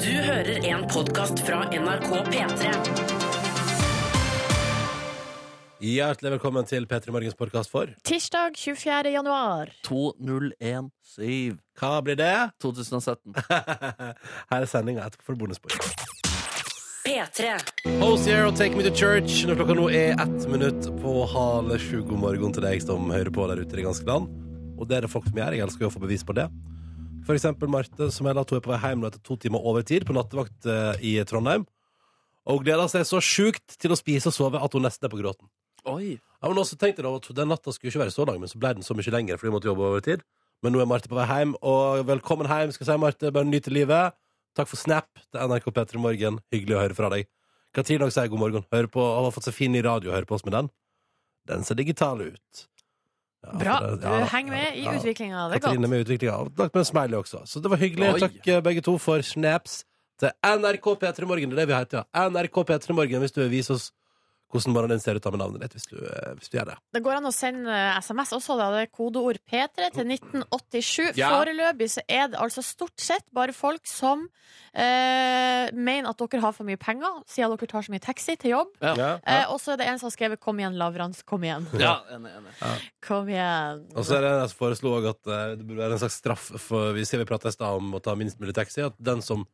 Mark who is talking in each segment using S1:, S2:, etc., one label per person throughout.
S1: Du hører en podkast fra NRK P3.
S2: Hjertelig velkommen til P3 Morgens podkast for
S3: Tirsdag 24. januar.
S4: 2017.
S2: Hva blir det?
S4: 2017.
S2: Her er sendinga etterpå for bonusbord.
S1: P3.
S2: Hosier og Take Me To Church når klokka nå er ett minutt på halv sju. God morgen til deg som hører på der ute i det ganske land. Og det er det folk som gjør. Jeg elsker jo å få bevis på det. For eksempel Marte, som melder at hun er på vei hjem nå etter to timer overtid på nattevakt eh, i Trondheim. Og gleder seg så sjukt til å spise og sove at hun nesten er på gråten.
S4: Oi!
S2: Ja, men også tenkte jeg da at Den natta skulle ikke være så lang, men så ble den så mye lenger. fordi jeg måtte jobbe over tid. Men nå er Marte på vei hjem, og velkommen hjem. skal jeg si, Marte. Bare nyt livet. Takk for snap til NRK P3 Morgen. Hyggelig å høre fra deg. Katrine også sier god morgen. Hører på, og har fått seg fin ny radio. Hører på oss med den. Den ser digital ut. Ja,
S3: Bra.
S2: for det-
S3: Du
S2: ja, ja,
S3: henger med i
S2: ja.
S3: utviklinga. Det er
S2: Katrine
S3: godt.
S2: med utviklinga. Og Lagt med en smiley også. Så det var hyggelig.
S4: Oi.
S2: Takk eh, begge to for snaps til NRK P3 Morgen. Det er det vi heter, ja. NRK P3 Morgen, hvis du vil vise oss hvordan morgenen din ser ut av med navnet ditt, hvis du, eh, hvis du gjør det.
S3: Det går an å sende eh, SMS også. Da. Det er kodeord P3 til 1987.
S2: Ja.
S3: Foreløpig så er det altså stort sett bare folk som eh, mener at dere har for mye penger, siden dere tar så mye taxi til jobb.
S4: Ja.
S3: Eh, og så er det en som har skrevet 'Kom igjen, Lavrans. Kom igjen.
S4: Ja, enig, enig.
S3: Kom igjen'.
S2: Og så er det en som foreslo også at eh, det burde være en slags straff for Vi sier vi pratet i stad om å ta minst mulig taxi. At den som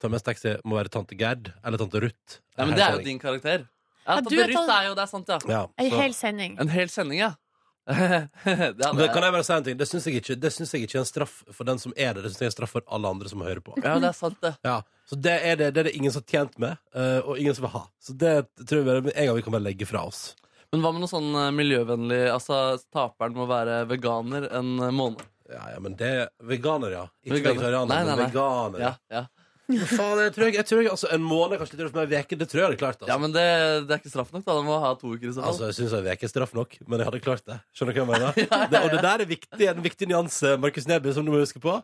S2: tar mest taxi, må være tante Gerd eller tante Ruth.
S4: Ja, men det er jo din karakter. Ja,
S3: Ja,
S4: Tante
S3: du er
S4: Ruth
S3: tan-
S4: er jo det, er sant, ja.
S2: Ja.
S3: Ei
S4: Så-
S3: hel sending.
S4: En hel sending, ja. det er
S2: Men kan jeg bare si en ting? Det syns jeg, ikke- det synes jeg ikke er en straff for den som er det. Det syns jeg er en straff for alle andre som hører på.
S4: Ja, det er sant, det.
S2: Ja, så det er det, det er det ingen som har tjent med, eh, og ingen som vil ha. Så det tror jeg bare, en gang vi kan bare legge fra oss.
S4: Men hva med noe sånn eh, miljøvennlig Altså, taperen må være veganer en eh, måned.
S2: Ja, ja, men det er veganer, ja. Ikke
S4: Veganer.
S2: vegetarianer,
S4: Nei, nei,
S2: men
S4: nei.
S2: veganer.
S4: Ja, ja.
S2: Faen, jeg tror jeg, jeg tror jeg altså, en måned, kanskje litt over en uke, det tror jeg hadde klart. Altså.
S4: ja men det, det er ikke straff nok, da. Den må ha to uker i så fall.
S2: Altså, Jeg syns en uke er straff nok, men jeg hadde klart det. Skjønner du hva jeg mener? Det, og det der er viktig, en viktig nyanse, Markus Neby, som du må huske på.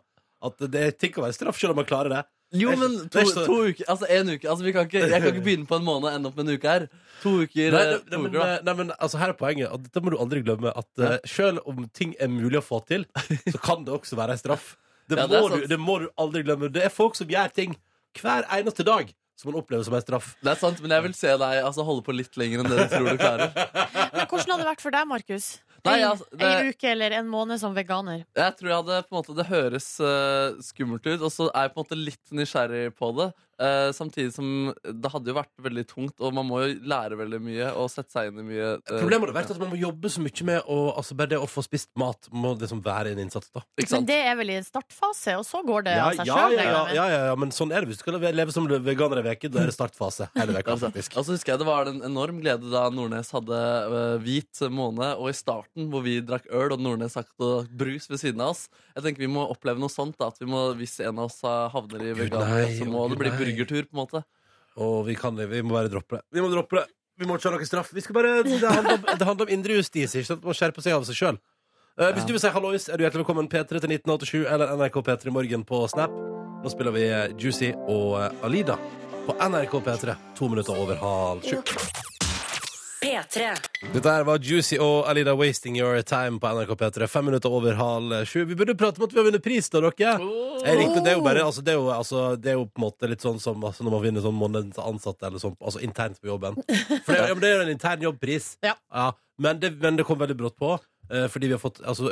S2: At det er ting å være straff selv om man klarer det.
S4: Jo,
S2: det er
S4: men
S2: ikke-
S4: to,
S2: det er ikke så-
S4: to uker Altså, én uke. Altså, vi kan ikke, jeg kan ikke begynne på en måned og ende opp med en uke her. To uker,
S2: Nei,
S4: eh,
S2: nei, nei,
S4: to
S2: men,
S4: uker da.
S2: nei, men altså, her er poenget. At dette må du aldri glemme. At eh, selv om ting er mulig å få til, så kan det også være en straff. Det,
S4: Ja, det er
S2: må
S4: sant.
S2: du, det må du aldri glemme. Det er folk som gjør ting hver eneste dag som man opplever som en straff.
S4: Det er sant, men jeg vil se deg altså, holde på litt lenger enn det du tror du klarer.
S3: Men hvordan hadde det vært for deg, Markus?
S4: Nei,
S3: Ei,
S4: altså, det-
S3: ei uke eller en måned som veganer.
S4: Jeg tror jeg hadde, på en måte, Det høres eh, skummelt ut, og så er jeg på en måte litt nysgjerrig på det. eh, samtidig som det hadde jo vært veldig tungt, og man må jo lære veldig mye og sette seg inn i mye. eh,
S2: Problemet har vært at man må jobbe så mye med å, altså, bare det å få spist mat må liksom være en innsats. da
S4: ikke
S3: Men
S4: sant?
S3: det er vel i en startfase, og så går altså, det
S2: ja,
S3: av seg
S2: ja,
S3: sjøl?
S2: ja, ja, ja, ja, ja, men sånn er det hvis du skal leve- leve som veganer en uke. Da er det startfase hele uka.
S4: Altså,
S2: faktisk.
S4: altså husker jeg Det var en enorm glede da Nordnes hadde eh, hvit måne, og i starten hvor vi drakk øl og Nordnes sagt og brus ved siden av oss. Jeg tenker Vi må oppleve noe sånt. da, at vi må, Hvis en av oss eh, havner i
S2: Gud,
S4: veganer,
S2: nei,
S4: så
S2: å,
S4: må
S2: Gud,
S4: det bli
S2: nei.
S4: burgertur. på en måte
S2: Og vi, kan, vi må bare droppe det. Vi må droppe det Vi må ikke ha noe straff. Vi skal bare, det, handler om, det handler om indre justis. Ikke sant? Man må skjerpe seg av seg sjøl. hvis
S4: Ja.
S2: du vil si hallois, er du hjertelig velkommen P3 til 1987 eller NRK P3 Morgen på Snap. Nå spiller vi eh, Juicy og eh, Alida på NRK P3 to minutter over halv sju.
S1: P3.
S2: Dette her var Juicy og Alida Wasting Your Time på NRK P3. Fem minutter over halv sju. Vi burde prate om at vi har vunnet pris, da, dere. Jeg ringte, det er jo bare altså, det, er jo, altså, det er jo på en måte litt sånn som altså, når man vinner sånn månedens ansatte eller sånn, altså internt på jobben. For det, ja, men det er jo en intern jobbpris.
S3: Ja.
S2: men, det, men det kom veldig brått på, eh, fordi vi har fått altså,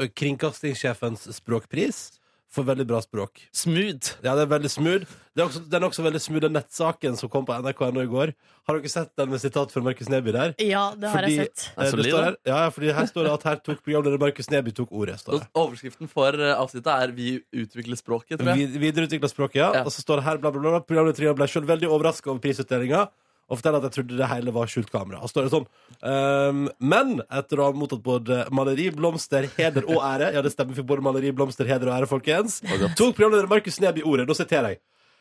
S2: Kringkastingssjefens språkpris for veldig bra språk.
S4: Smooth!
S2: Ja, det er veldig smooth. Det er også, den er også veldig smooth, den nettsaken som kom på NRK.no i går. Har dere sett den med sitat fra Markus Neby der?
S3: Ja, det har jeg sett.
S2: eh,
S4: Det er
S2: det
S4: solid,
S2: står her, ja, ja, fordi her står det at her tok programleder Markus Neby tok ordet. Står det.
S4: Og Overskriften for eh, avsnittet er 'Vi utvikler språket'. tror jeg
S2: Vid, Videreutvikla språket, ja.
S4: Ja.
S2: Og så står det her bla, bla, bla. Programlederen ble selv veldig overraska over prisutdelinga. Og forteller at jeg trodde det hele var skjult kamera. Og så står det sånn ehm, Men etter å ha mottatt både maleri, blomster, heder og ære Ja, det stemmer for både maleri, blomster, heder og ære, folkens. Tok programleder Markus Neby ordet. Nå siterer jeg.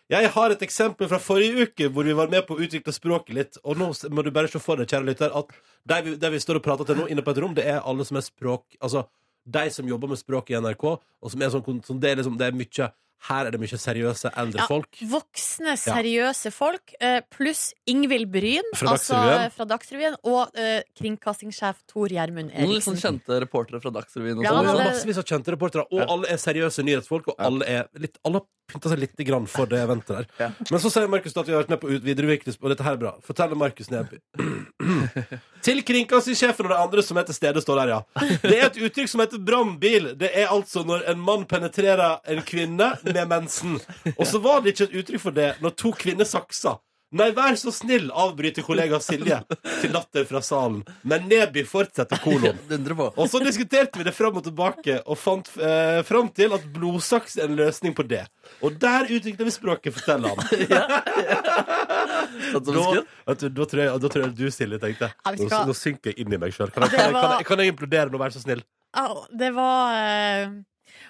S2: Jeg har et eksempel fra forrige uke hvor vi var med på å utvikle språket litt. Og nå s- må du bare se for deg, kjære lytter, at de vi, de vi står og prater til nå inne på et rom, det er alle som er språk... Altså, de som jobber med språk i NRK, og som er sånn, kon- sånn det er liksom, det er mye Her er det mye seriøse eldre
S3: Ja,
S2: folk.
S3: Voksne, seriøse folk, eh, pluss Ingvild Bryn
S2: Fra
S3: altså,
S2: Dagsrevyen.
S3: eh, fra Dagsrevyen og eh, kringkastingssjef Tor Gjermund
S4: Noen litt sånn
S3: Eriksen.
S4: kjente reportere fra Dagsrevyen. og
S3: Ja,
S2: Og
S3: han
S4: sånn.
S2: det er
S3: hadde-
S2: massevis av kjente reportere, og alle er seriøse nyhetsfolk, og alle er litt Alle har pynta seg litt grann for det eventet der. Men så sier Markus at vi har vært med på ut- viderevirkning, og dette her er bra. Forteller Markus Neby. Til kringkastingssjefen og de andre som er til stede, står der, ja. Det er et uttrykk som heter brannbil. Det er altså når en mann penetrerer en kvinne med mensen. Og så var det ikke et uttrykk for det når to kvinner saksa. Nei, vær så snill, avbryter kollega Silje til latter fra salen. Men Neby fortsetter kolon.
S4: Dundrer på.
S2: Og så diskuterte vi det fram og tilbake, og fant eh, fram til at blodsaks er en løsning på det. Og der utvikler vi språket, forteller han.
S4: Sånn som
S2: Da,
S4: skudd.
S2: vet du, da, tror jeg, da tror jeg du, Silje, tenkte
S3: Ja, vet du
S2: Nå,
S3: hva?
S2: nå synker jeg inn i meg sjøl. Kan, jeg- kan, jeg- kan, jeg- kan jeg implodere nå, vær så snill?
S3: Au, det var eh,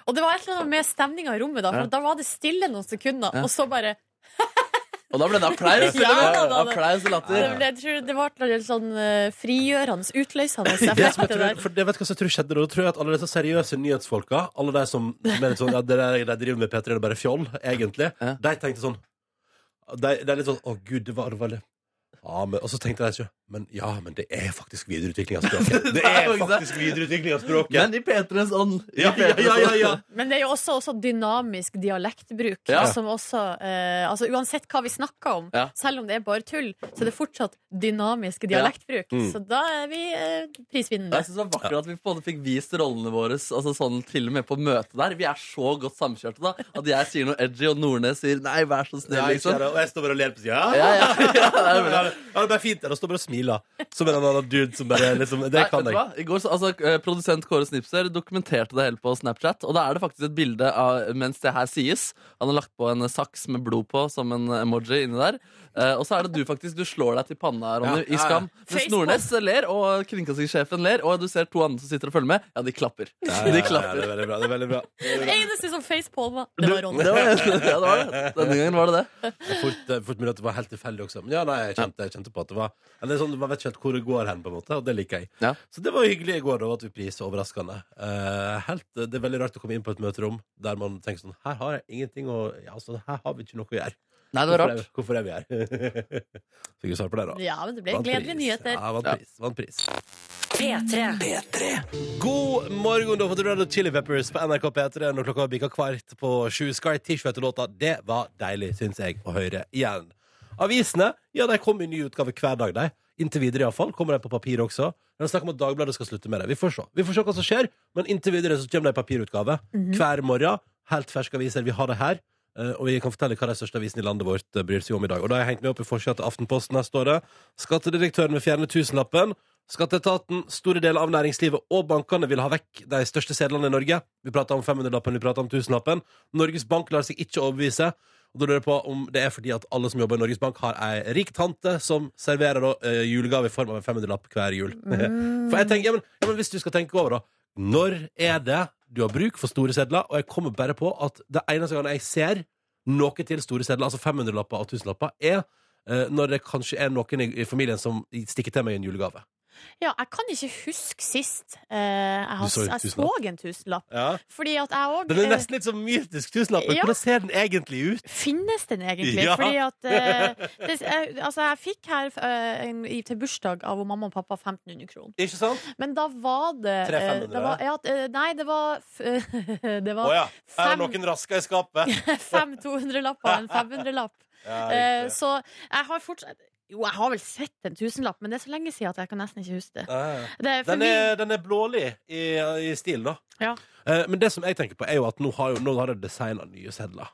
S3: Og det var et eller annet med stemninga i rommet, da. For
S4: Ja.
S3: da var det stille noen sekunder, og så bare
S4: Og da ble det applaus.
S3: Ja, da, da, da.
S4: applaus og
S3: Det,
S4: latter.
S3: ble, eh, jeg tror det var et sånn eh, frigjørende, utløsende
S2: Det som
S3: effekt.
S2: jeg
S3: Det
S2: tror,
S3: der.
S2: for det vet du hva som jeg tror skjedde da? Da tror jeg at alle disse seriøse nyhetsfolka, alle de som som er litt sånn, ja, det der, de driver med P3, det er bare fjoll, egentlig,
S4: Ja.
S2: de tenkte sånn De, de er litt sånn Å, gud, det var det. Var det. Ja, men, og så tenkte jeg ikke Men ja, men det er faktisk videreutvikling av språket. Det er faktisk videreutvikling av språket.
S4: Men i P3s ånd. I
S2: Ja, ja,
S4: P3s
S2: ja, ja, ja.
S4: ånd.
S3: Men det er jo også, også dynamisk dialektbruk.
S4: Ja.
S3: Som også, eh, altså uansett hva vi snakker om,
S4: Ja.
S3: selv om det er bare tull, så det er fortsatt dynamisk dialektbruk.
S2: Mm.
S3: Så da er vi eh, prisvinnende.
S4: Jeg synes det var vakkert at vi på en måte fikk vist rollene våre altså sånn, til og med på møtet der. Vi er så godt samkjørte da at jeg sier noe edgy, og Nordnes sier 'nei, vær så snill'.
S2: Ja, jeg ser
S4: liksom.
S2: det, og jeg står bare og ler på sida.
S4: Ja, ja, ja, det
S2: Ja,
S4: er
S2: det
S4: bra.
S2: er bare fint. Jeg står bare og smiler. Som en annen dude som bare liksom Det
S4: Nei,
S2: kan
S4: vet du
S2: jeg.
S4: hva? I går, så- altså, eh, produsent Kåre Snipser dokumenterte det hele på Snapchat. Og da er det faktisk et bilde av, mens det her sies. Han har lagt på en eh, saks med blod på som en emoji inni der. Eh, og så er det du faktisk. Du slår deg til panna, Ronny,
S2: Ja, ja, ja.
S4: i skam. Mens
S3: Facebook.
S4: Nordnes ler, og kringkastingssjefen ler, og du ser to andre som sitter og følger med. Ja, de klapper.
S2: Ja, ja,
S4: De
S2: ja, det
S4: klapper.
S2: er veldig bra. Det er veldig bra.
S3: Det eneste som face palma, det var Ronny.
S4: Det var, ja, det var det. Denne gangen var det det.
S2: Det er fort, det er fort mulig at det var helt tilfeldig også. Men ja, nei, jeg kjente, jeg kjente på at det var Eller sånn, Man vet ikke helt hvor det går hen, på en måte, og det liker jeg.
S4: Ja.
S2: Så det var hyggelig i går, da, at vi priser overraskende. Eh, helt, det er veldig rart å komme inn på et møterom der man tenker sånn Her har jeg ingenting å ja, altså, Her har vi ikke noe å gjøre.
S4: Nei, det var
S2: Hvorfor
S4: rart.
S2: er, hvorfor er vi her? Fikk jo svar på det, da.
S3: Ja, men det ble
S2: Vant
S3: gledelige
S2: pris.
S3: nyheter.
S2: Ja, vant
S4: Ja.
S2: pris. Vant pris.
S1: P3.
S2: God morgen, du har fått Red Hot Chili Peppers på NRK P3 når klokka bikka kvart på sju. Sky T-skjorte-låta Det var deilig, syns jeg, å høre igjen. Avisene ja, de kommer i ny utgave hver dag, de. Inntil videre, iallfall. Kommer de på papir også? Det er snakk om at Dagbladet skal slutte med det. Vi får se Vi får se hva som skjer, men inntil videre så kommer det en papirutgave hver morgen. Helt ferske aviser. Vi har det her. eh, Og vi kan fortelle hva de største avisene i landet vårt eh, bryr seg om i dag. Og da har jeg hengt meg opp i forsida til Aftenposten neste året. Skattedirektøren vil fjerne tusenlappen. Skatteetaten, store deler av næringslivet og bankene vil ha vekk de største sedlene i Norge. Vi prater om 500-lappen, vi prater om 1000-lappen. Norges Bank lar seg ikke overbevise. Og da lurer jeg på om det er fordi at alle som jobber i Norges Bank, har ei rik tante som serverer da, eh, julegave i form av en 500-lapp hver jul. For jeg tenker, ja, men, ja, men Hvis du skal tenke over, da. Når er det du har bruk for store sedler? Og jeg kommer bare på at det eneste gangen jeg ser noe til store sedler, altså 500-lapper og 1000-lapper, er eh, når det kanskje er noen i, i familien som stikker til meg en julegave.
S3: Ja, jeg kan ikke huske sist eh, jeg, har,
S2: Du så en
S3: jeg så
S2: tusenlapp.
S3: en tusenlapp.
S2: Ja.
S3: Fordi at jeg òg
S2: Den er nesten litt sånn mystisk tusenlappen.
S3: Ja.
S2: Hvordan ser den egentlig ut?
S3: eh, Finnes den egentlig?
S2: Ja.
S3: Fordi at eh, det, jeg, Altså, jeg fikk her eh, en, i- til bursdag av mamma og pappa 1500 kroner.
S2: Ikke sant?
S3: Men da var det
S2: Tre
S3: eh,
S2: 500,
S3: det var, ja, eh, Nei, det var f- Det var
S2: ja.
S3: fem-
S2: raska i skapet?
S3: fem 200-lapper og en 500-lapp.
S2: Ja,
S3: Eh,
S2: riktig.
S3: så jeg har fortsatt Jo, jeg har vel sett en tusenlapp, men det er så lenge siden at jeg kan nesten ikke huske det.
S2: Ja, ja.
S3: det er for
S2: Den er, den er blålig i, i stil, da.
S3: eh, Ja.
S2: Eh, men det som jeg tenker på, er jo at nå har, jo, nå har de designa nye sedler.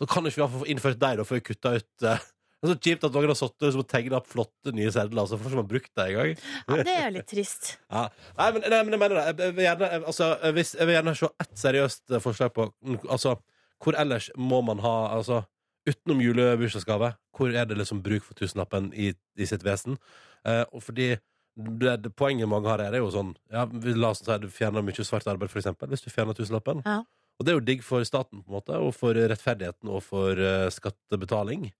S2: Så kan ikke vi ha få innført deg, da, før vi kutta ut eh, Det er så kjipt at noen har satt og tegna opp flotte nye sedler, så får ikke man brukt dem engang.
S3: min- ja, det er litt trist.
S2: Ja. Nei, men, nei, men jeg mener det. Jeg- Jeg vil gjerne, jeg- altså, jeg vil- jeg vil gjerne se ett seriøst eh, forslag på mm, Altså, hvor ellers må man ha Altså, utenom julebursdagsgave, hvor er det liksom bruk for tusenlappen i, i sitt vesen? Eh, og fordi det, det poenget mange har her, er jo sånn ja, vi- La oss si du fjerner mye svart arbeid, for eksempel, hvis du fjerner tusenlappen.
S3: Ja.
S2: Og det er jo digg for staten, på en måte, og for rettferdigheten, og for eh, skattebetaling.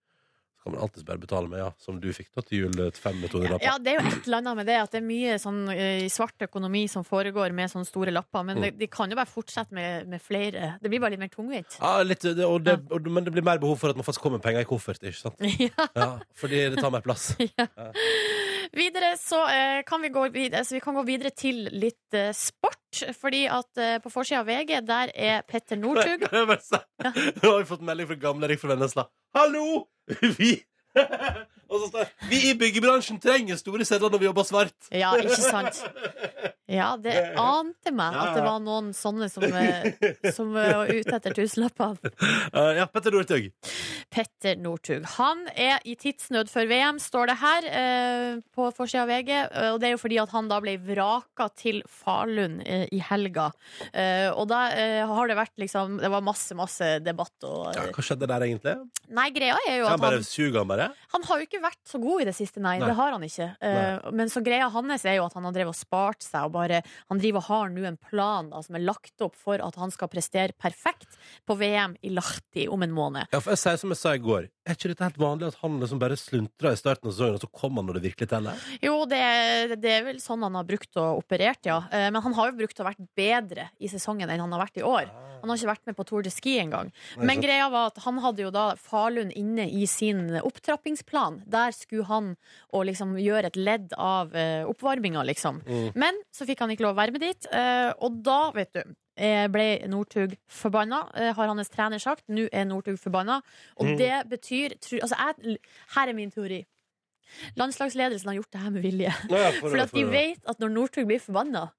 S2: Så kan man alltid bare betale med, ja, som du fikk da til jul, et fem med 200 lapper.
S3: Ja, det er jo et eller annet med det at det er mye sånn eh, svart økonomi som foregår med sånne store lapper,
S2: Mm.
S3: men det, de kan jo bare fortsette med, med flere. Det blir bare litt mer tungvint.
S2: Ja, litt, det, og det, og, men det blir mer behov for at man faktisk kommer med penger i koffert, ikke sant?
S3: Ja.
S2: Ja, fordi det tar mer plass.
S3: Videre så eh, kan vi gå videre, så vi kan gå videre til litt eh, sport, fordi at eh, på forsida av VG, der er Petter Northug.
S2: Kan jeg bare si- Nå har vi fått melding fra gamle Erik fra Vennesla. Hallo! Vi Og så står det, Vi i byggebransjen trenger store sedler når vi jobber svart.
S3: Ja, ikke sant? Ja, det ante meg at det var noen sånne som, eh, som eh, var ute etter tusenlappene.
S2: Eh, ja, Petter Northug.
S3: Petter Northug. Han er i tidsnød før VM, står det her eh, på forsida av VG. eh, Og det er jo fordi at han da ble vraka til Falun eh, i helga. Eh, og da eh, har det vært liksom Det var masse, masse debatt og eh,
S2: Ja, hva skjedde der, egentlig?
S3: Nei, greia er jo
S2: Ja,
S3: at han
S2: bare suger han bare?
S3: Han har jo ikke vært så god i det siste, nei.
S2: Nei.
S3: Det har han ikke. Eh, men så greia hans er jo at han har drevet og spart seg og bare Han driver og har nå en plan da, som er lagt opp for at han skal prestere perfekt på VM i Lahti om en måned.
S2: Ja, for jeg sier som jeg sa i går. Er ikke dette helt vanlig at han liksom bare sluntrer i starten av sesongen, og så kommer han når det virkelig teller?
S3: Jo, det, det er vel sånn han har brukt og operert, ja. Eh, men han har jo brukt og vært bedre i sesongen enn han har vært i år.
S2: Ah.
S3: Han har ikke vært med på Tour de Ski engang. Men greia var at han hadde jo da Falun inne i sin opptrappingsplan. Der skulle han å liksom gjøre et ledd av eh, oppvarminga, liksom.
S2: Mm.
S3: Men så fikk han ikke lov å være med dit, eh, og da, vet du eh, ble Northug forbanna, eh, har hans trener sagt. Nå er Northug forbanna. Og
S2: Mm.
S3: det betyr tru- altså jeg, Her er min teori. Landslagsledelsen har gjort det her med vilje.
S2: Ja, for-
S3: For at de
S2: for-
S3: vet at når Northug blir forbanna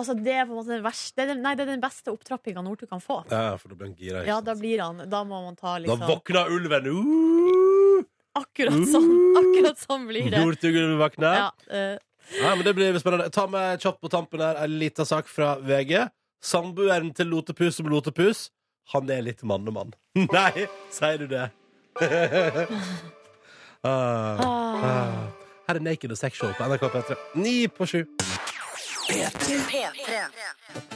S3: altså det, er på en måte den verste, det, er den, nei, det er den beste opptrappinga Northug kan få.
S2: Ja, for da blir han gira. ikke
S3: Ja,
S2: sant?
S3: da blir han Da må man ta
S2: Da
S3: liksom
S2: våkna ulven! Uh!
S3: Akkurat sånn, akkurat sånn blir det.
S2: Northug våkna.
S3: Ja, eh,
S2: Ja, men det blir spennende. Ta med kjapt på tampen her en liten sak fra VG. Samboeren til Lotepus som Lotepus, han er litt mannemann. Nei, sier du det? ah, ah. Her er Naked og Sexual på NRK P3. Ni på sju.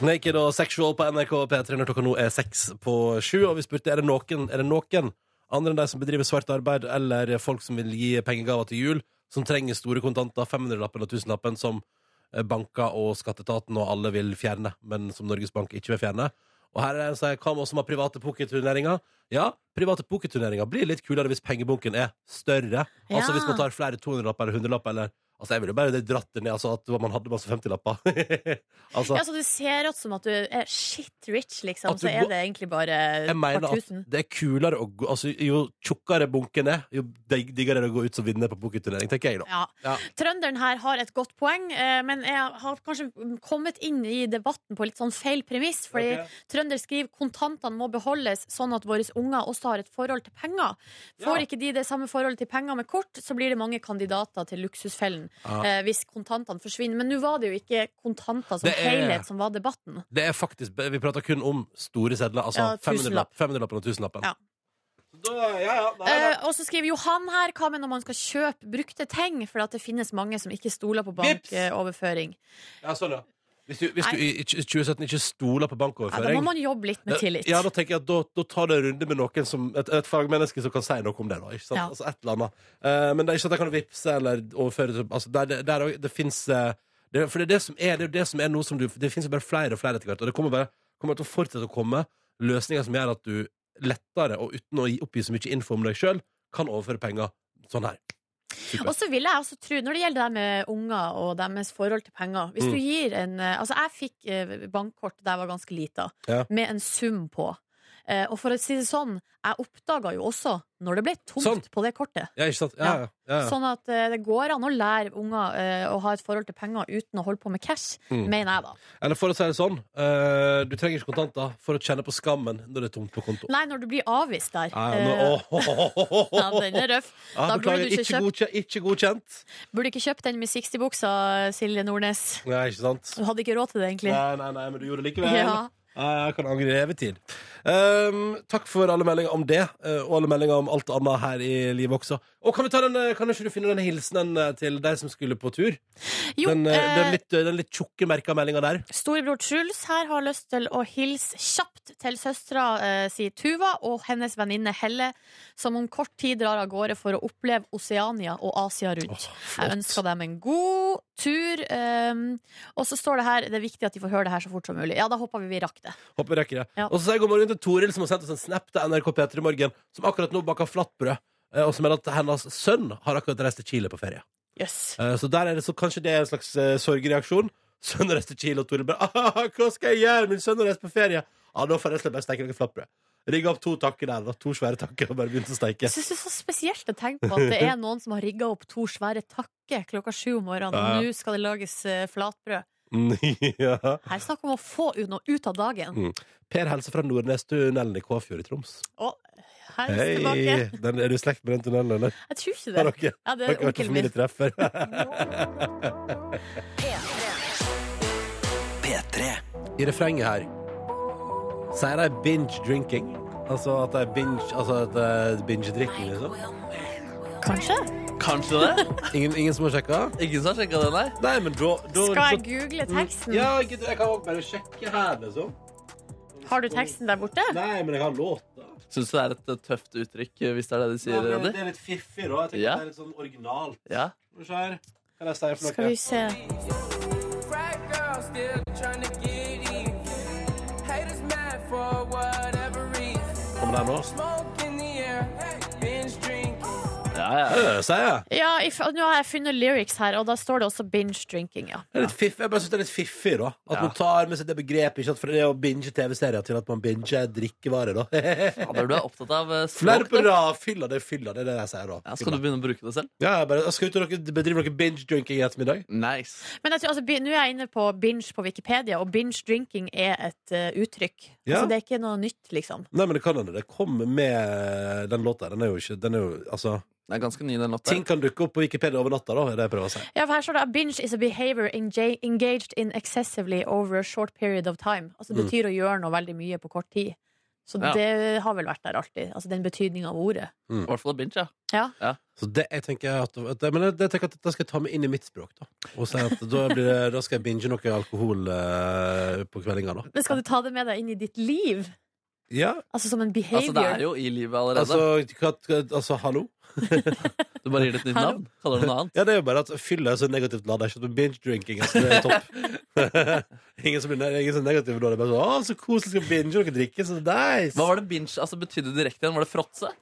S2: Naked og Sexual på NRK P3 når klokka nå er seks på sju. Og vi spurte er det noen, er det noen andre enn de som bedriver svart arbeid, eller folk som vil gi pengegaver til jul, som trenger store kontanter, 500-lappen og 1000-lappen, som eh, banker og skatteetaten og alle vil fjerne, men som Norges Bank ikke vil fjerne. Og her er det en som sier, hva med oss som har private pokerturneringer? Ja, private pokerturneringer blir litt kulere hvis pengebunken er større.
S3: Ja.
S2: Altså hvis man tar flere 200-lapper eller 100-lapper, eller Altså, jeg ville jo bare dratt det ned, altså at man hadde masse 50-lapper. altså,
S3: ja, så du ser ut som at du er shit rich, liksom,
S2: At du
S3: så er
S2: går-
S3: det egentlig bare
S2: jeg
S3: et par
S2: mener at
S3: tusen.
S2: det er kulere å gå altså, Jo tjukkere bunken er, jo digg- diggere er det å gå ut som vinner på pokerturnering, tenker jeg, da.
S3: Ja.
S2: Ja.
S3: Trønderen her har et godt poeng, eh, men jeg har kanskje kommet inn i debatten på litt sånn feil premiss. Fordi
S2: Ok.
S3: Trønder skriver kontantene må beholdes sånn at våre unger også har et forhold til penger. Får
S2: Ja.
S3: ikke de det samme forholdet til penger med kort, så blir det mange kandidater til luksusfellen
S2: Ja.
S3: eh, hvis kontantene forsvinner. Men nå var det jo ikke kontanter som
S2: Det er-
S3: helhet som var debatten.
S2: Det er faktisk Vi prater kun om store sedler, altså
S3: Ja,
S2: 500-lapp- 500-lappen og 1000-lappen.
S3: Ja.
S2: Da, ja, ja, nei, nei.
S3: Eh, og så skriver Johan her hva med når man skal kjøpe brukte ting, for at det finnes mange som ikke stoler på
S2: Vips!
S3: bankoverføring.
S2: ja, sånn, ja. Hvis du, hvis du i i 2017 ikke stoler på
S3: Ja, da må
S2: bankoverføring
S3: man jobbe litt med tillit.
S2: Ja, da tenker jeg at da, da tar det en runde med noen som, et, et fagmenneske som kan si noe om det. da, ikke sant?
S3: Ja.
S2: Altså et eller annet. Eh, men det er ikke at jeg kan vippse eller overføre til- altså der, der, der, også- Det fins det, For det er det som er, det er jo det som er noe som du Det fins jo bare flere og flere etter hvert, og det kommer, bare, kommer til å fortsette å komme løsninger som gjør at du lettere, og uten å gi- oppgi så mye info om deg sjøl, kan overføre penger sånn her. Super.
S3: Og så vil jeg også tro, når det gjelder det her med unger og deres forhold til penger Hvis du
S2: Mm.
S3: gir en eh, Altså, jeg fikk eh, bankkort da jeg var ganske lita,
S2: Ja.
S3: med en sum på. Eh, og for å si det sånn, jeg oppdaga jo også når det ble tomt
S2: Sånn.
S3: på det kortet.
S2: Ja, ikke sant? Ja, ja, ja, ja.
S3: Sånn at eh, det går an å lære unger eh, å ha et forhold til penger uten å holde på med cash,
S2: Mm.
S3: mener jeg da.
S2: Eller for å si det sånn, eh, du trenger ikke kontanter for å kjenne på skammen når det er tomt på konto.
S3: Nei, når du blir avvist der.
S2: Ah, Ja,
S3: eh,
S2: nå, åh.
S3: ja, den er røff.
S2: Ja,
S3: Da
S2: Ah, beklager,
S3: burde du ikke
S2: ikke,
S3: kjøpt-
S2: godkjent, ikke godkjent.
S3: Burde ikke kjøpt den med 60-buksa, Silje Nordnes.
S2: Nei, ikke sant?
S3: Du hadde ikke råd til det, egentlig.
S2: Nei, nei, nei, men du gjorde det likevel.
S3: Ja.
S2: Nei, Jeg kan angre i evig tid. Um, takk for alle meldinger om det, eh, og alle meldinger om alt annet her i livet også. Og kan, vi ta den, eh, kan ikke du finne den hilsenen eh, til de som skulle på tur?
S3: Jo,
S2: den, eh,
S3: eh,
S2: den, litt, den litt tjukke merka meldinga der.
S3: Storebror Truls her har lyst til å hilse kjapt til søstera eh, si Tuva og hennes venninne Helle, som om kort tid drar av gårde for å oppleve Oseania og Asia rundt. Jeg ønsker dem en god tur. ehm, og så står det her det er viktig at de får høre det her så fort som mulig. Ja, da håper vi vi rakk det.
S2: Håper vi rekker det.
S3: Ja.
S2: Og så sier jeg god morgen til Toril, som har sendt oss en snap til NRK P3 i morgen, som akkurat nå baker flatbrød. eh, Og som mener at hennes sønn har akkurat reist til Chile på ferie.
S3: Yes.
S2: Eh, Så der er det så kanskje det er en slags eh, sorgreaksjon. Sønn har reist til Chile, og Toril bare «Ah, Hva skal jeg gjøre? Min sønn har reist på ferie. Ja, da får jeg slett bare steke noen flatbrød. Rigge opp to takker der, da. To svære takker, og bare begynte å steike.
S3: Jeg syns det er så spesielt å tenke på at det er noen som har rigga opp to svære takker klokka sju om morgenen,
S2: Ja, ja.
S3: og nå skal det lages eh, flatbrød.
S2: Mm, ja.
S3: Her er det snakk om å få ut noe ut av dagen.
S2: Mm. Per Helse fra Nordnestunnelen i Kåfjord i Troms.
S3: Og her er vi tilbake.
S2: Hei! Den, er du i slekt med den tunnelen, eller?
S3: Jeg tror ikke
S2: Har
S3: det.
S2: dere,
S3: Ja, det
S2: har dere
S3: er
S2: vært på
S3: onkelen min.
S2: familietreffer? I refrenget her sier de binge drinking. Altså at det er binge Altså at det er binge-drikking, liksom.
S3: Kanskje?
S4: Kanskje det?
S2: Ingen, ingen som har sjekka?
S4: Ingen som har sjekka det, nei?
S2: Nei, men da, da
S3: Skal jeg google teksten?
S2: Ja, gud, jeg kan bare sjekke her, liksom.
S3: Har du teksten der borte?
S2: Nei, men jeg har låta.
S4: Syns du det er et eh, tøft uttrykk, eh, hvis det er det de
S2: Nei,
S4: sier,
S2: men
S4: Ronny?
S2: det er litt fiffig, da. Jeg tenker
S4: Ja.
S2: det er litt sånn originalt.
S4: Ja.
S2: Skal vi se her. Hva er det jeg sier for noe?
S3: Skal vi se.
S5: Frat girl still tryna get in. Haters mad for whatever reason.
S2: Kommer der nå?
S5: Smoke in the air, binge drink.
S4: ja, ja.
S2: Øh, sier jeg.
S3: Ja, if, nå har jeg funnet lyrics her, og da står det også binge drinking, ja.
S2: Det er litt fiff, jeg bare synes det er litt fiffig, da. At
S4: Ja.
S2: man tar med seg det begrepet ikke sant, fra det å binge TV-serier til at man binger drikkevarer, da.
S4: Fader, du er opptatt av eh, språk. du.
S2: Flerpera, fylla det, fylla det, det er det jeg sier da.
S4: Ja, skal du begynne å bruke det selv?
S2: Ja, jeg bare, skal ut og dere- bedrive noe binge-drinking i ettermiddag?
S4: Nice.
S3: Men jeg tror, altså, bi- nå er jeg inne på binge på Wikipedia, og binge drinking er et eh, uttrykk.
S2: Ja.
S3: Altså, det er ikke noe nytt, liksom.
S2: Nei, men det kan hende. Det kommer med eh, den låta. Den er jo ikke den er jo, altså,
S4: Den er ganske ny, den låta.
S2: Ting kan dukke opp på Wikipedia over natta, da, er det jeg prøver å si.
S3: Ja, for her står det binge is a behavior enga- engaged in excessively over a short period of time. Altså,
S2: Mm.
S3: det betyr å gjøre noe veldig mye på kort tid. Så
S4: Ja.
S3: det har vel vært der alltid. Altså den betydninga av ordet.
S4: I hvert fall binge, ja.
S3: Ja.
S2: Så det, jeg tenker at, at det, men jeg, jeg tenker at dette skal jeg ta med inn i mitt språk, da. Og si at da, blir det, da skal jeg binge noe alkohol eh, på kveldinga, da.
S3: Men skal du ta det med deg inn i ditt liv?
S2: Ja,
S3: Altså som en behavior?
S4: Altså, det er jo i livet allerede.
S2: altså, hva, hva- altså hallo?
S4: Du bare gir det et nytt navn. Kaller det noe annet.
S2: Ja, det er jo bare at fyll er så negativt lada. Ikke at med binge-drinking. Altså, det er topp. ingen som blir ne- ingen som er negativ da. Det er bare sånn 'Å, så koselig skal binge og drikke'. Så nice.
S4: Hva var det binge altså, betydde direkte igjen? Var det fråtse?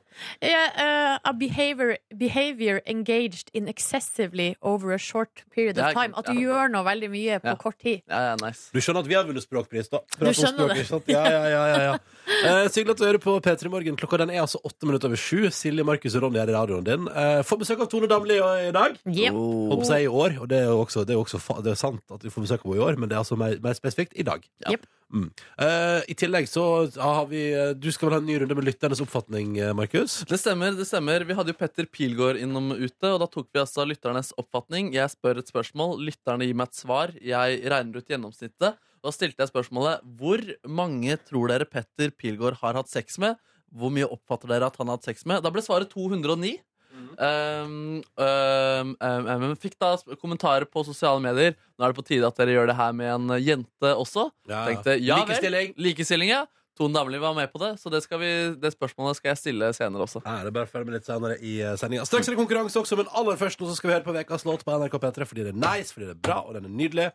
S3: Yeah, uh, a behavior, behavior engaged in excessively over a short period
S4: Det
S3: of
S4: er
S3: time.
S4: kult,
S3: At du
S4: ja.
S3: gjør noe veldig mye på
S4: Ja.
S3: kort tid.
S4: Ja, ja, nice.
S2: Du skjønner at vi har vunnet språkpris, da. Prat
S3: Du
S2: om språket,
S3: skjønner det.
S2: ikke sant? Ja, ja, ja, ja, ja. Eh, så hyggelig at du hører på P3 Morgen. Klokka den er altså åtte minutter over sju. Silje, Markus og Ronny er i radioen din. Eh, får besøk av Tone Damli i i dag.
S3: Yep.
S2: Holdt på å si i år, og det er jo også, det er jo også fa det er sant at vi får besøk av henne i år, men det er altså mer, mer spesifikt i dag.
S3: Ja. Jep.
S2: Mm. Eh, I tillegg så har vi eh, Du skal vel ha en ny runde med lytternes oppfatning, eh, Markus?
S4: Det stemmer. det stemmer Vi hadde jo Petter Pilgaard innom ute, og da tok vi altså lytternes oppfatning. Jeg spør et spørsmål, lytterne gir meg et svar. Jeg regner ut gjennomsnittet. Og da stilte jeg spørsmålet hvor mange tror dere Petter Pilgaard har hatt sex med? Hvor mye oppfatter dere at han har hatt sex med? Da ble svaret 209. Um, um, um, um, fikk da sp- kommentarer på sosiale medier. Nå er det på tide at dere gjør det her med en eh, jente også.
S2: Ja.
S4: Tenkte, ja vel.
S2: Likestilling.
S4: Likestilling, ja. Tone Damli var med på det, så det, skal vi, det spørsmålet skal jeg stille senere også.
S2: Ja, det er bare ferdig med litt senere i eh, sendingen Straks er det konkurranse også, men aller først nå så skal vi høre på ukas låt på NRK P3 fordi det er nice, fordi det er bra, og den er nydelig.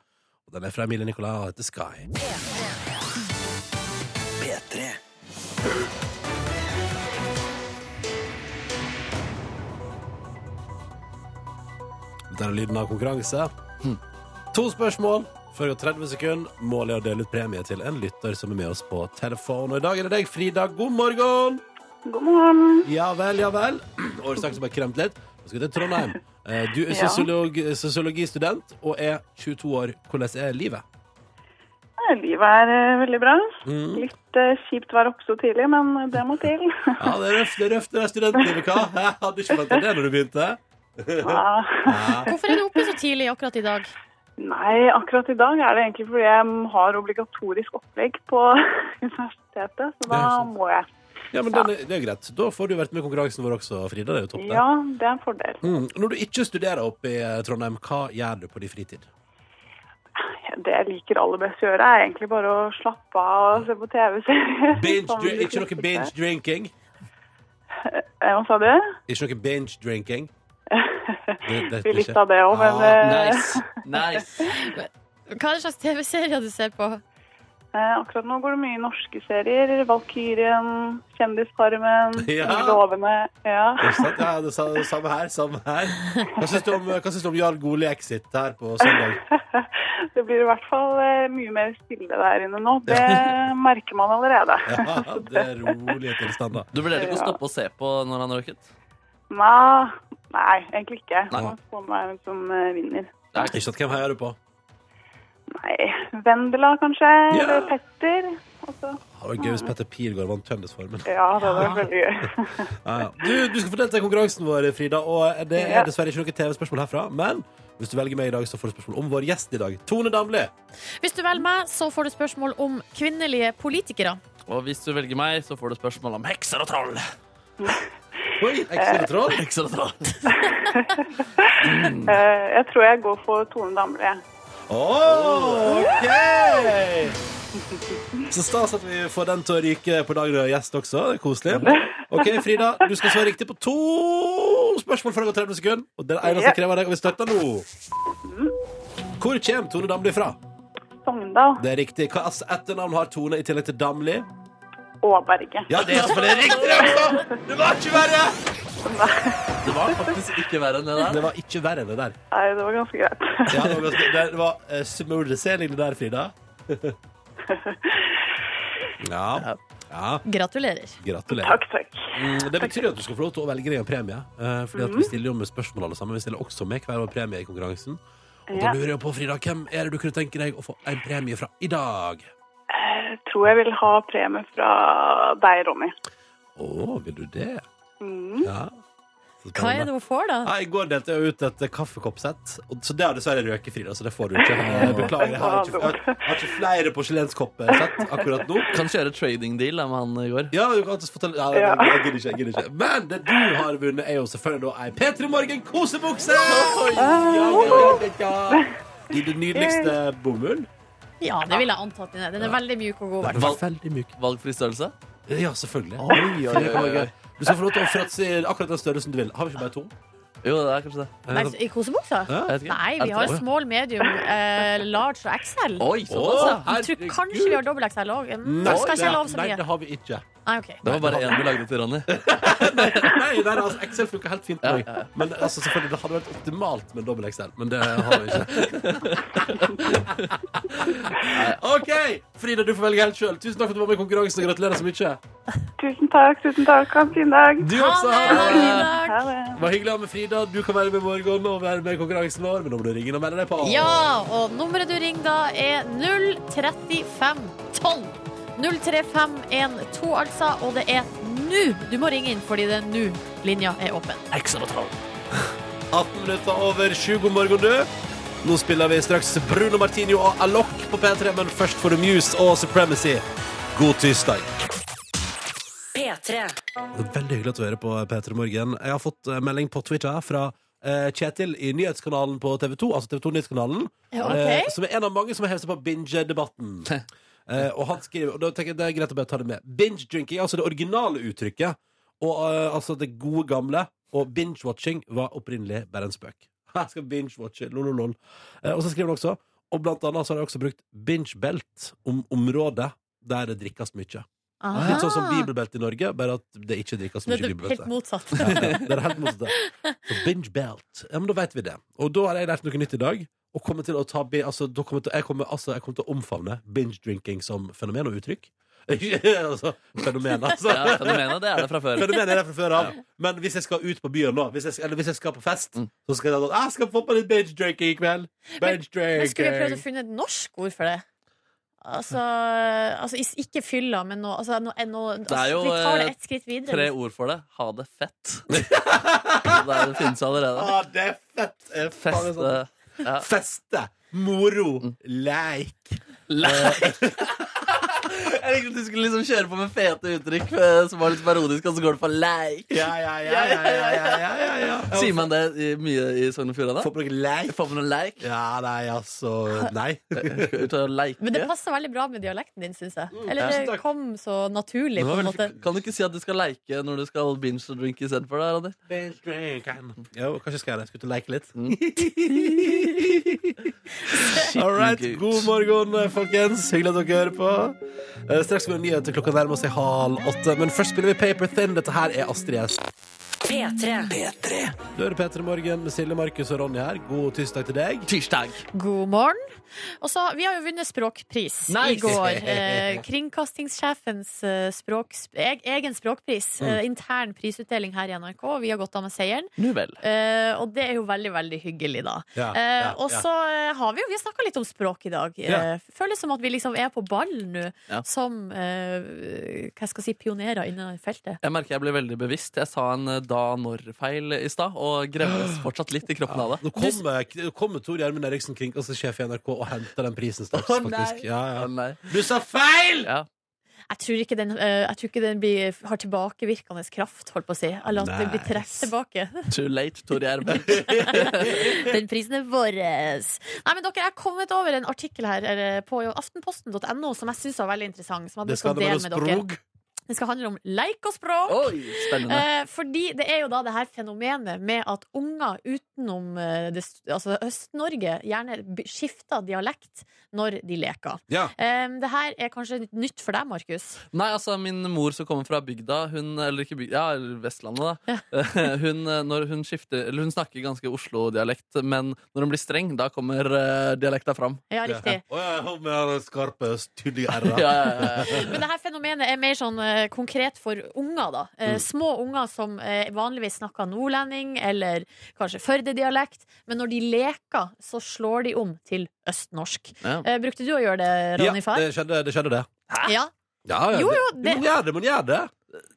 S2: Og den er fra Emilie Nicolai og heter Sky. Dette er lyden av konkurranse. Hm. To spørsmål før 30 sekunder. Målet er å dele ut premie til en lytter som er med oss på telefon. Og i dag er det deg, Frida. God morgen!
S6: God morgen.
S2: Ja vel, ja vel. Årsak som har kremt litt. Nå skal vi til Trondheim. Eh, Du er
S6: Ja.
S2: sosiolog, sosiologistudent og er 22 år. Hvordan er livet?
S6: Ja, Livet er eh, veldig bra.
S2: Mm.
S6: Litt eh, kjipt å være oppe så tidlig, men det må til.
S2: Ja, det er røft, det er røft, det er studentlivet, hva? Jeg hadde ikke forventa det når du begynte.
S6: Ja.
S2: Ja.
S3: Hvorfor er du oppe så tidlig akkurat i dag?
S6: Nei, akkurat i dag er det egentlig fordi jeg har obligatorisk opplegg på universitetet, så da
S2: sant.
S6: må jeg.
S2: Ja, men den er, Det er greit. Da får du vært med i konkurransen vår også, Frida. Det er jo topp, det.
S6: Ja, det er en fordel.
S2: Mm. Når du ikke studerer oppe i eh, Trondheim, hva gjør du på din fritid?
S6: Det jeg liker aller best å gjøre, er egentlig bare å slappe av og se på TV-serier.
S2: Binge,
S6: Som de
S2: dri- ikke noe
S6: fleste.
S2: binge drinking?
S6: Eh, Hva sa du?
S2: Ikke noe binge drinking? Det, det,
S6: Vi litt av det òg,
S2: Ah,
S6: men eh,
S4: Nice. nice.
S3: Hva er det slags TV-serier du ser på?
S6: eh, akkurat nå går det mye norske serier. Valkyrien, Kjendisfarmen,
S2: Ja.
S6: Lovene. Ja.
S2: Ikke sant? Ja, det sa- samme her, samme her. Hva syns du om, eh, hva syns du om Jarl Goli Exit her på søndag?
S6: Det blir i hvert fall eh, mye mer stille der inne nå. Det merker man allerede.
S2: Ja, det er rolige tilstander.
S4: Du vurderte ikke å
S6: Ja.
S4: stoppe og se på når han røyket?
S6: Nei, nei, egentlig ikke.
S4: Nei.
S6: Må få meg hvem som eh, vinner.
S2: Ikke sant, Hvem heier du på?
S6: Nei, Vendela kanskje?
S2: Ja.
S6: Eller Petter? Også.
S2: Det var gøy hvis Petter Pilgaard vant Kjendisformen.
S6: Ja, det hadde vært veldig gøy.
S2: Ja, ja. Du, du skal få delta i konkurransen vår, Frida. Og det
S6: Ja.
S2: er dessverre ikke noe TV-spørsmål herfra. Men hvis du velger meg i dag, så får du spørsmål om vår gjest i dag. Tone Damli.
S3: Hvis du velger meg, så får du spørsmål om kvinnelige politikere.
S4: Og hvis du velger meg, så får du spørsmål om hekser og troll.
S2: Oi, ekstra troll.
S4: Hekser og troll.
S6: Eh, Jeg tror jeg går for Tone Damli.
S2: Åh, ok! Så stas at vi får den til å ryke på dagen du er gjest også. Det er koselig. Ok, Frida, du skal svare riktig på to spørsmål før det går 30 sekunder. Og det er det eneste
S6: Ja.
S2: som krever deg, og vi starter nå. Hvor kommer Tone Damli fra?
S6: Sogndal.
S2: Det er riktig. Hva slags etternavn har Tone i tillegg til Damli?
S6: Åberge.
S2: Ja, det er selvfølgelig riktig! altså! Det var ikke verre!
S4: Det var faktisk ikke verre enn det der.
S2: Det var ikke verre enn det der.
S6: Nei, det var ganske greit.
S2: Ja, det var, ganske- det var eh, smuleselig, det der, Frida. Ja. ja.
S3: Gratulerer.
S2: Gratulerer.
S6: Takk, takk.
S2: Mm, Det betyr jo at du skal få lov til å velge deg en premie. eh, Fordi
S6: Mm.
S2: at Vi stiller jo med spørsmål alle sammen. Vi stiller også med hver vår premie i konkurransen. Og da
S6: Ja.
S2: lurer jeg på, Frida, hvem er det du kunne tenke deg å få en premie fra i dag?
S6: Jeg tror jeg vil ha premie fra deg, Ronny.
S2: Å, vil du det?
S6: Mm.
S2: Ja. Så
S3: Hva er det hun får, da?
S2: Nei, I går delte jeg ut et eh, kaffekoppsett, og- så det har dessverre røket, Frida. Så det får du ikke. Eh, Beklager. Jeg har ikke, jeg har- jeg har ikke flere porselenskoppsett akkurat nå.
S4: Kan kjøre trading deal da, med han i går.
S2: Ja, du kan alltid fortelle ja,
S6: Ja.
S2: Jeg gidder ikke, jeg gidder ikke. Men det du har vunnet, er jo selvfølgelig da ei P3 Morgen-kosebukse! I det nydeligste bomull.
S3: Ja, det vil jeg anta at den er. Den er veldig mjuk og god.
S4: Valg-
S2: Veldig myk.
S4: Valgfri størrelse.
S2: Ja, selvfølgelig.
S4: Oi, oi, oi, oi.
S2: Du skal få lov til å fråtse i akkurat den størrelsen du vil. Har vi ikke bare to?
S4: Jo, det er kanskje det.
S3: Nei, I kosebuksa?
S4: Jeg vet ikke.
S3: Nei,
S4: Er
S3: vi
S4: det
S3: har
S4: det?
S3: small, medium, eh, large og XL.
S4: Oi, såpass, ja.
S2: Å,
S3: Jeg tror kanskje vi har dobbel XL òg. Skal ikke jeg love så
S2: nei, det
S3: mye.
S2: har vi ikke.
S3: Nei, Ah, ok.
S4: Det var bare én vi lagde til Ronny.
S2: Nei, nei, nei altså, Excel funker helt fint.
S4: Ja,
S2: Ja, Men altså, selvfølgelig, Det hadde vært optimalt med en dobbel Excel, men det har vi ikke. OK! Frida, du får velge helt sjøl. Tusen takk for at du var med i konkurransen, og gratulerer så mye.
S6: Tusen takk, tusen takk. Ha en fin dag.
S2: Du
S3: Ha
S2: også. Ha
S3: det!
S2: det.
S3: Ha det!
S6: Ha det.
S2: Det var hyggelig å ha med Frida. Du kan være med i morgen og være med i konkurransen vår, men nå må du ringe og melde deg på.
S3: Ja, og nummeret du ringer da er 03512. 035112, altså. Og det er nå du må ringe inn, fordi det er nå linja er åpen.
S2: 18 minutter over 7. God morgen, du. Nå spiller vi straks Bruno Martinho og Alok på P3, men først får du Muse og Supremacy. God tirsdag.
S1: P3.
S2: Veldig hyggelig at du hører på P3 Morgen. Jeg har fått eh, melding på Twitter fra eh, Kjetil i nyhetskanalen på TV 2, altså TV 2 Nyhetskanalen,
S3: Ja, ok.
S2: eh, som er en av mange som har hevet seg på binge-debatten. Eh, og han skriver, og da tenker jeg det er greit å bare ta det med. Binge-drinking, altså det originale uttrykket, og eh, altså det gode gamle, og binge-watching var opprinnelig bare en spøk. Jeg skal binge-watche, lol, lol, lol. Eh, og så skriver han også, og blant annet så har jeg også brukt binge-belt om området der det drikkes mye.
S3: Aha.
S2: Litt sånn som bibelbelte i Norge, bare at det ikke drikkes
S3: Ah. Det
S2: mye
S3: er helt
S2: bibelbelte.
S3: motsatt.
S2: Ja, det er helt motsatt. Så binge belt. Ja, men da vet vi det. Og da har jeg lært noe nytt i dag. Og kommer til å ta bi- altså, da kommer til, jeg, kommer, altså, jeg kommer til å omfavne binge drinking som fenomen og uttrykk. altså, fenomen, altså.
S4: Ja, fenomenet, det er det fra før.
S2: Fenomenet er der fra før av. Men hvis jeg skal ut på byen nå, hvis jeg, eller hvis jeg skal på fest, så skal jeg da «Ah, Jeg skal få på litt binge drinking i kveld. Binge
S3: Men skulle vi prøvd
S2: drinking.
S3: å finne et norsk ord for det? Altså, altså is- ikke fylla, men noe altså, no, no, altså,
S4: er jo,
S3: Vi tar det
S4: eh,
S3: ett skritt videre.
S4: Tre ord for det. Ha det fett. Det, er, det finnes allerede.
S2: Ah, det er fett. Eh, faen, det er
S4: Fest
S2: sånn.
S4: eh, ja.
S2: Feste. Moro. Leik.
S4: Eh, Jeg likte at du skulle liksom kjøre på med fete uttrykk eh, som var litt parodisk, og så går det for leik.
S2: Ja, ja, ja. ja, ja, ja, ja, ja.
S4: Sier man det i, mye i Sogn og Fjordane?
S2: Få på noe leik.
S4: Får man noe leik?
S2: Ja, nei, altså Nei.
S4: Jeg skal ut og leike.
S3: Men det passer veldig bra med dialekten din, syns jeg.
S4: ja.
S3: Eller
S2: Tusen
S3: det
S2: takk.
S3: kom så naturlig, på
S4: Det var
S3: en
S4: veldig-
S3: måte.
S4: Kan du ikke si at du skal leike når du skal binge og drink istedenfor? da, Randi?
S2: Jo, kanskje skal jeg det. Jeg Skal ut og leke litt.
S4: Skitten
S2: All right,
S4: gutt.
S2: God morgen, folkens. Hyggelig at dere hører på. Eh, Straks kommer nyheter. Klokka nærmer seg halv åtte. Men først spiller vi Paper Thin. Dette her er Astrid S.
S1: P3.
S2: Du hører P3 Morgen med Silje, Markus og Ronny her. God tirsdag til deg.
S4: Tirsdag.
S3: God morgen. Og så, Vi har jo vunnet språkpris i
S4: Nice.
S3: går. Eh, kringkastingssjefens eh, språks- eg, egen språkpris.
S2: Mm.
S3: Eh, intern prisutdeling her i NRK. og Vi har gått av med seieren.
S4: Nu vel.
S3: Eh, og det er jo veldig, veldig hyggelig, da.
S2: Ja,
S3: Eh,
S2: ja,
S3: og
S2: ja.
S3: så eh, har vi jo Vi har snakka litt om språk i dag.
S2: Ja.
S3: Eh, føles som at vi liksom er på ball nå,
S4: Ja.
S3: som eh, hva skal jeg si, pionerer innen feltet.
S4: Jeg merker jeg ble veldig bevisst. Jeg sa en eh, da-når-feil i stad, og grevles fortsatt litt i kroppen av det.
S2: Nå kommer, kommer Tor Gjermund Eriksen, kringkastingssjef i NRK, og henter den prisen straks.
S4: Å, nei.
S2: faktisk. Ja,
S4: Å,
S2: ja.
S4: nei.
S2: Du sa feil!
S4: Ja.
S3: Jeg tror ikke den, eh, jeg tror ikke den blir, har tilbakevirkende kraft, holdt på å si. Eller at den blir trukket tilbake.
S4: Too late, Tor Gjermund.
S3: Den prisen er vår. Nei, men dere, jeg har kommet over en artikkel her eh, på aftenposten.no som jeg syns var veldig interessant. Som jeg
S2: Det
S3: skal
S2: skal det
S3: dele
S2: være
S3: med dere.
S2: sprog.
S3: Det skal handle om leik og språk.
S4: Oi, spennende.
S3: Eh, fordi det er jo da det her fenomenet med at unger utenom eh, det, s- altså Øst-Norge gjerne b- skifter dialekt når de leker.
S2: Ja.
S3: Eh, det her er kanskje litt nytt for deg, Markus.
S4: Nei, altså Min mor som kommer fra bygda, hun, eller ikke bygda, ja, eller Vestlandet, da. Hun, eh, når hun, skifter, eller hun snakker ganske Oslo-dialekt, men når hun blir streng, da kommer eh, dialekta fram.
S3: Ja, riktig.
S2: Å, ja, ja, med den skarpe, tydelige
S4: Ja,
S2: r-a.
S4: ja, ja.
S3: Men det her fenomenet er mer sånn eh, konkret for unger, da. Eh,
S2: Mm.
S3: Små unger som eh, vanligvis snakker nordlending eller kanskje førdedialekt, men når de leker, så slår de om til østnorsk.
S4: Ja.
S3: Eh, brukte du å gjøre det, Ronny
S2: Ja,
S3: Far?
S2: det skjedde, det skjedde det.
S3: Ja.
S2: Ja, ja,
S3: Jo, jo,
S2: det,
S3: det-
S2: Man gjør det, man gjør det.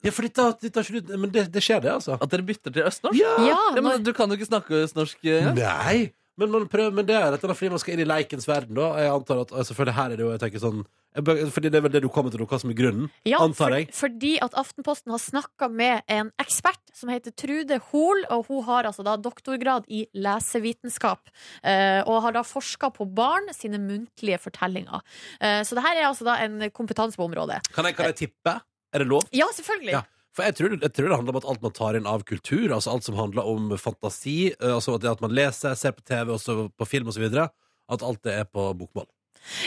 S2: Ja, for dette, dette, har ikke du- men det, det skjer, det, altså.
S4: At dere bytter til østnorsk?
S2: Ja!
S3: ja
S4: Ja,
S3: når,
S4: men Du kan jo ikke snakke østnorsk. eh. Ja.
S2: Nei! Men, man prøver, men det er et eller annet fordi man skal inn i leikens verden, da. Jeg antar at, altså, for det her er det jo, jeg tenker sånn jeg bør- Fordi det er vel det du kommer til, hva som er grunnen?
S3: Ja,
S2: antar jeg.
S3: for, fordi at Aftenposten har snakka med en ekspert som heter Trude Hoel, og hun har altså da doktorgrad i lesevitenskap. eh, Og har da forska på barn sine muntlige fortellinger. Eh, Så det her er altså da en kompetanse på området.
S2: Kan jeg, kan jeg tippe? Er det lov?
S3: Ja, selvfølgelig.
S2: Ja. For jeg tror, jeg tror det handler om at alt man tar inn av kultur, altså alt som handler om fantasi, eh, altså at det at man leser, ser på TV, også på film osv., at alt det er på bokmål.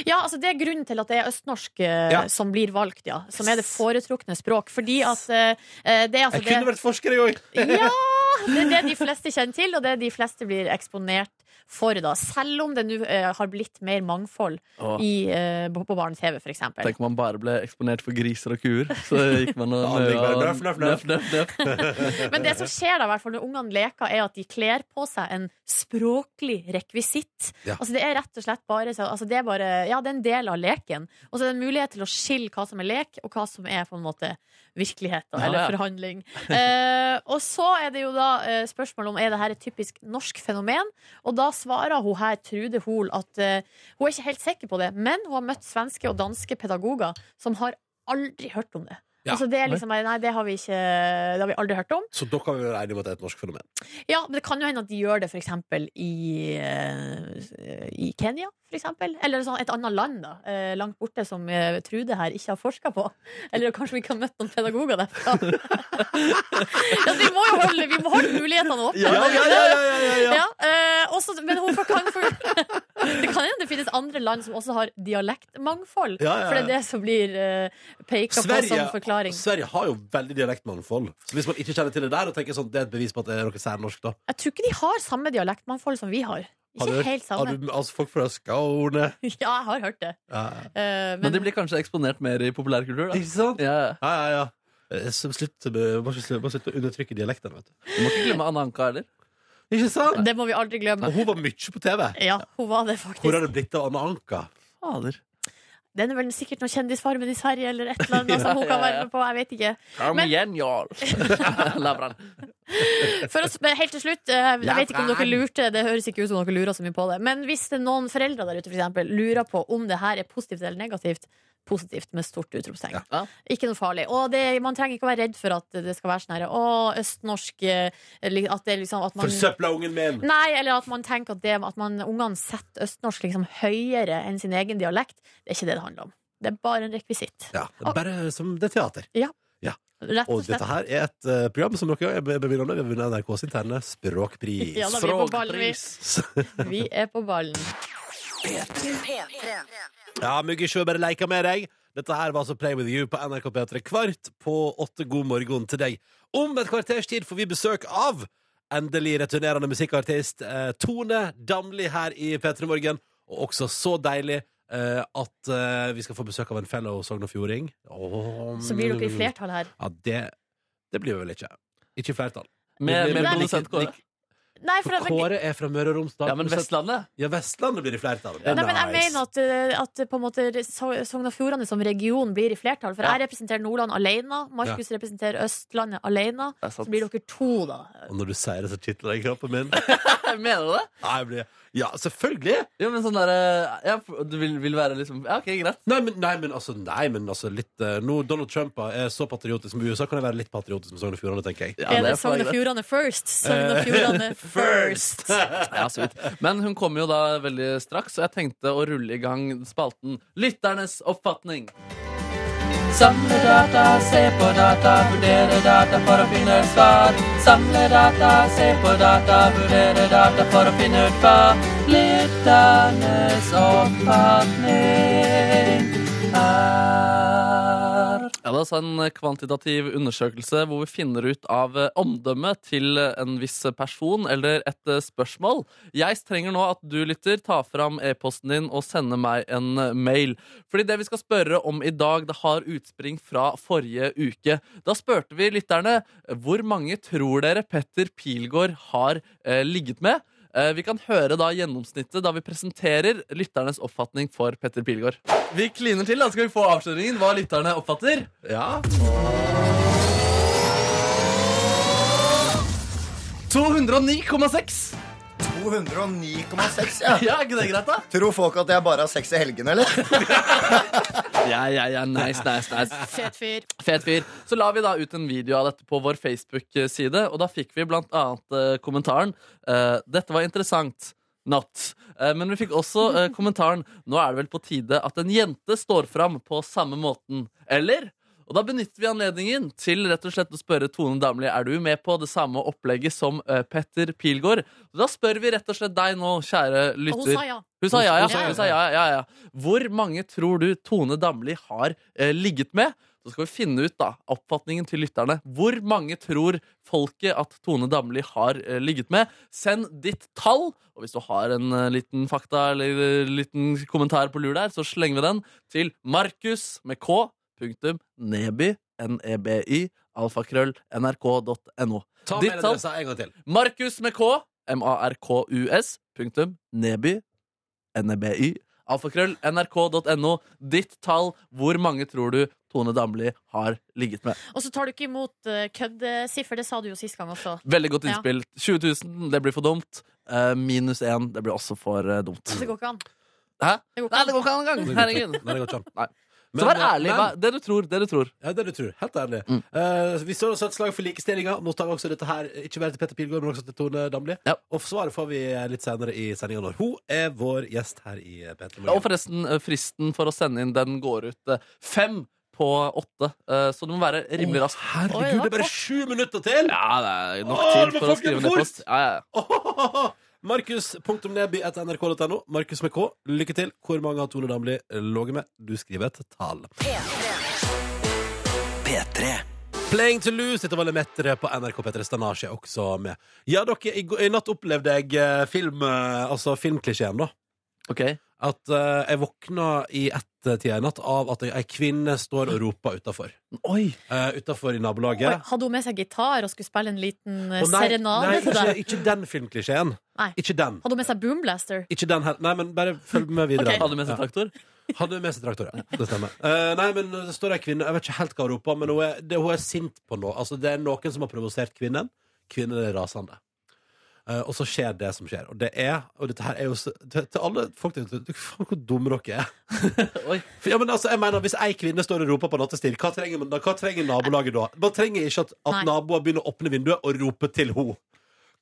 S3: Ja, altså Det er grunnen til at det er østnorsk eh,
S2: Ja.
S3: som blir valgt, ja. Som er det foretrukne språk. Fordi at eh, eh, det er altså
S2: Jeg kunne
S3: det,
S2: vært forsker, jeg òg!
S3: ja, det er det de fleste kjenner til, og det er de fleste blir eksponert for, da. Selv om det nå eh, har blitt mer mangfold
S4: Åh.
S3: i, eh, på på barne-TV, f.eks.
S4: Tenk om man bare ble eksponert for griser og kuer. Så gikk man og
S2: Ja, det gikk bare nøff, nøff, nøff.
S4: nøff, nøff.
S3: Men det som skjer da, i hvert fall når ungene leker, er at de kler på seg en språklig rekvisitt.
S2: Ja.
S3: Altså Det er rett og slett bare, så- altså det er bare Ja, det er en del av leken. Og så er det en mulighet til å skille hva som er lek, og hva som er på en måte virkelighet da,
S4: Ja,
S3: eller
S4: ja.
S3: forhandling. Eh, og så er det jo da eh, spørsmål om er det her et typisk norsk fenomen. Og da svarer hun her, Trude Hoel, at eh, hun er ikke helt sikker på det, men hun har møtt svenske og danske pedagoger som har aldri hørt om det.
S2: Ja.
S3: Altså det er liksom bare, Nei, det har vi ikke Det har vi aldri hørt om.
S2: Så da kan vi være enige om at det er et norsk fenomen.
S3: Ja, men det kan jo hende at de gjør det for eksempel i, eh, i Kenya, for eksempel. Eller sånn et annet land, da. eh, Langt borte, som eh, Trude her ikke har forska på. Eller kanskje vi ikke har møtt noen pedagoger derfra. ja, vi må jo holde, vi må holde mulighetene åpne.
S4: Ja, ja, ja, ja, ja, ja.
S3: Ja, eh, også, men hun for, kan, for, Det kan hende det finnes andre land som også har dialektmangfold.
S2: Ja, ja, ja.
S3: For det er det som blir uh, peka på som sånn forklaring.
S2: Sverige har jo veldig dialektmangfold. Så hvis man ikke kjenner til det der, og tenker sånn, det er et bevis på at det er noe særnorsk, da.
S3: Jeg tror ikke de har samme dialektmangfold som vi har.
S2: Har
S3: Ikke
S2: du-
S3: helt
S2: har
S3: samme.
S2: du- altså, folk fra Skåne
S3: Ja, jeg har hørt det.
S2: ja.
S3: Eh,
S4: Men de blir kanskje eksponert mer i populærkultur, da.
S2: Ikke sant?
S4: Ja, ja.
S2: Ja, ja, ja. Eh, så Slutt, med- må ikke slutt, må slutte å undertrykke dialektene, vet du.
S4: Du må ikke glemme Anne Anka heller.
S2: Ikke sant?
S3: Det må vi aldri glemme.
S2: Og hun var mye på TV.
S3: Ja, hun var det
S2: Hvor har
S3: faktisk.
S2: det blitt av Anna Anka?
S4: Fader.
S3: Den er vel sikkert noen Kjendisfarmen i Sverige eller et eller annet
S4: Ja,
S3: som hun kan
S4: ja, ja.
S3: være med på. Jeg vet ikke.
S4: Kom
S3: Men-
S4: igjen, jarl! Lavran.
S3: For oss, men helt til slutt, eh, jeg
S2: Ja,
S3: vet ikke om dere
S2: faen.
S3: lurte, det høres ikke ut som dere lurer så mye på det, men hvis det er noen foreldre der ute for eksempel, lurer på om det her er positivt eller negativt, positivt med stort utropstegn.
S4: Ja.
S3: Ikke noe farlig. Og det, man trenger ikke å være redd for at det skal være sånn her, å, østnorsk, eh, li- at det er liksom, at man...
S2: Forsøpla ungen min!
S3: Nei, eller at man tenker at, det, at man, ungene setter østnorsk liksom høyere enn sin egen dialekt. Det er ikke det det handler om. Det er bare en rekvisitt.
S2: Ja, det er bare som det er teater.
S3: Rett
S2: Og
S3: og slett.
S2: dette her er et eh, program som dere er bevilget om. Vi har vunnet NRKs interne språkpris.
S3: Ja, da er vi på ballen, vi. Vi er på ballen.
S2: Ja, Muggi Sjø, bare leika med deg. Dette her var altså Play With You på NRK P3 kvart på åtte. God morgen til deg. Om et kvarters tid får vi besøk av endelig returnerende musikkartist eh, Tone Damli her i P3 Morgen. Og også så deilig eh, at eh, vi skal få besøk av en fellow Sogn og Fjording. Åh, mm.
S3: Så blir dere i flertall her.
S2: Ja, det, det blir vi vel ikke. Ikke flertall.
S4: Med, med
S3: Nei,
S4: produsent Kåre.
S3: Nei, for
S2: For
S3: jeg,
S2: Kåre er fra Møre og Romsdal.
S4: Ja, men Vestlandet.
S2: Ja, Vestlandet blir i flertall. Det er
S3: Nei, men jeg
S2: nice.
S3: mener at, eh, at på en måte So- Sogn og Fjordane som region blir i flertall. For
S4: Ja.
S3: jeg representerer Nordland alene, Markus representerer Østlandet alene.
S4: Det er sant.
S3: Så blir dere to, da.
S2: Og når du sier det, så kitler det i kroppen min.
S4: Mener du det?
S2: Nei, jeg blir... Ja, selvfølgelig!
S4: Jo, men sånn derre ja, Du vil, vil være liksom Ja, ok, greit.
S2: Nei, men, nei, men altså, nei, men altså litt eh, Nå Donald Trump er så patriotisk med USA, kan jeg være litt patriotisk med Sogn og Fjordane, tenker jeg.
S4: Ja,
S3: er det
S4: får
S3: Sogn
S4: være
S3: og
S4: greit.
S3: Fjordane first? Sogn og Fjordane first!
S4: Ja, så vidt. Men hun kommer jo da veldig straks, og jeg tenkte å rulle i gang spalten Lytternes oppfatning. Samle data, se på data, vurdere data for å finne ut svar. Samle data, se på data, vurdere data for å finne ut hva. Lytternes oppfatning er Ja, det er altså en kvantitativ undersøkelse hvor vi finner ut av eh, omdømmet til eh, en viss person eller et eh, spørsmål. Jeg trenger nå at du lytter, ta fram e-posten din og sende meg en eh, mail. Fordi det vi skal spørre om i dag, det har utspring fra forrige uke. Da spurte vi lytterne hvor mange tror dere Petter Pilgaard har eh, ligget med? Eh, Vi kan høre da gjennomsnittet da vi presenterer lytternes oppfatning for Petter Pilgaard. Vi kliner til, da skal vi få avsløringen hva lytterne oppfatter.
S2: Ja.
S4: 209,6!
S7: 209,6, ja.
S4: Ja, er ikke det greit, da?
S7: Tror folk at jeg bare har sex i helgene, eller?
S4: Ja, ja, ja, nice, nice, nice.
S3: Fet fyr.
S4: Fet fyr. Så la vi da ut en video av dette på vår Facebook-side, og da fikk vi blant annet eh, kommentaren eh, Dette var interessant. Not. Eh, men vi fikk også eh, kommentaren Nå er det vel på tide at en jente står fram på samme måten. Eller? Og da benytter vi anledningen til rett og slett å spørre Tone Damli er du med på det samme opplegget som eh, Petter Pilgaard. Da spør vi rett og slett deg nå, kjære
S3: Og hun
S4: lytter.
S3: sa ja.
S4: Hun sa ja, ja.
S3: Hun sa ja.
S4: Hun sa ja, ja, ja. Hvor mange tror du Tone Damli har eh, ligget med? Så skal vi finne ut da, oppfatningen til lytterne. Hvor mange tror folket at Tone Damli har eh, ligget med? Send ditt tall. Og hvis du har en eh, liten fakta eller eh, liten kommentar på lur der, så slenger vi den til Markus med K. Punktum nebi, N-E-B-Y, alfakrøll, nrk.no.
S2: Ta
S4: Ditt tall.
S2: mailadressa en gang til.
S4: Markus med K, M-A-R-K-U-S, punktum, Neby, N-E-B-Y, alfakrøll, nrk.no, ditt tall, hvor mange tror du Tone Damli har ligget med?
S3: Og så tar du ikke imot eh, køddesiffer, det sa du jo sist gang også.
S4: Veldig godt
S3: Ja.
S4: innspill. 20 000, det blir for dumt. Eh, minus 1, det blir også for eh, dumt.
S3: Så det går ikke an.
S4: Hæ?
S3: Altså, Det går ikke
S4: Nei,
S3: an.
S4: det går ikke an engang!
S2: Nei,
S4: Herregud.
S2: det går ikke an.
S4: Nei.
S2: Men,
S4: Så vær
S2: eh,
S4: ærlig.
S2: men-
S4: hva, det du tror, det du tror.
S2: Ja, det du tror. Helt ærlig.
S4: Mm.
S2: Eh, vi står også et slag for likestillinga. Nå tar vi også dette her, ikke bare til Petter Pilgaard, men også til Tone Damli.
S4: Ja.
S2: Og svaret får vi litt senere i sendinga når hun er vår gjest her i P3
S4: Og
S2: Morgen.
S4: forresten, eh, fristen for å sende inn, den går ut eh, fem på åtte, eh, så du må være rimelig rask.
S3: Oi,
S2: Herregud,
S3: det
S2: det er
S3: var
S2: bare
S3: kort.
S2: sju minutter til!
S4: Ja, det er nok
S2: Åh,
S4: tid
S2: men
S4: for å
S2: folk
S4: skrive
S2: jobber
S4: ned
S2: fort!
S4: post. Ja, ja.
S2: Ohohoho! Markus.neby.nrk.no. Markus med K, lykke til. Hvor mange har Tone Damli ligget med? Du skriver et tall. Playing to lose, dette var Lemettere på NRK P3 Stanasje er også med. Ja, dere, i, går- i natt opplevde jeg eh, film, eh, altså filmklisjeen, da.
S4: Ok.
S2: At eh, jeg våkna i ett-tida i natt av at ei kvinne står og roper utafor.
S4: Oi!
S2: utafor i
S3: Oi,
S2: nabolaget.
S3: hadde hun med seg gitar og skulle spille en liten eh,
S2: Å, nei,
S3: serenade
S2: nei,
S3: til
S2: ikke,
S3: deg?
S2: ikke den filmklisjeen.
S3: Nei.
S2: Ikke den.
S3: Hadde hun med seg boomblaster?
S2: Ikke den her. Nei, men bare følg med videre.
S3: Ok.
S4: Hadde med seg
S2: Ja.
S4: traktor?
S2: Hadde med seg traktor, ja. Det stemmer. Eh, nei, men det står ei kvinne Jeg vet ikke helt hva hun roper, men hun er, det, hun er sint på noe. Altså, det er noen som har provosert kvinnen. Kvinner er rasende. Eh, og så skjer det som skjer. Og det er, og dette her er jo så, til, til alle folk der ute du, Faen, hvor dumme dere er.
S4: Oi.
S2: For, ja, men altså, jeg mener, Hvis ei kvinne står og roper på nattestid, hva trenger, man da, hva trenger nabolaget da? Man trenger ikke at, at
S3: Nei.
S2: naboer begynner å åpne vinduet og rope til henne.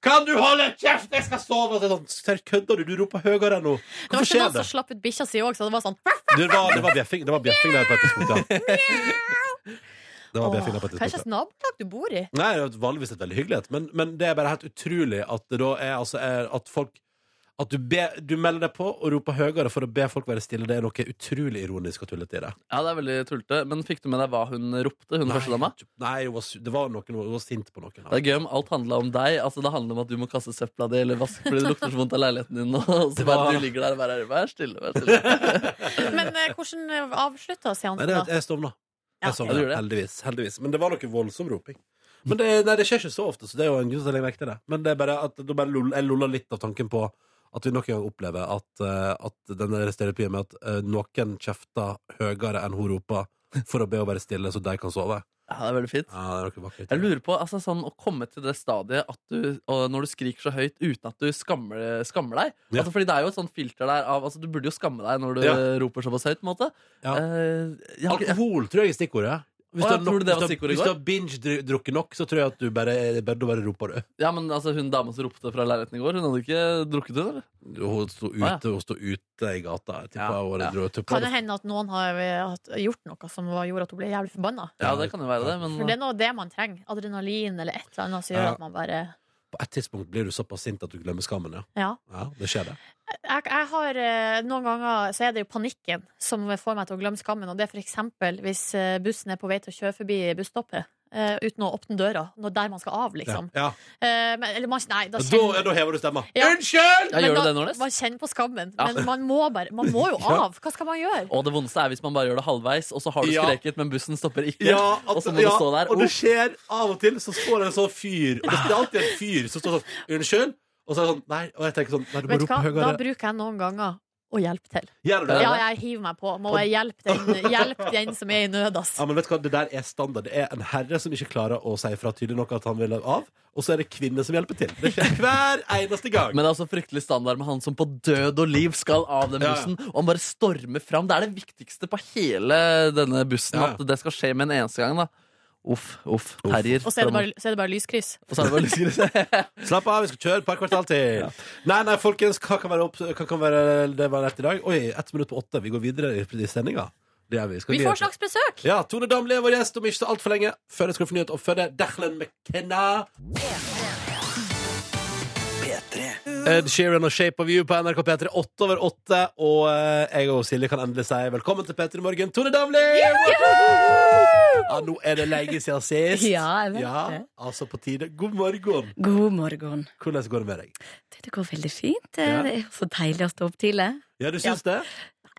S2: Kan du holde kjeft, jeg skal sove! Og så er det sånn, «Ser, Kødder du? Du roper høyere nå.
S3: Det var
S2: Hvorfor
S3: ikke
S2: skjer
S3: noen
S2: det?
S3: som slapp ut bikkja si òg, så det var sånn
S2: Det var, det var bjeffing. Det var bjeffing der på et tidspunkt, ja. Det var
S3: Åh,
S2: bjeffing der på et
S3: Hva
S2: tidspunkt.
S3: slags nabolag du bor i?
S2: Nei, det er vanligvis et veldig hyggelig et, men, men det er bare helt utrolig at det da er, altså, er at folk at du, be, du melder deg på og roper høyere for å be folk være stille. Det er noe utrolig ironisk og tullete i det.
S4: Ja, det er veldig tullete. Men fikk du med deg hva hun ropte, hun førstedama?
S2: nei hun var, su- det var noen hun var sint på noen.
S4: Det er gøy om alt handla om deg. Altså, det handler om at du må kaste søpla di eller vaske fordi det lukter så vondt av leiligheten din. Og så bare du ligger der og bare er, Vær stille, vær stille.
S3: Men eh, hvordan avslutta
S2: Nei,
S3: seansen
S4: Sånn,
S2: det,
S3: da?
S2: jeg stovna.
S3: Ja,
S2: Jeg sovna,
S4: du gjorde det.
S2: heldigvis, heldigvis. Men det var noe voldsom roping. Men det, nei, det skjer ikke så ofte, så det er jo en grunn til at jeg vekter det. Men det er bare at, da bare lull, jeg lulla litt av tanken på at vi nok en gang opplever at, eh, at den der stereotypien med at eh, noen kjefter høyere enn hun roper for å be henne være stille, så de kan sove.
S4: Ja, det er veldig fint.
S2: Ja, det er noe vakkert. i
S4: Jeg
S2: det.
S4: lurer på, altså sånn, Å komme til det stadiet at du, og når du skriker så høyt uten at du skammer, skammer deg
S2: Ja.
S4: altså, Fordi det er jo et sånt filter der av altså, Du burde jo skamme deg når du
S2: Ja.
S4: roper såpass høyt. på en måte
S2: Ja.
S4: Eh, jeg har ikke-
S2: Alkohol tror jeg er stikkordet. Hvis du
S4: Å, ja,
S2: har nok-
S4: tror du
S2: hvis
S4: det var
S2: du har-
S4: stikkordet i
S2: Hvis du har binge-drukket nok, så tror jeg at du bare, bare, du bare roper det.
S4: ja, men altså, Hun dama som ropte fra leiligheten i går, hun hadde ikke drukket, hun? eller?
S2: Hun sto
S4: ja.
S2: ute, hun sto ute i gata. Jeg tipper
S4: Ja,
S2: hun var-
S4: ja.
S2: dro- tipper
S3: Kan
S2: hun-
S3: det hende at noen har eh, hatt- gjort noe som var- gjorde at hun ble jævlig forbanna?
S4: Ja, det kan jo være det,
S3: For det
S4: men
S3: er noe av det man trenger. Adrenalin eller et eller annet som gjør
S2: Mm. Ja.
S3: at man bare
S2: På et tidspunkt blir du såpass sint at du glemmer skammen, ja.
S3: Ja.
S2: ja det skjer det.
S3: jeg, jeg har eh, Noen ganger så er det jo panikken som får meg til å glemme skammen. Og det er for eksempel hvis eh, bussen er på vei til å kjøre forbi busstoppet. eh, uten å åpne døra, når der man skal av, liksom.
S2: Ja.
S3: Eh, men, eller man, nei, da
S2: Da,
S3: kjenner
S2: ja, da hever du stemma.
S3: Ja.
S2: Unnskyld!
S4: ja,
S3: men
S4: Gjør du
S3: da-
S4: det, Nordnes?
S3: Man kjenner på skammen.
S4: Ja.
S3: Men man må, bare, man må jo
S2: Ja.
S3: av! Hva skal man gjøre?
S4: Og det vondeste er hvis man bare gjør det halvveis, og så har du
S2: Ja.
S4: skreket, men bussen stopper ikke.
S2: Ja, at,
S4: og så må
S2: ja,
S4: du stå der.
S2: og det
S4: oh,
S2: skjer av og til, så står det en sånn fyr Det er alltid en fyr som står sånn Unnskyld? Og så er det sånn Nei, og jeg tenker sånn Nei, du må
S3: Vet du
S2: rope
S3: hva? Da
S2: høyere.
S3: bruker jeg noen ganger å hjelpe til.
S2: Gjør du det?
S3: Ja, jeg hiver meg på. Må jeg hjelpe den, hjelpe den som er i nød, ass.
S2: Ja, men vet du hva, Det der er standard. Det er en herre som ikke klarer å si fra tydelig nok at han vil av, og så er det kvinner som hjelper til. Det skjer hver eneste gang.
S4: Men det er også fryktelig standard med han som på død og liv skal av den
S2: Ja, ja.
S4: bussen. Og han bare stormer fram. Det er det viktigste på hele denne bussen.
S2: Ja, ja.
S4: At det skal skje med en eneste gang. da Uff, uff, herjer.
S3: Og så er det bare, så er det bare lyskryss.
S4: Og så er det bare lyskryss.
S2: Slapp av, vi skal kjøre et par kvartal til. Nei, nei, folkens, hva kan være, opp, hva kan være det var rett i dag? Oi, ett minutt på åtte. Vi går videre i, i sendinga. Det gjør vi. Skal
S3: Vi
S2: glede
S3: får
S2: oss.
S3: slags besøk!
S2: Ja, Tone Damli er vår gjest om ikke så altfor lenge. Før det skal du få nyhet, og før det Dachlan McKenna. Ed Sheeran og Shape of You på NRK P3, åtte over åtte. Og eh, jeg og Silje kan endelig si velkommen til P3 Morgen, Tone Damli! Ja, nå er det lenge siden sist.
S8: Ja, jeg vet
S2: ja,
S8: det.
S2: Altså på tide. God morgen.
S8: God morgen.
S2: Hvordan går det med deg?
S8: Det går veldig fint.
S2: Ja.
S8: Det er så deilig å stå opp tidlig.
S2: Ja, du syns det?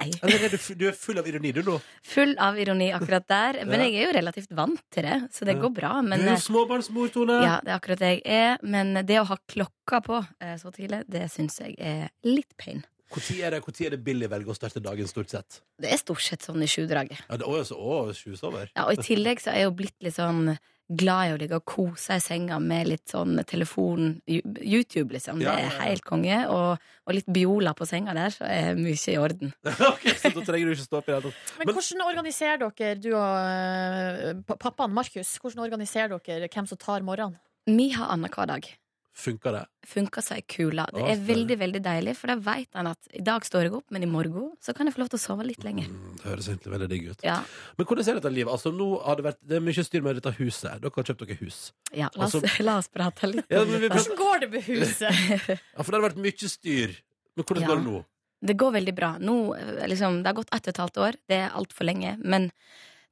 S8: Nei,
S2: Eller er du, fu- du er full av ironi, du nå.
S8: Full av ironi akkurat der. Men
S2: Ja.
S8: jeg er jo relativt vant til det, så det
S2: Ja.
S8: går bra.
S2: Du
S8: Men, eh,
S2: er jo småbarnsmor, Tone.
S8: ja, det er akkurat det jeg er. Men eh, det å ha klokka på eh, så tidlig, det syns jeg er litt pain.
S2: Hvor tid er det, hvor tid er det Billy velger å starte dagen, stort sett?
S8: Det er stort sett sånn i sjudraget.
S2: Ja, det, å, altså, å, sjusover.
S8: Ja, og i tillegg så er jeg jo blitt litt sånn glad i å ligge og kose i senga med litt sånn telefon Ju- YouTube, liksom.
S2: Ja,
S8: Det
S2: ja,
S8: er
S2: ja.
S8: helt konge. Og, og litt Biola på senga der, så er mye i orden.
S2: Ok, så da trenger du ikke stå opp i det hele tatt.
S3: Men
S2: Men-
S3: hvordan organiserer dere, du og eh, pa- pappaen Markus, hvordan organiserer dere hvem som tar morgenen?
S8: Vi har annenhver dag.
S2: Funker det?
S8: funka seg kula. Det
S2: Å,
S8: er
S2: spennende.
S8: veldig veldig deilig, for da veit han at i dag står jeg opp, men i morgen så kan jeg få lov til å sove litt lenger.
S2: Mm, det høres egentlig veldig digg ut.
S8: Ja,
S2: Men hvordan ser dette livet? Altså, nå har det vært Det er mye styr med dette huset. her. Dere har kjøpt dere hus.
S8: ja la, oss,
S2: Altså-
S8: la oss prate litt.
S2: Ja,
S8: om
S2: men vi
S8: dette.
S2: prater-
S3: Hvordan går det med huset?
S2: ja, for det har vært mye styr. Men hvordan
S8: Ja.
S2: går det nå?
S8: Det går veldig bra. Nå, eh, liksom, det har gått ett og et halvt år, det er altfor lenge, men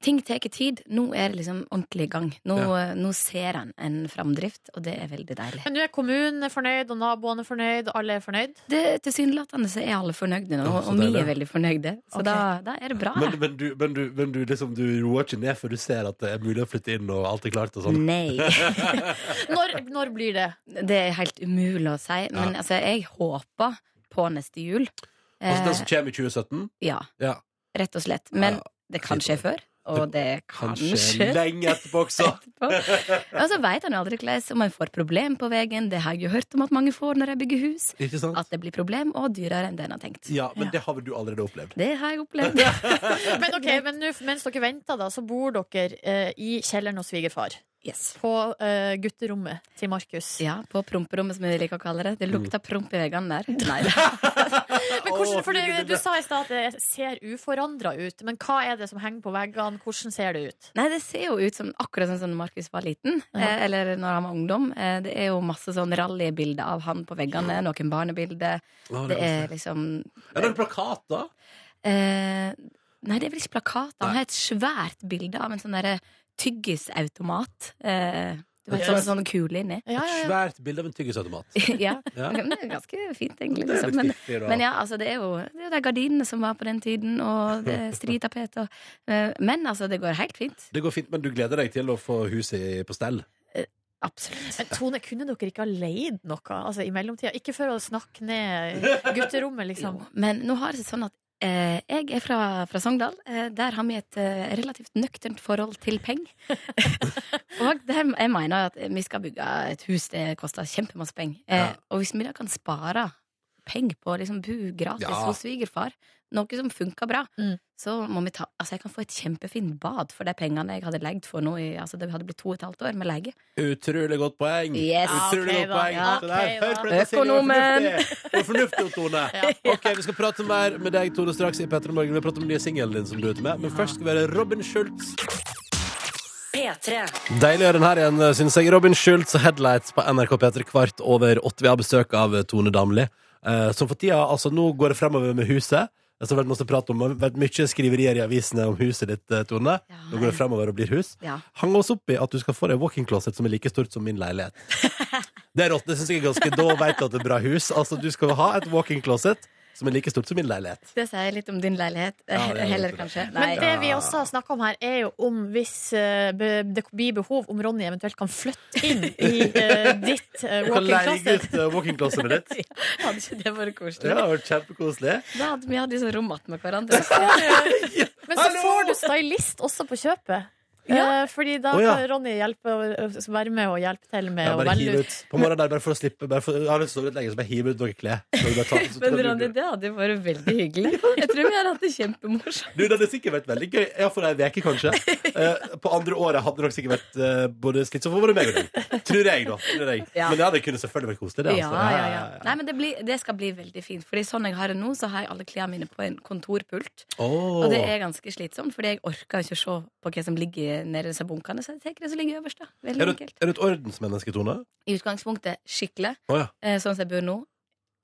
S8: ting tar tid. Nå er det liksom ordentlig i gang. Nå,
S2: Ja.
S8: eh, nå ser han en framdrift, og det er veldig deilig.
S3: Men nå er kommunen fornøyd, og naboene er fornøyd, og alle er fornøyd.
S8: Det Tilsynelatende så er alle fornøyde nå,
S2: Ja, så
S8: og vi
S2: deilig.
S8: er veldig fornøyde, så
S3: Ok.
S8: da, da er det bra.
S2: Men, men, du, men, du, men du, liksom, du roer ikke ned før du ser at det er mulig å flytte inn, og alt er klart og
S8: Mm.
S2: sånn?
S8: Nei.
S3: Når, når blir det?
S8: Det er helt umulig å si, men altså, jeg håper på neste jul.
S2: Altså,
S8: Eh,
S2: den som kommer i 2017?
S8: ja,
S2: Ja.
S8: rett og slett. Men
S2: Ja,
S8: det kan skje før. Og det er
S2: Kanskje,
S8: kanskje
S2: lenge etterpå også.
S8: på. Og så veit han jo aldri hvordan om han får problem på veien. Det har jeg jo hørt om at mange får når jeg bygger hus.
S2: Ikke sant?
S8: At det blir problem, og dyrere enn det en har tenkt.
S2: Ja, men det har vel du allerede opplevd?
S8: Det har jeg opplevd.
S3: Men ok, men nå, mens dere venter, da, så bor dere eh, i kjelleren hos svigerfar.
S8: Yes.
S3: På eh, gutterommet til Markus.
S8: Ja, på promperommet, som jeg liker å kalle det. Det
S2: Mm.
S8: lukter promp i veggene der. Nei,
S3: Men
S2: Å,
S3: hvordan, for
S2: fine
S3: det, Du
S2: bilder.
S3: sa i stad at det ser uforandra ut. Men hva er det som henger på veggene? Hvordan ser det ut?
S8: Nei, det ser jo ut som akkurat sånn som Markus var liten.
S3: Ja.
S8: Eh, eller når han var ungdom. Eh, det er jo masse sånn rallybilder av han på veggene. Noen barnebilder.
S2: Å,
S8: Det
S2: det er,
S8: er liksom
S2: er det en plakat, da?
S8: eh, Nei, det er vel ikke plakater. Han har et svært bilde av en sånn derre tyggisautomat. Eh, du vet,
S2: Et
S8: sånn,
S2: svært-
S8: sånn kule inni.
S3: Ja, ja, ja.
S2: Svært bilde av en tyggisautomat.
S8: ja.
S2: Ja.
S8: Men Det er ganske fint, egentlig.
S2: Det er
S8: Liksom.
S2: litt
S8: Men,
S2: fiffig, da.
S8: men ja, altså, det er jo det er jo de gardinene som var på den tiden, og det er stritapet og eh, Men altså, det går helt fint.
S2: Det går fint, men du gleder deg til å få huset i- på stell?
S8: Absolutt.
S3: Men Tone, kunne dere ikke ha leid noe altså, i mellomtida? Ikke for å snakke ned gutterommet, liksom.
S8: Jo, men nå har det seg sånn at eh, jeg er fra, fra Sogndal. Eh, der har vi et eh, relativt nøkternt forhold til penger. og der, jeg mener at vi skal bygge et hus. Det koster kjempemasse penger. Eh,
S2: Ja.
S8: Og hvis vi da kan spare penger på å liksom bo gratis
S2: Ja.
S8: hos svigerfar, noe som funker bra,
S3: Mm.
S8: så må vi ta Altså, jeg kan få et kjempefint bad for de pengene jeg hadde leid for nå i Altså, det hadde blitt to og et halvt år med leie.
S2: Utrolig godt poeng.
S8: Yes.
S3: Ja,
S2: Utrolig
S3: ok
S2: godt
S3: da.
S2: poeng.
S3: Ja,
S2: Det der.
S3: ok da.
S2: Hør på dette, Silje.
S8: Økonomen.
S2: Det var fornuftig. Det var fornuftig, Tone. Ok, Vi skal prate mer med deg, Tone, straks i Petter Morgen. Vi skal prate om den nye singelen din som du er ute med. Men først skal vi høre Robin Schultz.
S1: P3.
S2: Deilig å gjøre den her igjen, syns jeg. Robin Schultz og Headlights på NRK P3 kvart over åtte. Vi har besøk av Tone Damli. eh, Som for tida, altså nå går det fremover med huset. Det har vært masse prat om, det har vært mye skriverier i avisene om huset ditt, eh, Tone. Nå går det fremover og blir hus.
S8: Ja.
S2: Hang oss opp i at du skal få deg walk-in closet som er like stort som min leilighet. Det er rått, det synes jeg er ganske Da vet du at det er bra hus. Altså, du skal ha et walk-in closet som er like stort som min leilighet.
S8: Det sier litt om din leilighet. eh,
S2: Ja, det er
S8: Heller,
S2: litt det.
S8: kanskje.
S3: Men det
S8: Nei.
S3: vi også har snakka om her, er jo om hvis eh, be- det blir behov, om Ronny eventuelt kan flytte inn i eh, ditt uh,
S2: Du kan leie
S3: walk-in-closet.
S2: ut eh, walk-in-closetet ditt.
S8: Hadde ikke det vært koselig?
S2: Ja, det har vært kjempekoselig.
S8: Da hadde vi hatt liksom rom attmed hverandre.
S3: Men så får du stylist også på kjøpet. Eh, fordi da
S2: Å, ja.
S3: kan Ronny hjelpe, å- å være med og hjelpe til med
S2: Ja,
S3: å
S2: bare hiv
S3: velge ut.
S2: ut. På morgenen der, bare for å slippe bare for, Jeg har lyst til å sove litt lenger, så bare hiv ut noen klær. Så kan du bare ta det, så kan
S8: Men
S2: du-
S8: Ronny, det hadde jo vært veldig hyggelig. Jeg tror vi hadde hatt det kjempemorsomt.
S2: Du, Det hadde sikkert vært veldig gøy. Ja, for ei uke, kanskje. Eh, på andre året hadde det nok sikkert vært eh, både slitsomt for både meg og deg. Tror jeg, da. Tror jeg.
S8: Ja.
S2: Men ja, det kunne selvfølgelig vært koselig, det. Altså.
S8: Nei, men det, blir, det skal bli veldig fint. Fordi sånn jeg har det nå, så har jeg alle klærne mine på en kontorpult.
S2: Åh.
S8: Og det er ganske slitsomt, fordi jeg orker ikke å se på hva som ligger nede i disse bunkene. Så jeg tar det som ligger øverst, da. Veldig
S2: Er du,
S8: enkelt.
S2: er du et ordensmenneske, Tone?
S8: I utgangspunktet skikkelig,
S2: Å ja.
S8: eh, sånn som jeg bor nå.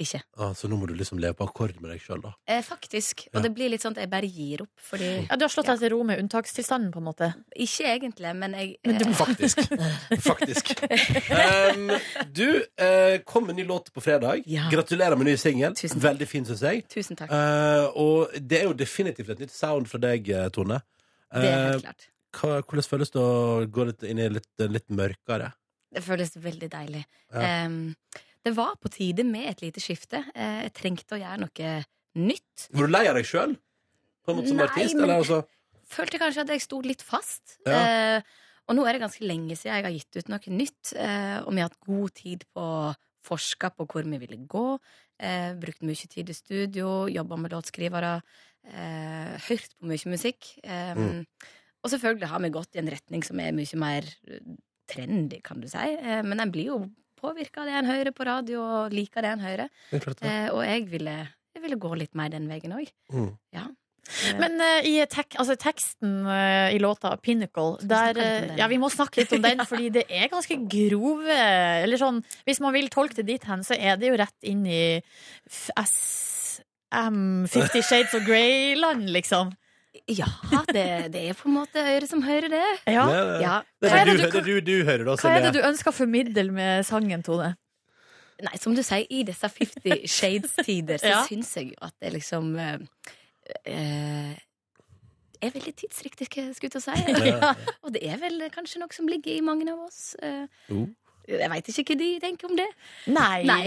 S8: Ikke.
S2: Ah, så nå må du liksom leve på akkord med deg sjøl, da.
S8: Eh, faktisk.
S2: Ja.
S8: Og det blir litt sånn at jeg bare gir opp. Fordi
S3: Ja, du har slått deg til ro med unntakstilstanden, på en måte.
S8: Ikke egentlig, men jeg
S2: Faktisk. Faktisk. Um, du eh, kom med en ny låt på fredag.
S8: Ja.
S2: Gratulerer med ny singel.
S8: Tusen takk.
S2: Veldig fin, syns jeg.
S8: Tusen takk.
S2: Eh, og det er jo definitivt et nytt sound fra deg, eh, Tone. Eh,
S8: Det er helt klart.
S2: hva, hvordan føles det å gå litt inn i litt, eh, litt mørkere?
S8: Det føles veldig deilig.
S2: Ja.
S8: Em, det var på tide med et lite skifte. Eh, jeg trengte å gjøre noe nytt.
S2: Var du lei av deg sjøl? På en måte som
S8: Nei,
S2: artist?
S8: men-
S2: Eller altså
S8: Følte kanskje at jeg sto litt fast.
S2: Ja.
S8: Eh, og nå er det ganske lenge siden jeg har gitt ut noe nytt, eh, og vi har hatt god tid på å forske på hvor vi ville gå. Eh, brukt mye tid i studio, jobba med låtskrivere, eh, hørt på mye musikk. Em,
S2: Mm.
S8: Og selvfølgelig har vi gått i en retning som er mye mer eh, trendy, kan du si. Eh, men en blir jo påvirka av det en hører på radio, og liker det en hører.
S2: Det er klart det.
S8: Eh, og jeg ville, jeg ville gå litt mer den veien òg.
S2: Mm.
S3: Men eh, i tek altså, teksten eh, i låta 'Pinnacle'
S8: vi snakke
S3: der,
S8: litt om
S3: eh,
S8: den?
S3: Ja, vi må snakke litt om den, fordi det er ganske grove Eller sånn, hvis man vil tolke det dit hen, så er det jo rett inn i f- SM Fifty Shades of Grey-land, liksom.
S8: Ja, det, det er på en måte øret som hører det.
S3: Ja.
S2: Det,
S8: Ja.
S2: det,
S3: Hva
S2: er
S3: er
S2: det,
S3: det
S2: du,
S3: du-
S2: det er du, du hører, da,
S3: Hva er det
S2: Silje.
S3: du ønsker å formidle med sangen, Tone?
S8: Nei, som du sier, i disse Fifty Shades-tider så
S3: Ja.
S8: syns jeg jo at det liksom eh, eh, er veldig tidsriktig, skulle jeg til å si.
S2: Ja.
S8: Og det er vel kanskje noe som ligger i mange av oss. eh.
S2: Jo.
S8: Jeg veit ikke hva de tenker om det.
S3: Nei.
S8: Nei.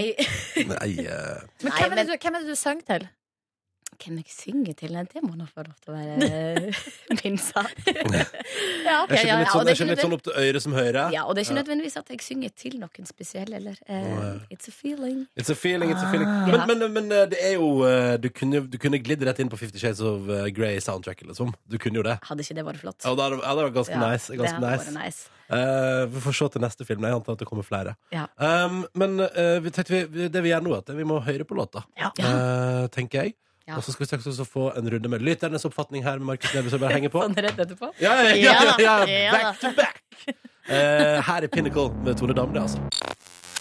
S2: Nei, eh,
S3: Men
S8: Nei,
S3: hvem er det
S8: men-
S3: du, hvem er det du synger til?
S8: hvem jeg synger til, det må nå få lov til å være min sak.
S3: Ja, ok,
S2: Jeg skjønner litt
S3: ja, ja, og
S2: sånn,
S3: det
S2: jeg skjønner litt sånn opp til øret som høyre.
S8: Ja, og det er ikke nødvendigvis at jeg synger til noen spesiell, eller eh, It's a feeling.
S2: It's a feeling, it's a feeling. Men,
S8: Ja.
S2: men, men eh, det er jo eh, Du kunne, du kunne glidd rett inn på Fifty Shades of eh, Grey-soundtracket, liksom. Du kunne jo det.
S8: Hadde ikke det vært flott?
S2: Ja, det hadde ja, det hadde vært ganske
S8: Ah. Ja,
S2: Oh, nice.
S8: det
S2: Ganske
S8: hadde
S2: nice.
S8: vært nice.
S2: Eh, vi får se til neste film. Jeg antar at det kommer flere.
S8: Ja.
S2: Um, men eh, vi tenkte vi, vi- det vi gjør nå, er at vi må høre på låta,
S3: Ja.
S2: eh, tenker jeg.
S8: Ja.
S2: Og så skal vi straks også få en runde med lytternes oppfatning her. med Markus Neby, så bare henge på.
S8: Sånn rett etterpå.
S2: Ja, ja, ja,
S3: Ja da,
S2: ja,
S3: ja da.
S2: Back to back! Eh, her er Pinnacle med Tone Damli, altså.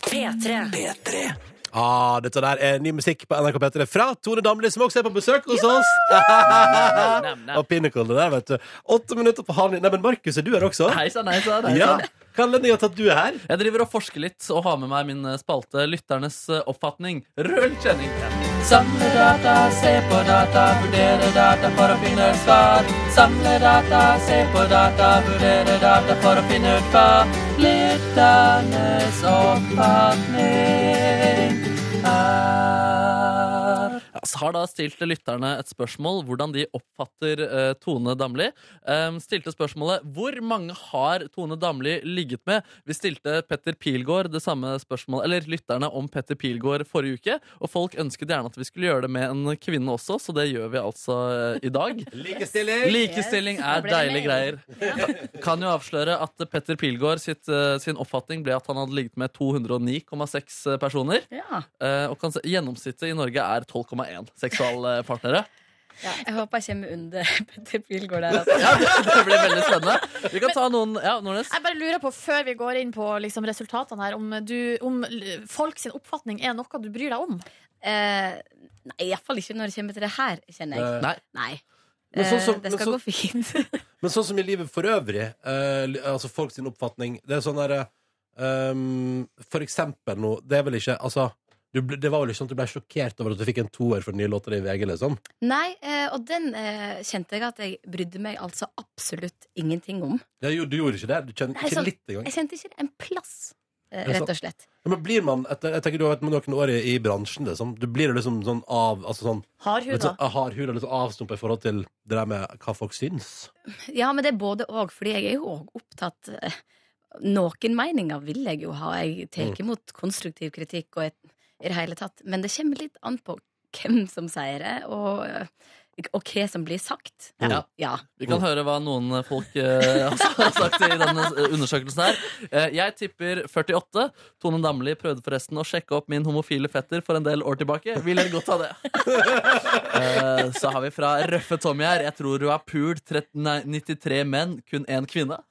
S1: P3.
S2: Ah, dette der er ny musikk på NRK P3 fra Tone Damli, som også er på besøk hos oss.
S4: nam, nam.
S2: Og Pinnacle, det der, vet du. Åtte minutter på halv ni. Nei, men Markus, er du her også?
S4: Hei sann, hei sann. hei
S2: Ja.
S4: sann.
S2: Hva er anledningen til at du er her?
S4: Jeg driver og forsker litt og har med meg min eh, spalte Lytternes eh, oppfatning. Rull kjenning. Samle data, se på data, vurdere data for å finne ut svar. Samle data, se på data, vurdere data for å finne ut hva. Lytternes oppfatning er Så har da stilt lytterne et spørsmål hvordan de oppfatter eh, Tone Damli. Ehm, stilte spørsmålet hvor mange har Tone Damli ligget med? Vi stilte Petter Pilgaard det samme spørsmålet, eller lytterne om Petter Pilgaard forrige uke, og folk ønsket gjerne at vi skulle gjøre det med en kvinne også, så det gjør vi altså eh, i dag.
S2: Likestilling!
S4: Likestilling
S3: Yes, da
S4: er
S3: ble det
S4: deilige greier.
S3: mer.
S4: Kan jo avsløre at Petter Pilgaard sitt, eh, sin oppfatning ble at han hadde ligget med 209,6 personer.
S8: Ja.
S4: eh, Og kan, se- gjennomsnittet i Norge er 12,1 seksualpartnere.
S8: Jeg håper jeg kommer under Petter Pilgaard der. Altså.
S4: Ja, det, det blir veldig spennende. Vi kan ta noen Ja, Nordnes.
S3: Jeg bare lurer på, før vi går inn på liksom, resultatene her, om, du, om l- folk sin oppfatning er noe du bryr deg om?
S8: Eh, nei, iallfall ikke når det kommer til det her, kjenner jeg.
S4: Nei.
S8: Nei.
S2: Eh, Men sånn som-
S8: Eh, det
S2: men
S8: skal
S2: sånn-
S8: gå fint.
S2: Men sånn som i livet for øvrig, eh, li- altså folk sin oppfatning Det er sånn derre ehm, For eksempel nå Det er vel ikke Altså, du, ble- det var vel ikke sånn at du ble sjokkert over at du fikk en toer for den nye låta di i VG, liksom?
S8: Nei, eh, og den eh, kjente jeg at jeg brydde meg altså absolutt ingenting om.
S2: Ja, jo, du gjorde ikke det? Du kjenner
S8: Nei,
S2: ikke
S8: sånn-
S2: litt engang?
S8: Jeg kjente ikke en plass,
S2: Det
S8: eh,
S2: er
S8: rett og slett.
S2: Ja, Men blir man etter, Jeg tenker du har vært med noen år i, i bransjen, liksom. Du blir jo liksom sånn av Altså sånn litt
S3: Hardhuda?
S2: sånn hardhuda, litt sånn avstumpa i forhold til det der med hva folk syns.
S8: Ja, men det er både òg, fordi jeg er jo òg opptatt eh, Noen meninger vil jeg jo ha. Jeg tar imot konstruktiv kritikk og et, i det hele tatt. Men det kommer litt an på hvem som sier det, og, eh, og hva som blir sagt.
S4: Ja.
S8: ja.
S4: Vi kan høre hva noen folk eh, har sagt i denne undersøkelsen her. Eh, jeg tipper 48. Tone Damli prøvde forresten å sjekke opp min homofile fetter for en del år tilbake. Vil dere godt ha det? Eh, så har vi fra røffe Tommy her. Jeg tror du har pult 13 nei, 93 menn, kun én kvinne.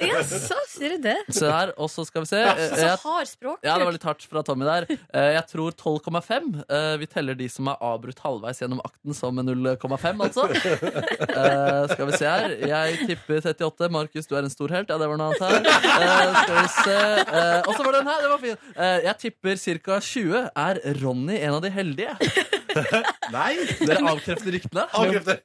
S8: Ja, så sier du det.
S4: Se her, og så skal vi se. Eh,
S3: Så
S4: jeg-
S3: hard språk?
S4: Ja, det var litt hardt fra Tommy der. Eh, Jeg tror 12,5. Eh, Vi teller de som er avbrutt halvveis gjennom akten som en 0,5, altså. Eh, Skal vi se her. Jeg tipper 38. Markus, du er en stor helt. Ja, det var noe annet her. Eh, Skal vi se. Eh, Og så var det den her. Den var fin. Eh, Jeg tipper ca. 20. Er Ronny en av de heldige?
S2: Nei!
S4: Dere avkrefter ryktene?
S2: Avkrefter!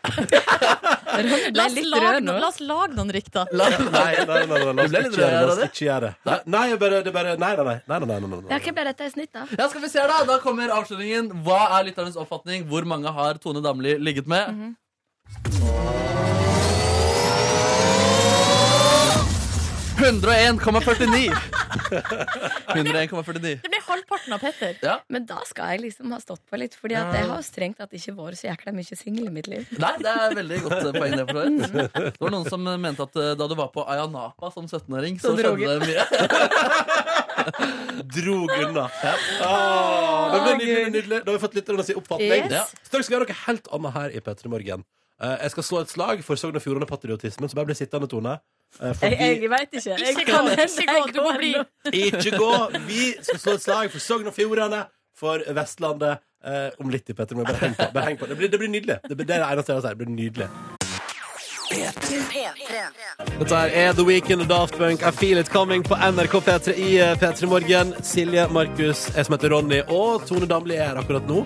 S3: La
S8: Ble
S3: oss,
S8: litt
S3: lage,
S8: rød
S3: no-
S8: nå.
S3: la oss lage noen rykter.
S2: Nei, nei, nei, nei, nei, la
S4: Du
S2: oss
S4: ble litt
S2: ikke gjøre
S4: rød
S2: det. La
S4: av
S2: oss ikke gjøre det. Nei, Nei, jeg bare, det er bare Nei, nei, nei. nei, nei, nei, nei, nei,
S8: Ja,
S2: nei.
S8: hva ble dette i snitt, da?
S4: Ja, skal vi se her da, da kommer avsløringen. Hva er lytternes oppfatning? Hvor mange har Tone Damli ligget med? «101,49 101,49
S3: Det ble halvparten av Petter.
S8: Men da skal jeg liksom ha stått på litt, Fordi at jeg har jo strengt tatt ikke vært så jækla mye singel i mitt liv.
S4: Nei, det er veldig godt eh, poeng det for så vidt. Det var noen som eh, mente at eh, da du var på Ayanapa som 17-åring Så
S8: Så drog
S4: skjedde det mye
S2: drog unna. Åh, det blir nydelig, nydelig. Da har vi fått lytterne sin oppfatning.
S8: Yes.
S4: Ja.
S2: Straks skal vi gjøre noe helt annet her i P3 Morgen. Eh, jeg skal slå et slag for Sogn og Fjordane patriotismen, som jeg blir sittende, Tone. Eh, for vi,
S8: veit ikke.
S3: Ikke gå, ikke gå. Du må bli
S2: ikke gå! Vi skal slå et slag for Sogn og Fjordane, for Vestlandet. eh, om litt i P3 Morgen. Bare heng på. Bare heng på. Det, blir, det blir nydelig. Det, blir, det er det eneste jeg har å si. Det blir nydelig. Dette her er The Weekend og Daft Punk. I feel it coming på NRK P3 i eh, P3 Morgen. Silje, Markus, jeg som heter Ronny, og Tone Damli er her akkurat nå.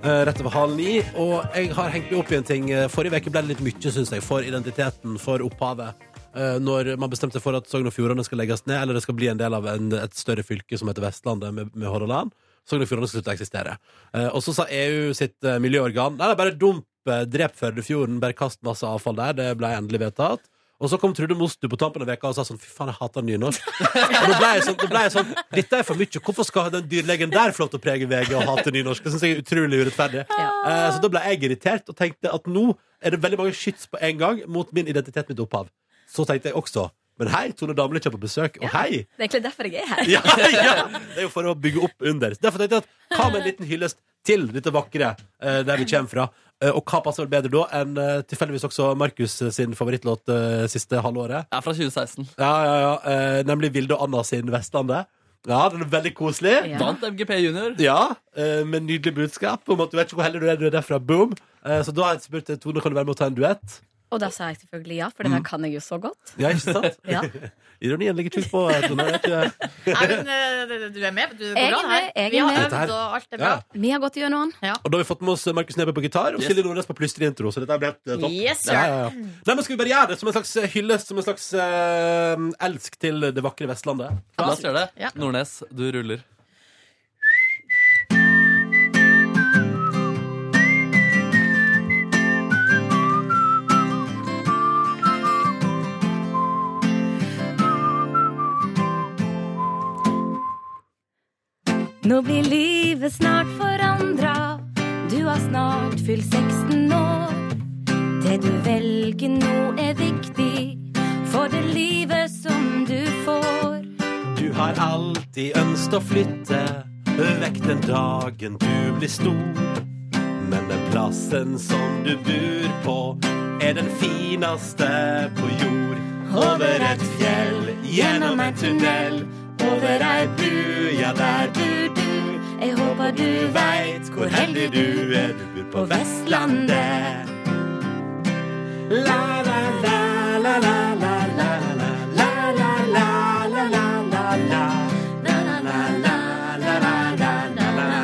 S2: eh, Rett over halv ni. Og jeg har hengt meg opp i en ting. Eh, Forrige uke ble det litt mye, syns jeg, for identiteten, for opphavet. Eh, Når man bestemte for at Sogn og Fjordane skal legges ned, eller det skal bli en del av en, et større fylke som heter Vestlandet, med, med Hordaland. Sogn og Fjordane slutta å eksistere. Eh, og så sa EU sitt eh, miljøorgan Nei, det er bare dump, eh, drep Førdefjorden, bare kast masse avfall der. Det ble endelig vedtatt. Og så kom Trude Mostu på tampen av veka og sa sånn Fy faen, jeg hater nynorsk. Og da ble jeg sånn, da ble jeg sånn Dette er for mye. Hvorfor skal den dyrlegen der få lov til å prege VG og hate nynorsk? Det syns jeg er utrolig urettferdig. Eh, så da ble jeg irritert og tenkte at nå er det veldig mange skyts på en gang mot min identitet, mitt opphav. Så tenkte jeg også Men hei, Tone Damli kommer på besøk. Og hei!
S8: Det er egentlig derfor jeg er her.
S2: Ja, ja. Det er jo for å bygge opp under. Derfor tenkte jeg at hva med en liten hyllest til dette vakre eh, der vi kommer fra? Eh, og hva passer vel bedre da enn eh, tilfeldigvis også Markus eh, sin favorittlåt eh, siste halvåret?
S4: Jeg er fra 2016.
S2: Ja, ja, ja. Eh, nemlig Vilde og Anna sin Vestlandet. Ja, den er veldig koselig.
S8: Ja.
S4: Vant MGP junior.
S2: Ja, eh, med nydelig budskap om at du vet ikke hvor heldig du er, du er derfra. Boom. Eh, Så da har jeg spurt eh, Tone, kan du være med og ta en duett?
S8: Og da sa jeg selvfølgelig ja, for det der kan jeg jo så godt.
S2: Ja, ikke sant?
S8: Ja.
S2: Ironien ligger tjukt på, eh, Tone. Jeg vet ikke.
S3: Nei, men eh, du er med. Du går
S8: Jeg er
S3: an her.
S8: med, jeg er
S3: Vi har
S8: med.
S2: Dette her-
S3: øvd, og alt er bra.
S2: Ja.
S8: Vi har gått gjennom den.
S2: Og da har vi fått med oss eh, Markus Neby på gitar og
S4: Yes.
S2: Silje Nordnes på plystreintro. Så dette blir helt eh, topp.
S3: Yes, sir.
S2: Ja, ja, ja. Nei, men Skal vi bare gjøre det som en slags hyllest, som en slags eh, elsk til det vakre Vestlandet?
S4: La oss gjøre det.
S3: Ja.
S4: Nordnes, du ruller.
S8: Nå blir livet snart forandra. Du har snart fylt 16 år. Det du velger nå, er viktig for det livet som du får.
S2: Du har alltid ønsket å flytte vekk den dagen du blir stor. Men den plassen som du bor på, er den fineste på jord. Over et fjell, gjennom en tunnel, over ei bru, ja, der bor du.
S8: Jeg håper du
S2: Du veit hvor heldig du er, du bor på Vestlandet. La, la, la, la, la, la, la, la, la, la, la, la, la, la, la. La, la, la, la, la, la, la, la, la.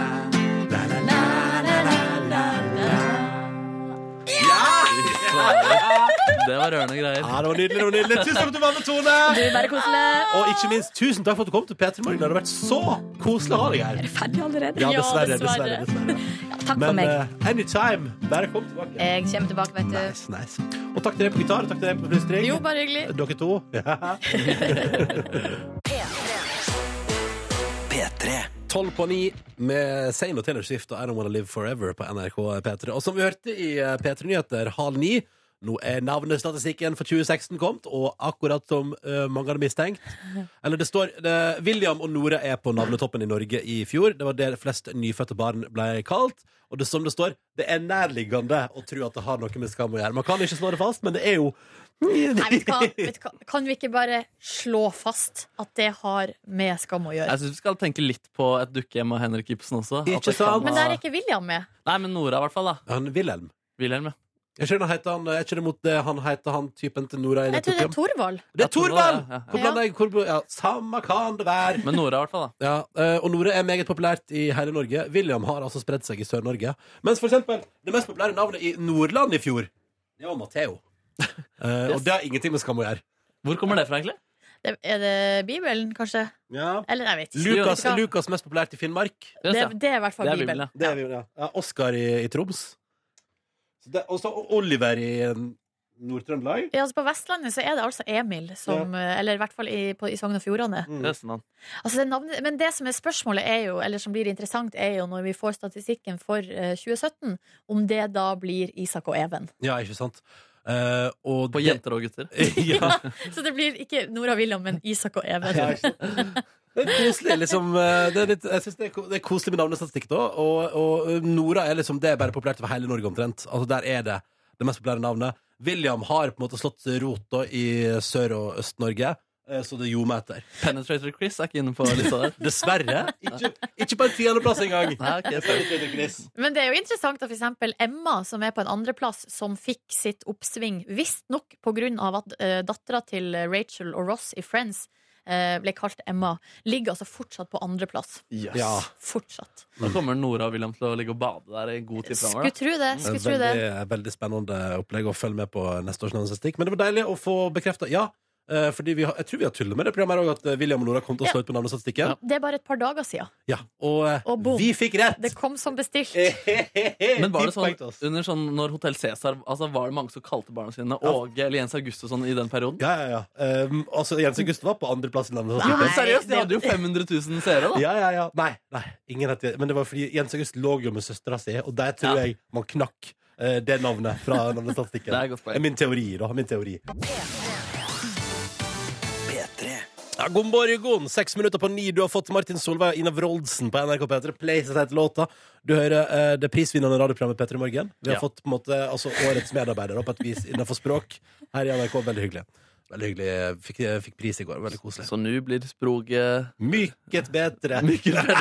S2: La, la, la, la, la, la, la.
S4: Det var rørende greier.
S2: Ja, det var nydelig, det var nydelig. Tusen takk for at du var med, Tone.
S8: Bare koselig.
S2: Og ikke minst, tusen takk for at du kom til P3 Morgen. Det har vært så koselig å ha deg her.
S8: Ferdig allerede.
S2: Ja,
S3: Ja,
S2: dessverre. dessverre,
S3: dessverre.
S2: dessverre.
S8: Takk for
S2: Men
S8: meg.
S2: eh, anytime, bare kom tilbake.
S8: Jeg kommer tilbake, vet du.
S2: Nice, nice. Og takk til deg på gitar, og takk til deg på plystring.
S3: Jo, bare hyggelig.
S2: Dere to. Tolv på ni med Zayn og Taylor Swift og I Don't Wanna Live Forever på NRK P3. Og som vi hørte i eh, P3 Nyheter halv ni, nå er navnestatistikken for 2016 kommet, og akkurat som eh, mange hadde mistenkt Eller det står det, William og Nora er på navnetoppen i Norge i fjor. Det var der flest nyfødte barn ble kalt. Og det som det står, det er nærliggende å tro at det har noe med skam å gjøre. Man kan ikke slå det fast, men det er jo
S3: Nei, vet du hva? Vet du hva? Kan vi ikke bare slå fast at det har med skam å gjøre?
S4: Jeg syns vi skal tenke litt på et dukkehjem og Henrik Ibsen også. At det
S2: Ikke
S4: kan
S2: sant?
S3: Men
S4: ha-
S3: der er ikke William med.
S4: Nei, men Nora i hvert fall. da
S2: Han Wilhelm.
S4: Wilhelm, ja.
S2: Jeg skjønner, heter han, er ikke det mot det han heter han typen til Nora i
S3: Jeg tror det er
S2: Nettopium?
S3: Torvald.
S2: Det er
S4: Jeg tror det,
S2: Torvald!
S4: ja, ja.
S2: Hvor blander jeg- hvor- ja, Samme kan det være!
S4: Men Nora i hvert fall. da
S2: Ja, eh, og Nore er meget populært i hele Norge. William har altså spredt seg i Sør-Norge. Mens for eksempel det mest populære navnet i Nordland i fjor, det var Matheo. Eh, Og det har ingenting med skam å gjøre.
S4: Hvor kommer det fra, egentlig?
S3: Det, er det Bibelen, kanskje? Eller jeg vet ikke.
S2: Lukas,
S3: Vet du hva?
S2: Lukas mest populært i Finnmark.
S4: Yes, ja.
S3: Det, det er i hvert fall
S4: Det er
S3: Bibelen.
S4: Bibelen, ja.
S2: Det er vi jo, ja. ja Oskar i, i Troms. Så det- Og så Oliver i eh, Nord-Trøndelag.
S3: Ja, altså på Vestlandet så er det altså Emil, som, eh, eller i hvert fall i, på- i Sogn og Fjordane.
S2: Mm.
S4: Det er sånn han.
S3: Altså det navnet, men det som er spørsmålet, er jo, eller som blir interessant, er jo når vi får statistikken for eh, 2017, om det da blir Isak og Even.
S2: Ja, ikke sant? Eh, og
S4: På
S2: det-
S4: jenter og gutter.
S2: ja.
S3: Så det blir ikke Nora William, men Isak og Even.
S2: Ja, ikke sant? Det er koselig, liksom. eh, Det er litt, jeg synes det, er, ko- det er koselig med navnestatistikk, da. Og, og eh, Nora er liksom, det er bare populært over hele Norge, omtrent. Altså, der er det det mest populære navnet. William har på en måte slått rot da, i Sør- og Øst-Norge, eh, så det ljomer etter.
S4: Penetrator Chris er ikke inne på lista der.
S2: Dessverre. Ikke, ikke på en tiendeplass engang.
S4: Nei, ok, sorry.
S3: Men det er jo interessant at for eksempel Emma, som er på en andreplass, som fikk sitt oppsving visstnok på grunn av at uh, dattera til Rachel og Ross i Friends eh, ble kalt Emma, ligger altså fortsatt på andreplass.
S2: Ja.
S3: Fortsatt.
S4: Da kommer Nora og William til å ligge og bade der i god tid
S3: Skulle
S4: framover.
S3: tro det. Skulle tro det.
S2: Veldig, veldig spennende opplegg å følge med på neste års navnestatistikk. Men det var deilig å få bekrefta. Ja, Eh, fordi vi har, jeg tror vi har tullet med det programmet her også, at eh, William og Nora kom til å slå ut på navnestatistikken.
S3: Det er bare et par dager siden.
S2: Ja. Og, eh,
S3: Og bom.
S2: vi fikk rett!
S3: Det kom som bestilt.
S2: Men
S4: Men var det sånn under sånn når Hotell Cæsar altså, Var det mange som kalte barna sine Åge eller Jens August og sånn i den perioden?
S2: Ja, ja, ja. Um, altså, Jens August var på andreplass i
S4: Jo, men
S2: navnestatistikken.
S4: seriøst, De hadde jo 500 000 seere, da.
S2: Ja, ja, ja. Nei, nei, ingen het det. Men det var fordi Jens August lå jo med søstera si, og der tror
S4: Ja.
S2: jeg man knakk eh, det navnet fra navnestatistikken.
S4: Det er et godt poeng.
S2: er min teori, da. Min teori. Ja, god morgen, god. Seks minutter på ni. Du har fått Martin Solveig og Ina Wroldsen på NRK P3. Places heter låta. Du hører eh, det prisvinnende radioprogrammet P3 Morgen. Vi har
S4: Ja.
S2: fått på en måte, altså, årets medarbeider da, på et vis innenfor språk her i NRK. Veldig hyggelig. Veldig hyggelig. Fikk, fikk pris i går. Veldig koselig.
S4: Så nå blir sproget
S2: Mycket bedre.
S4: mykere.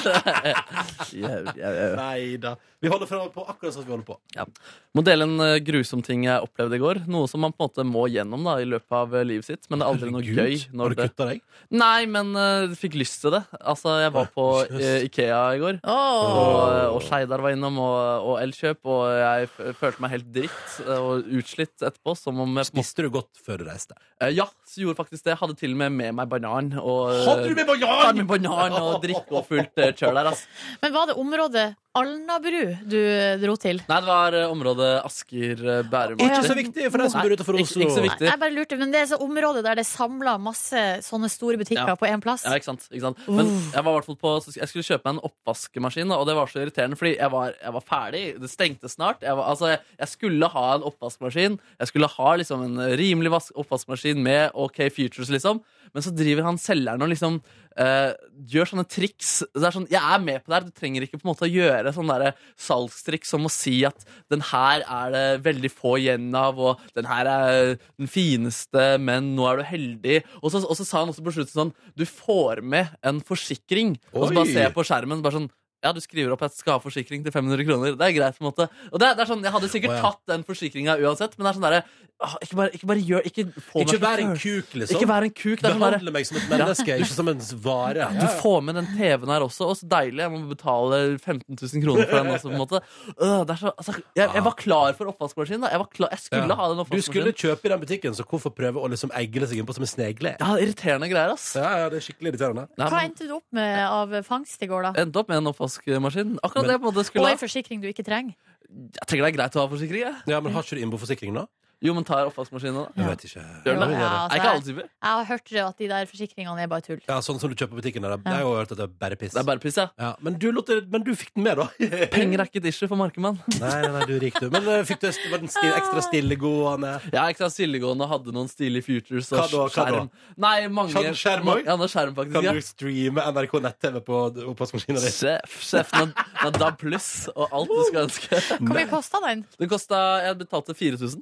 S4: Jau, jau, jau.
S2: Nei da. Vi holder fra på akkurat sånn som vi holder på.
S4: Må dele en eh, grusom ting jeg opplevde i går. Noe som man på en måte må gjennom da i løpet av eh, livet sitt. Men det er aldri noe gøy.
S2: Har
S4: Når
S2: du
S4: det...
S2: kutta deg?
S4: Nei, men eh, fikk lyst til det. Altså, jeg var på
S2: Jøss.
S4: eh, Ikea i går.
S3: Åh.
S4: Og, eh, og Skeidar var innom, og, og Elkjøp. Og jeg f- følte meg helt dritt eh, og utslitt etterpå. Som om jeg på en måte-
S2: Spiste du godt før du reiste?
S4: Eh, Ja, så gjorde faktisk det. Hadde til og med med meg banan. Og, eh, hadde
S2: banan?!
S4: med banan og drikke og fullt eh, kjør der, ass.
S3: Men var det området Alnabru du dro til?
S4: Nei, det var eh, området Asker, eh, Bærum
S2: Ikke
S4: aktig.
S2: så viktig for deg som
S4: Nei,
S2: bor utenfor
S4: ikke-
S2: Oslo.
S4: ikke så viktig.
S3: Nei, jeg bare lurte, men det er så område der det er samla masse sånne store butikker
S4: Ja.
S3: på én plass.
S4: Ja, ikke sant, ikke sant. Men jeg var i hvert fall på Jeg skulle kjøpe meg en oppvaskemaskin, da, og det var så irriterende, fordi jeg var, jeg var ferdig. Det stengte snart. Jeg, var, altså, jeg, jeg skulle ha en oppvaskmaskin. Jeg skulle ha liksom en rimelig vas- oppvaskmaskin med OK Futures, liksom. Men så driver han selgeren og liksom eh, gjør sånne triks. Det er sånn, jeg er med på det her. Du trenger ikke på en måte å gjøre sånne der salgstriks som å si at den her er det veldig få igjen av, og den her er den fineste, men nå er du heldig. Og så, og så sa han også på slutten sånn Du får med en forsikring. Og så
S2: Oi.
S4: bare ser jeg på skjermen. bare sånn ja, du skriver opp at jeg skal ha forsikring til 500 kroner. Det er greit, på en måte. Og det, er- det er sånn, Jeg hadde sikkert
S2: Å, ja.
S4: tatt den forsikringa uansett, men det er sånn derre «Åh, ikke, bare- ikke bare gjør Ikke, få meg
S2: Ikke
S4: til å
S2: vær en
S4: føle-
S2: kuk,
S4: Ikke
S2: liksom.
S4: vær en kuk. Det er sånn derre-
S2: Behandle meg som et menneske, ikke som en vare.
S4: du får med den TV-en her også, og så deilig. Jeg må betale 15 000 kroner for den også, på en måte. Øh, det er så, altså, jeg, jeg var klar for oppvaskmaskinen. da. Jeg, var klar, jeg skulle
S2: Ja.
S4: ha den
S2: Du skulle
S4: oppvaskmaskinen.
S2: kjøpe i den butikken, så hvorfor prøve å liksom egle seg innpå som en snegle?
S4: Ja, irriterende greier, ass.
S2: Ja, ja, det er skikkelig irriterende.
S4: Nei,
S3: Hva
S4: men,
S3: endte du opp med av fangst i går, da?
S4: endte opp med en oppvaskmaskin. Akkurat
S2: Men-
S4: det jeg på en måte
S3: Og
S4: skulle
S3: en
S4: ha.
S3: forsikring du ikke trenger.
S4: Jeg tenker det er greit å ha forsikring, jeg.
S2: Ja, men Har ikke du innboforsikring, da?
S4: Jo, men tar oppvaskmaskinen, da.
S2: Jeg vet ikke.
S4: Gjør den det?
S3: Ja, altså,
S4: er ikke alle typer.
S3: Jeg har hørt at de der forsikringene er bare tull.
S2: Ja, Sånn som du kjøper på butikken. Der. Jeg har jo hørt at det er bare piss.
S4: Det er bare piss, ja.
S2: Ja, men, du, lot det- men du fikk den med, da. nei,
S4: Penger er ikke et issue for markemann.
S2: nei, nei, du er rik, du. Men eh, fikk du var den stil, ekstra stillegående?
S4: Jeg er ikke så stillegående og hadde noen stilige futures og
S2: Hva da, hva da?
S4: skjerm. Nei, mange
S2: Skjerm- skjerm også?
S4: Ja, noe skjerm, faktisk.
S2: Kan
S4: ja.
S2: du streame NRK nett-TV på oppvaskmaskina di?
S4: Sjef, sjef, nå, nå da pluss og alt du skal ønske.
S3: Hvor mye kosta den?
S4: Den kosta Jeg betalte 4000.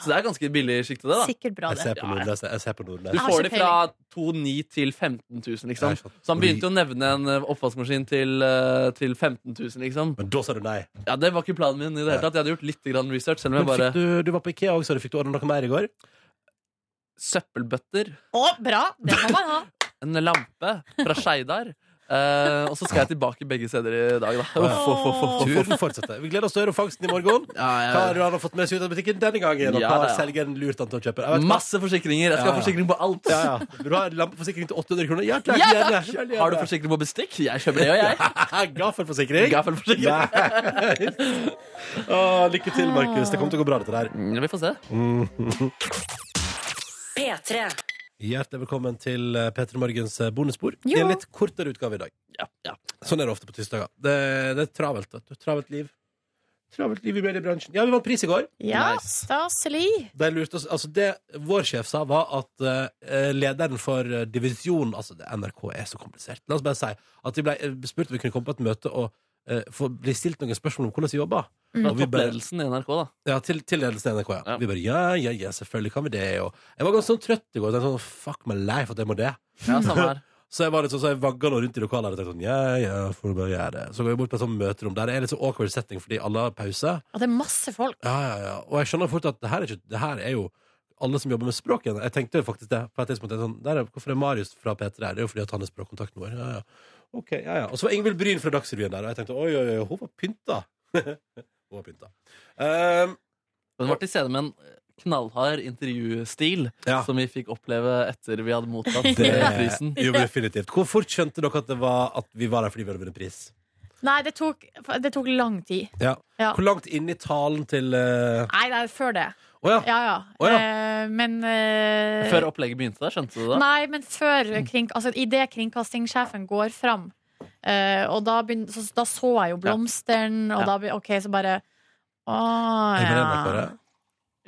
S4: Så det er ganske billig i sjiktet, det. da
S3: Sikkert bra,
S2: Jeg
S3: det.
S2: ser på Nordnes. jeg. Jeg ser på Nordnes.
S4: Du
S3: Jeg har
S4: får
S3: ikke
S4: det fra 2,9 til 15 000,
S2: Nei,
S4: liksom.
S2: sant.
S4: Så han begynte å nevne en eh, oppvaskmaskin til, eh, til 15 000, liksom.
S2: Men da sa du nei.
S4: Ja, Det var ikke planen min i det hele tatt. Jeg hadde gjort litt grann research, selv om jeg
S2: Men fikk
S4: bare
S2: du, du var på Ikea også, sa du fikk du ordna noe mer i går?
S4: Søppelbøtter.
S3: Å, bra! Det må man ha.
S4: En lampe fra Skeidar. eh, og så skal jeg tilbake begge steder i dag, da. Uff, uff, uff, uff.
S2: Du får fortsette. Vi gleder oss til å høre om fangsten i morgen.
S4: Ja,
S2: Hva
S4: jeg-
S2: har han fått med seg ut av butikken denne gangen? Og
S4: Ja,
S2: hva har
S4: ja.
S2: selgeren lurt han til å kjøpe? Jeg vet hva.
S4: Masse forsikringer. Jeg skal
S2: Ja, ja.
S4: ha forsikring på alt.
S2: Ja, ja. Vil Du har lampeforsikring til 800 kroner? Ja, klart,
S4: Ja,
S2: gjerne.
S4: takk.
S2: Gjerne, gjerne.
S4: Har du forsikring på bestikk? Jeg kjøper det, og jeg.
S2: Gaffelforsikring?
S4: Gaffelforsikring.
S2: Nei. Å, lykke til, Markus. Det kommer til å gå bra, dette der.
S4: Mm, Vi får se.
S1: P3.
S2: Hjertelig velkommen til eh, P3 Morgens eh, bonusbord. I
S3: Jo.
S2: en litt kortere utgave i dag.
S4: Ja, ja.
S2: Sånn er det ofte på tirsdager. Det, det er travelt. Vet du. Travelt liv. Travelt liv i mediebransjen. Ja, vi vant pris i går.
S3: Ja,
S4: Nice.
S3: staselig.
S2: Det, lurte oss, altså det vår sjef sa, var at eh, lederen for eh, divisjonen Altså, det, NRK er så komplisert. La oss bare si at vi ble eh, spurt om vi kunne komme på et møte og eh, få bli stilt noen spørsmål om hvordan vi jobber.
S4: Fra
S2: Og vi bare-
S4: toppledelsen i NRK, da.
S2: Ja, til, til ledelsen i NRK, ja.
S4: Ja.
S2: Vi bare ja, ja, ja, selvfølgelig kan vi det. Og jeg var ganske sånn trøtt i går. Tenkte sånn, fuck my life at jeg må det.
S4: Ja, samme her.
S2: Så jeg var litt sånn, så jeg vagga nå rundt i lokalet og tenkte sånn, ja, ja, får du bare gjøre det. Så går jeg bort på et sånt møterom der det er litt sånn awkward setting fordi alle har pause.
S3: Ja, det er masse folk.
S2: Ja, ja, ja. Og jeg skjønner fort at det her er, ikke, det her er jo alle som jobber med språk. igjen. Jeg tenkte jo faktisk det på et tidspunkt. jeg Sånn, der er, hvorfor er Marius fra P3 her? Det er jo fordi at han er språkkontakten vår. Ja, ja. Ok, ja, ja. Og så var Ingvild Bryn fra Dagsrevyen der, og jeg tenkte oi, oi, oi, hun var pynta. hun var pynta. Ehm,
S4: Hun var til stede med en eh, knallhard intervjustil
S2: Ja.
S4: som vi fikk oppleve etter vi hadde mottatt
S2: Det
S4: eh, prisen.
S2: Jo, definitivt. Hvor fort skjønte dere at, det var, at vi var der fordi vi hadde vunnet pris?
S3: Nei, det tok, det tok lang tid.
S2: Ja.
S3: Ja.
S2: Hvor langt inn i talen til eh,
S3: Nei, nei, før det.
S2: Å ja.
S3: Ja, ja.
S2: Å, ja.
S3: Eh, men eh,
S4: Før opplegget begynte, der, skjønte du det?
S3: Nei, men før kring, altså, Idet kringkastingssjefen går fram eh, Og da, begyn, så, da så jeg jo blomsteren Og
S4: Ja.
S3: da be- ok, så bare Å
S2: Jeg mener det,
S3: ja
S2: bare.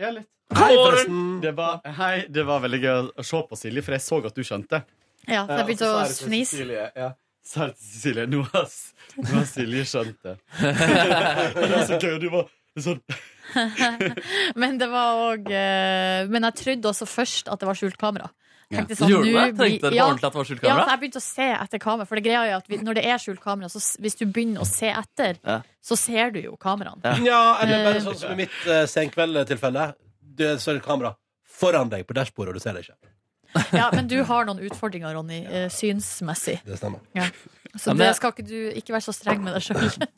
S9: Ja, litt.
S2: Hei, forresten!
S9: Det var, hei, det var veldig gøy å se på Silje, for jeg så at du skjønte.
S3: Ja, så jeg begynte
S9: Eh,
S3: å
S9: og så sa jeg til
S3: fnise
S9: Cecilie, Ja. Sa jeg til Cecilie nå har, s- nå har Silje skjønt det. det var så gøy. Du var sånn
S3: Men det var òg Men jeg trodde også først at det var skjult kamera.
S9: Ja.
S3: Tenkte
S4: Gjorde du det?
S3: nå blir-
S4: Trengte dere på
S3: ja,
S4: ordentlig at det var skjult
S3: Ja, for
S4: kamera?
S3: jeg begynte å se etter kamera. For det greia er jo at vi, når det er skjult kamera, så s- hvis du begynner å se etter,
S4: Ja.
S3: så ser du jo kameraene.
S2: Ja, eller bare sånn som i mitt uh, senkveld-tilfelle. Du så er det kamera foran deg på dashbordet, og du ser det ikke.
S3: Ja, men du har noen utfordringer, Ronny, eh, synsmessig.
S2: Det stemmer.
S4: Ja,
S3: Så
S4: men det-
S3: det skal ikke du ikke være så streng med deg sjøl.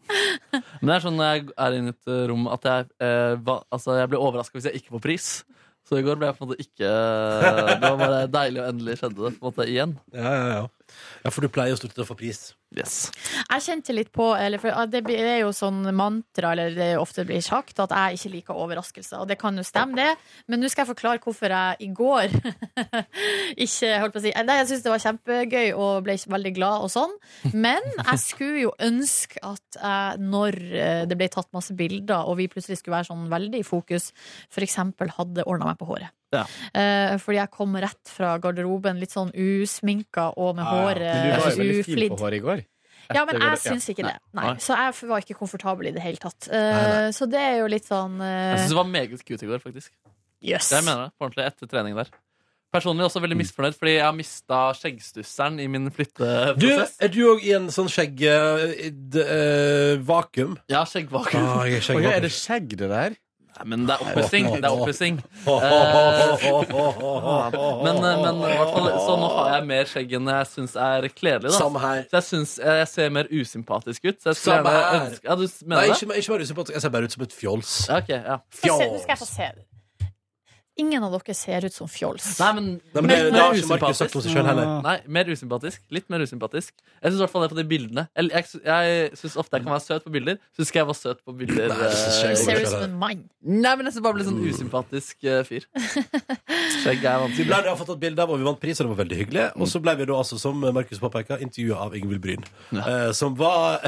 S4: Men det er sånn når jeg er inne i et eh, rom at jeg, eh, va, altså, jeg blir overraska hvis jeg ikke får pris. Så i går ble jeg på en måte ikke eh, Det var bare deilig og endelig skjedde det på en måte igjen.
S2: Ja, ja, ja. ja, for du pleier jo stort sett å få pris.
S4: Yes.
S3: Jeg kjente litt på eller, for Det blir- det er jo sånn mantra, eller det ofte blir sagt, at jeg ikke liker overraskelser. Og det kan jo stemme, det. Men nå skal jeg forklare hvorfor jeg i går ikke holdt på å si Nei, jeg syns det var kjempegøy og ble veldig glad og sånn. Men jeg skulle jo ønske at jeg, når eh, det ble tatt masse bilder, og vi plutselig skulle være sånn veldig i fokus, f.eks. hadde ordna meg på håret.
S4: Ja.
S3: Eh, fordi jeg kom rett fra garderoben litt sånn usminka og med
S9: Ah, Men du var
S3: håret
S9: jo veldig fin på
S3: uflidd.
S9: håret i går.
S3: Ja, men
S9: Etter-
S3: jeg syns ikke det. Nei. Så jeg var ikke komfortabel i det hele tatt. Eh, Så det er jo litt sånn
S4: Jeg
S3: eh,
S4: syns det var meget cute i går, faktisk.
S3: Jøss.
S4: Jeg mener det, på ordentlig, etter trening der. Personlig også veldig misfornøyd, fordi jeg har mista skjeggstusseren i min
S2: Mm. Du,
S4: flytteprosess.
S2: er du òg i en sånn skjeggvakuum?
S4: Ja, skjeggvakuum.
S2: jeg eh, er
S9: Oi, er det skjegg, det der?
S4: Nei, Men det
S2: Ah.
S4: er oppussing. Det er oppussing. Eh, Men, eh, men i hvert fall, så nå har jeg mer skjegg enn jeg syns er kledelig. Da.
S2: Samme her.
S4: Så jeg syns eh, jeg ser mer usympatisk ut. Så jeg skulle
S2: Samme
S4: gjerne
S2: her.
S4: ønske Ja, du s-
S2: Nei,
S4: mener det?
S2: ikke, ikke bare usympatisk. Jeg ser bare ut som et fjols.
S4: Ja, ok, ja.
S3: Få se- Nå skal jeg få se. Ingen av dere ser ut som fjols.
S4: Nei, men,
S2: Nei, men det,
S4: litt
S2: det har
S4: mer
S2: ikke Markus sagt om seg sjøl heller.
S4: Nei, mer usympatisk. Litt mer usympatisk. Jeg syns i hvert fall det på de bildene. Eller, jeg sy- jeg syns ofte jeg kan være søt på bilder. Syns ikke jeg var søt på bilder.
S2: Nei, jeg synes
S4: eh,
S2: ikke jeg
S3: Du ser ut som en mann.
S4: Nei, men jeg synes bare blir sånn usympatisk eh, fyr. Skjegg er
S2: Vi
S4: vanskelig.
S2: ble da fått tatt bilde av, og vi vant pris, og det var veldig hyggelig. Og så ble vi da, altså, som Markus påpeka, intervjua av Ingvild Bryn, eh, som var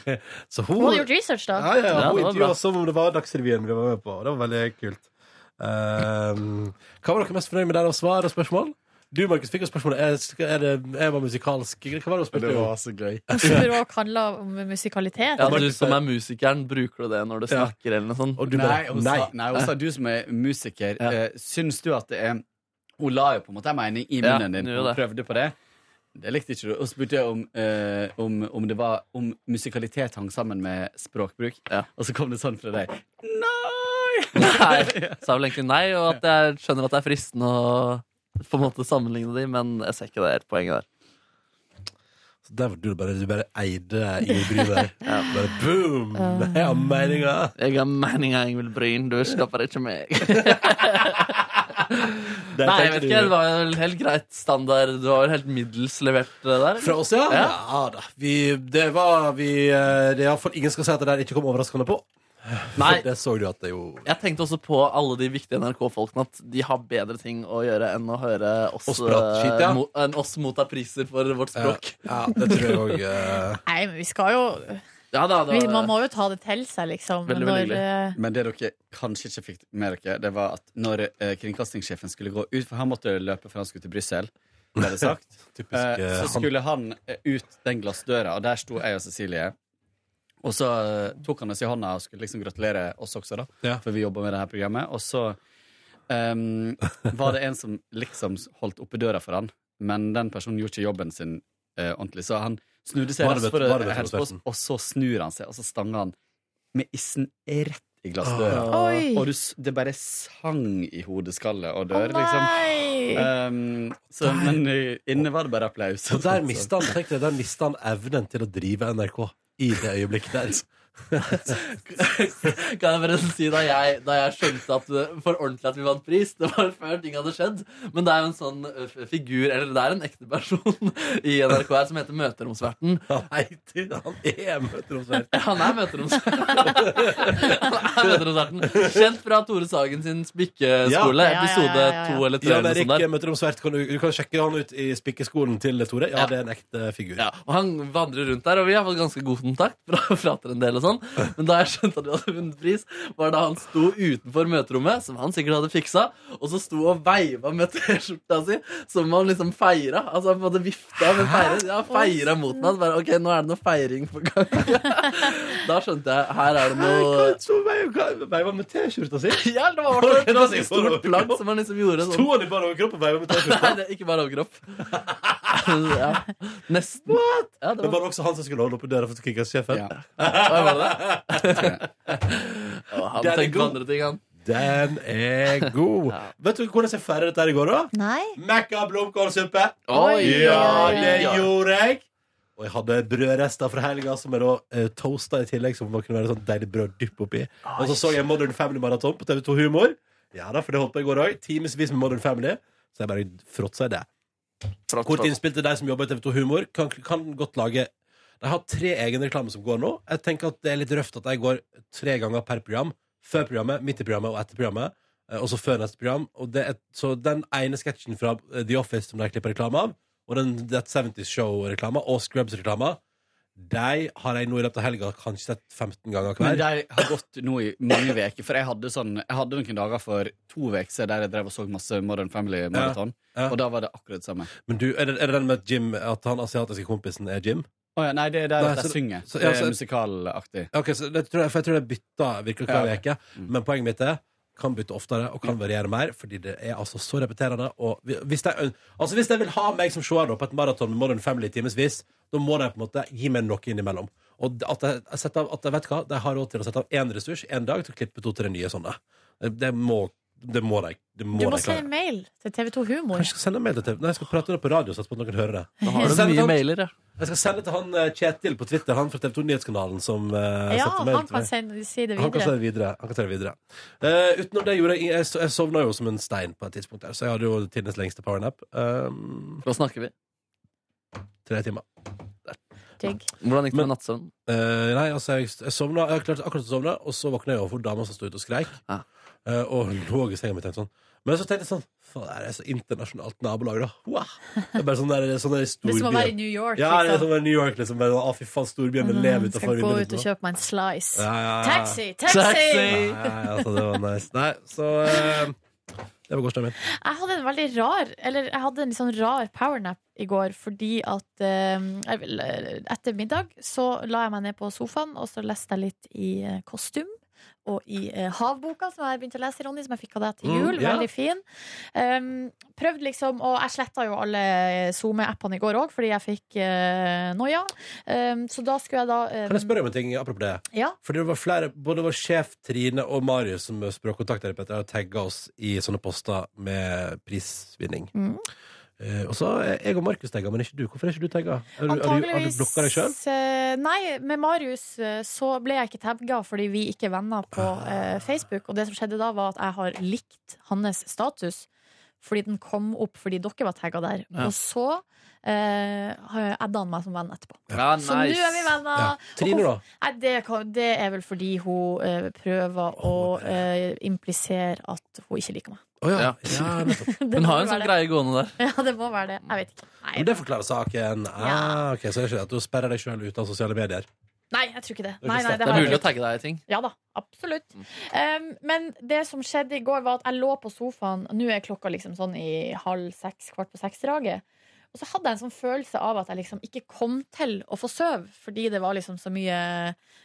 S2: Så hun
S3: Du hadde gjort research, da.
S2: Ja, ja,
S4: Ja, det
S2: hun
S4: var
S2: intervjua
S4: bra.
S2: som om det var Dagsrevyen vi var med på. Det var veldig kult. Ehm, hva var dere mest fornøyd med der av svar og spørsmål? Du, Markus, fikk jo spørsmålet er, skal- er det, er man musikalsk. Hva var det hun
S9: Det
S2: spurte?
S9: var altså- så gøy.
S3: Hun spør også handla om musikalitet.
S4: Ja, du som er musikeren, bruker du det når du
S2: Ja.
S4: snakker eller noe sånt?
S2: Og du
S9: nei,
S2: bare
S9: hun
S2: nei.
S9: Sa, nei, hun sa du som er musiker,
S4: Ja.
S9: eh, syns du at det er Hun la jo på en måte en mening i
S4: Ja,
S9: munnen din,
S4: hun
S9: og
S4: gjorde
S9: prøvde på det. Det likte ikke du. Og spurte jeg om, eh, om, om, det var, om musikalitet hang sammen med språkbruk.
S4: Ja.
S9: Og så kom det sånn fra deg.
S4: Nei, sa vel egentlig nei, og at jeg skjønner at det er fristende å på en måte sammenligne de, men jeg ser ikke det helt poenget der.
S2: Så Der var du bare, du bare eide Ingrid Bryn der. Bare boom! Det er meninga!
S4: Jeg har meninga, Ingvild Bryn, du skaper ikke meg.
S2: Der
S4: Nei, jeg
S2: tenkte
S4: vet
S2: du-
S4: ikke, det var jo helt greit standard. Du har jo helt middels levert det der.
S2: Fra oss, ja?
S4: Ja.
S2: Ja da. Vi, det var vi eh, Det er iallfall ingen skal si at det der ikke kom overraskende på.
S4: Nei,
S2: For det så du at det jo
S4: jeg tenkte også på alle de viktige NRK-folkene, at de har bedre ting å gjøre enn å høre oss,
S2: Oss prate skit, ja.
S4: eh, mo- enn oss motta priser for vårt språk.
S2: Ja, det tror jeg òg. eh.
S3: Nei, men vi skal jo
S4: Ja, da, det
S3: vi,
S4: var-
S3: Man må jo ta det til seg, liksom.
S4: Veldig, veldig
S3: eh,
S9: Men det dere kanskje ikke fikk med dere, det var at når eh, kringkastingssjefen skulle gå ut For han måtte jo løpe, for han skulle til Brussel. ble det sagt.
S2: Typisk
S9: Eh,
S2: eh,
S9: Så skulle han eh, ut den glassdøra, og der sto jeg og Cecilie. Og så eh, tok han oss i hånda og skulle liksom gratulere oss også, da.
S2: Ja.
S9: For vi jobber med det her programmet. Og så ehm, var det en som liksom holdt oppe døra for han, men den personen gjorde ikke jobben sin eh, ordentlig. Så han snudde seg
S2: Var det
S9: rett
S2: vet-
S9: for
S2: var det
S9: å
S2: vet-
S9: hilse på oss,
S2: Thorsten?
S9: og så snur han seg, og så stanger han med issen rett i glassdøra.
S3: Oi!
S9: Og du, s- det bare sang i hodeskallet
S3: Å
S9: og dør, liksom.
S4: Eh,
S3: nei!
S9: Ehm, så,
S2: Der.
S9: men eh, inne var det bare applaus.
S2: Og der mista han, tenk deg, der mistet han evnen til å drive NRK i det øyeblikket der.
S4: Kan jeg bare si da jeg, da jeg skjønte at det- for ordentlig at vi vant pris Det var før ting hadde skjedd Men det er jo en sånn eh, f- figur Eller det er en ekte person i NRK her Som heter møteromsverten
S2: Nei, til han er møteromsvert.
S4: Han er møteromsverten Han er møteromsverten Kjent fra Tore Sagen sin spikkeskole
S3: Ja. Ja, ja, ja,
S4: Episode
S3: ja, ja.
S4: 2 eller 3
S2: Jan
S4: eller noe
S2: Erik
S4: sånt der.
S2: møteromsvert, kan du, du kan sjekke han ut i spikkeskolen til Tore. Ja,
S4: Ja.
S2: det er en ekte figur.
S4: Ja, og Han vandrer rundt der, og vi har fått ganske god kontakt. Pra- prater en del og sånn Men da jeg skjønte at vi hadde vunnet pris, var da han sto utenfor møterommet, som han sikkert hadde fiksa, og så sto og veiva med T-skjorta si, som han liksom feira. Altså han hadde vifta med feire, ja, feira mot meg. Så bare, ok, nå er det noe feiring på gang. da skjønte jeg her er det noe
S2: Så veiva med T-skjorta si.
S4: Ja, det var i hvert fall et ganske stort plagg som han liksom gjorde.
S2: To
S4: Sånn.
S2: han i bare overkropp og veiva med T-skjorta.
S4: Nei, det, ikke bare overkropp. ja. Nesten. Ja, det
S2: Men
S4: var,
S2: var det også han som skulle holde oppe døra for å kicke sjefen?
S9: Ja.
S4: var det det? Å, han
S2: Den er
S4: tenkte på
S2: god.
S4: andre ting, han.
S2: Den er god. Vet du hvordan jeg feiret dette her i går, da?
S3: Nei.
S2: Mekka blomkålsuppe.
S4: Oi,
S2: Ja,
S3: oi, oi.
S2: det gjorde jeg. Og jeg hadde brødrester fra helga som jeg da eh, toasta i tillegg. Som man kunne være sånn deilig brøddypp oppi Og så så jeg Modern Family Marathon på TV2 Humor. Ja da, for det holdt på i går òg. Timevis med Modern Family. Så jeg bare fråtsa i det. Kort innspill til deg som jobber i TV2 Humor. Kan, kan godt lage De har tre egne reklamer som går nå. Jeg tenker at Det er litt røft at de går tre ganger per program. Før programmet, midt i programmet og etter programmet. eh, Og så før neste program. Og det er, så den ene sketsjen fra eh, The Office som de klipper reklame av, og den That 70's Show-reklama og Scrubs-reklama, de har jeg nå i løpet av helga kanskje sett 15 ganger
S9: Men
S2: hver.
S9: de har gått nå i mange uker. For jeg hadde, sånn, jeg hadde noen dager for to uker siden der jeg drev og så masse Modern Family Marathon.
S2: Ja.
S9: Og da var det akkurat det samme.
S2: Men du, er det, er det den med at Jim, at han asiatiske kompisen er Jim?
S9: Å ja, nei, det er der
S2: Nei,
S9: at
S2: så-
S9: jeg synger.
S2: så-
S9: det
S2: ja, så-
S9: er musikalaktig.
S2: Ok, så det tror jeg, for jeg tror det bytter virkelig hver
S9: Ja, ok. Mm.
S2: uke. Men poenget mitt er kan bytte oftere og kan variere mer, fordi det er altså så repeterende. Og vi- hvis de, øn- altså hvis de vil ha meg som seer da på et maraton med Modern Family i timevis, da må de på en måte gi meg noe innimellom. Og at de, setter av, at de, vet du hva, de har råd til å sette av én ressurs én dag til å klippe to-tre nye sånne. Det må, det må de det må
S3: Du må
S2: de
S3: sende
S2: klare.
S3: en mail til TV2 Humor.
S2: Kanskje jeg skal sende en mail til TV? Nei, jeg skal prate det på radio, så at noen hører det.
S4: Da har du
S2: Send
S4: mye
S2: den.
S4: mailer, ja.
S2: Jeg skal sende til han eh, Kjetil på Twitter, han fra TV2 Nyhetskanalen, som eh,
S3: Ja,
S2: sendte mail
S3: han
S2: til meg.
S3: kan sende, si det
S2: Han kan ta
S3: videre.
S2: det videre. Han kan ta det videre. Eh, utenom det gjorde jeg Jeg, so- jeg sovna jo som en stein på et tidspunkt der, så jeg hadde jo tidenes lengste powernap. Um,
S4: Hva snakker vi?
S2: tre timer.
S3: Digg.
S4: Hvordan gikk det
S2: Men-
S4: med nattsøvn?
S2: Eh, nei, altså, jeg, jeg sovna Jeg klarte akkurat å sovne, og så våkna jeg overfor dama som sto ute og skreik.
S4: Ja.
S2: Eh, og lå i senga mi og tenkte sånn. Men så tenkte jeg sånn Faen, det er så internasjonalt nabolag, da. Wow. Det er bare sånn der, sånn der i
S3: Det er som å være i
S2: storbyen.
S3: New York.
S2: Ja, det er
S3: liksom.
S2: som å være i New York, liksom. Bare, sånn, ah, fy faen, storbyen vil leve
S3: Mm. Skal
S2: utenfor.
S3: gå
S2: vinduet
S3: ut og
S2: nå.
S3: kjøpe meg en slice.
S2: Ja, ja, ja.
S3: Taxi!
S4: Taxi!
S3: Taxi!
S2: Ja, ja, ja, så det var nice. Nei, så eh, Det var gårsdagen min.
S3: Jeg hadde en veldig rar Eller jeg hadde en litt sånn rar powernap i går Fordi at eh, jeg, vil- Etter middag så la jeg meg ned på sofaen Og så leste jeg litt i eh, kostym og i eh, havboka som jeg begynte å lese, Ronny, som jeg fikk av deg til
S2: Mm,
S3: jul.
S2: ja.
S3: Veldig fin. Um, prøvd liksom, og jeg sletta jo alle SoMe-appene i går òg, fordi jeg fikk eh, noia. Um, så da skulle jeg da eh,
S2: Kan jeg spørre om en ting apropos det?
S3: Ja.
S2: Fordi det var flere, både vår sjef Trine og Marius som er språkkontakterapeuter har tagga oss i sånne poster med prisvinning.
S3: Mm.
S2: Eh, og så er jeg og Markus tagga, men ikke du. Hvorfor er ikke du tagga? Har, du- har, du- har du
S3: Antageligvis
S2: blokka deg sjøl?
S3: eh, Nei, med Marius eh, så ble jeg ikke tagga fordi vi ikke er venner på
S2: Ah.
S3: eh, Facebook. Og det som skjedde da, var at jeg har likt hans status. Fordi den kom opp fordi dere var tagga der. Og så eh, har jeg adda han meg som venn etterpå.
S4: Ja,
S3: Så nå er vi venner.
S2: Ja. Trine, da?
S3: Nei, det, kan, det er vel fordi hun eh, prøver å eh, implisere at hun ikke liker meg.
S2: Å ja.
S4: Ja.
S2: ja. nettopp.
S3: Det
S4: Hun
S3: må
S4: har jo
S3: vel
S4: en sånn
S3: være det.
S4: greie gående der.
S3: Ja, det må være det. Jeg vet ikke. Nei,
S2: Men det forklarer saken. Ah, ok, så er det ikke det at du sperrer deg sjøl ut av sosiale medier.
S3: nei jeg tror ikke det.
S2: er
S3: Nei,
S2: ikke
S3: nei,
S2: sterkt.
S4: Det
S3: har
S4: er
S3: jeg
S4: mulig å tagge deg i ting.
S3: Ja da, absolutt.
S2: Mm.
S3: Um, men det som skjedde i går, var at jeg lå på sofaen. Nå er klokka liksom sånn i halv seks, kvart på seks-draget. Og så hadde jeg en sånn følelse av at jeg liksom ikke kom til å få sove, fordi det var liksom så mye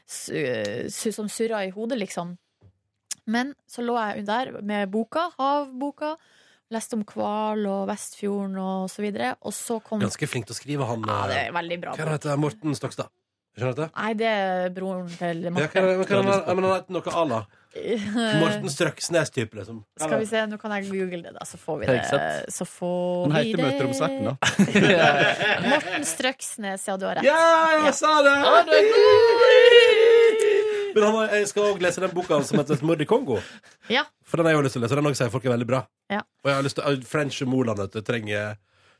S3: su su som surra i hodet, liksom. Men så lå jeg der med boka, havboka, leste om hval og Vestfjorden og så videre, og så kom
S2: Ganske flink til å skrive, han.
S3: Mm. Ja, det
S2: eh,
S3: er veldig bra.
S2: Hva er det heter Morten Stokstad? Skjønner du dette?
S3: Nei, det er broren til
S2: Ja, hva er
S3: Marte.
S2: det- hva er det- ja, men han heter noe à la Morten Strøksnes-type, liksom.
S3: Skal vi se, nå kan jeg google det, da, så får vi det.
S4: Helt sant.
S3: Så får
S9: Han
S3: vi
S9: heter
S3: det.
S9: Møteromsverten, da.
S3: Morten Strøksnes, ja, du har rett.
S2: Ja, jeg
S3: Ja.
S2: sa det! Men han, har- jeg skal også lese den boka som heter 'Mord i Kongo'.
S3: Ja.
S2: For den har jeg også lyst til å lese. Den også sier folk er veldig bra.
S3: Ja.
S2: Og jeg har lyst til øh, French Moland vet du, trenger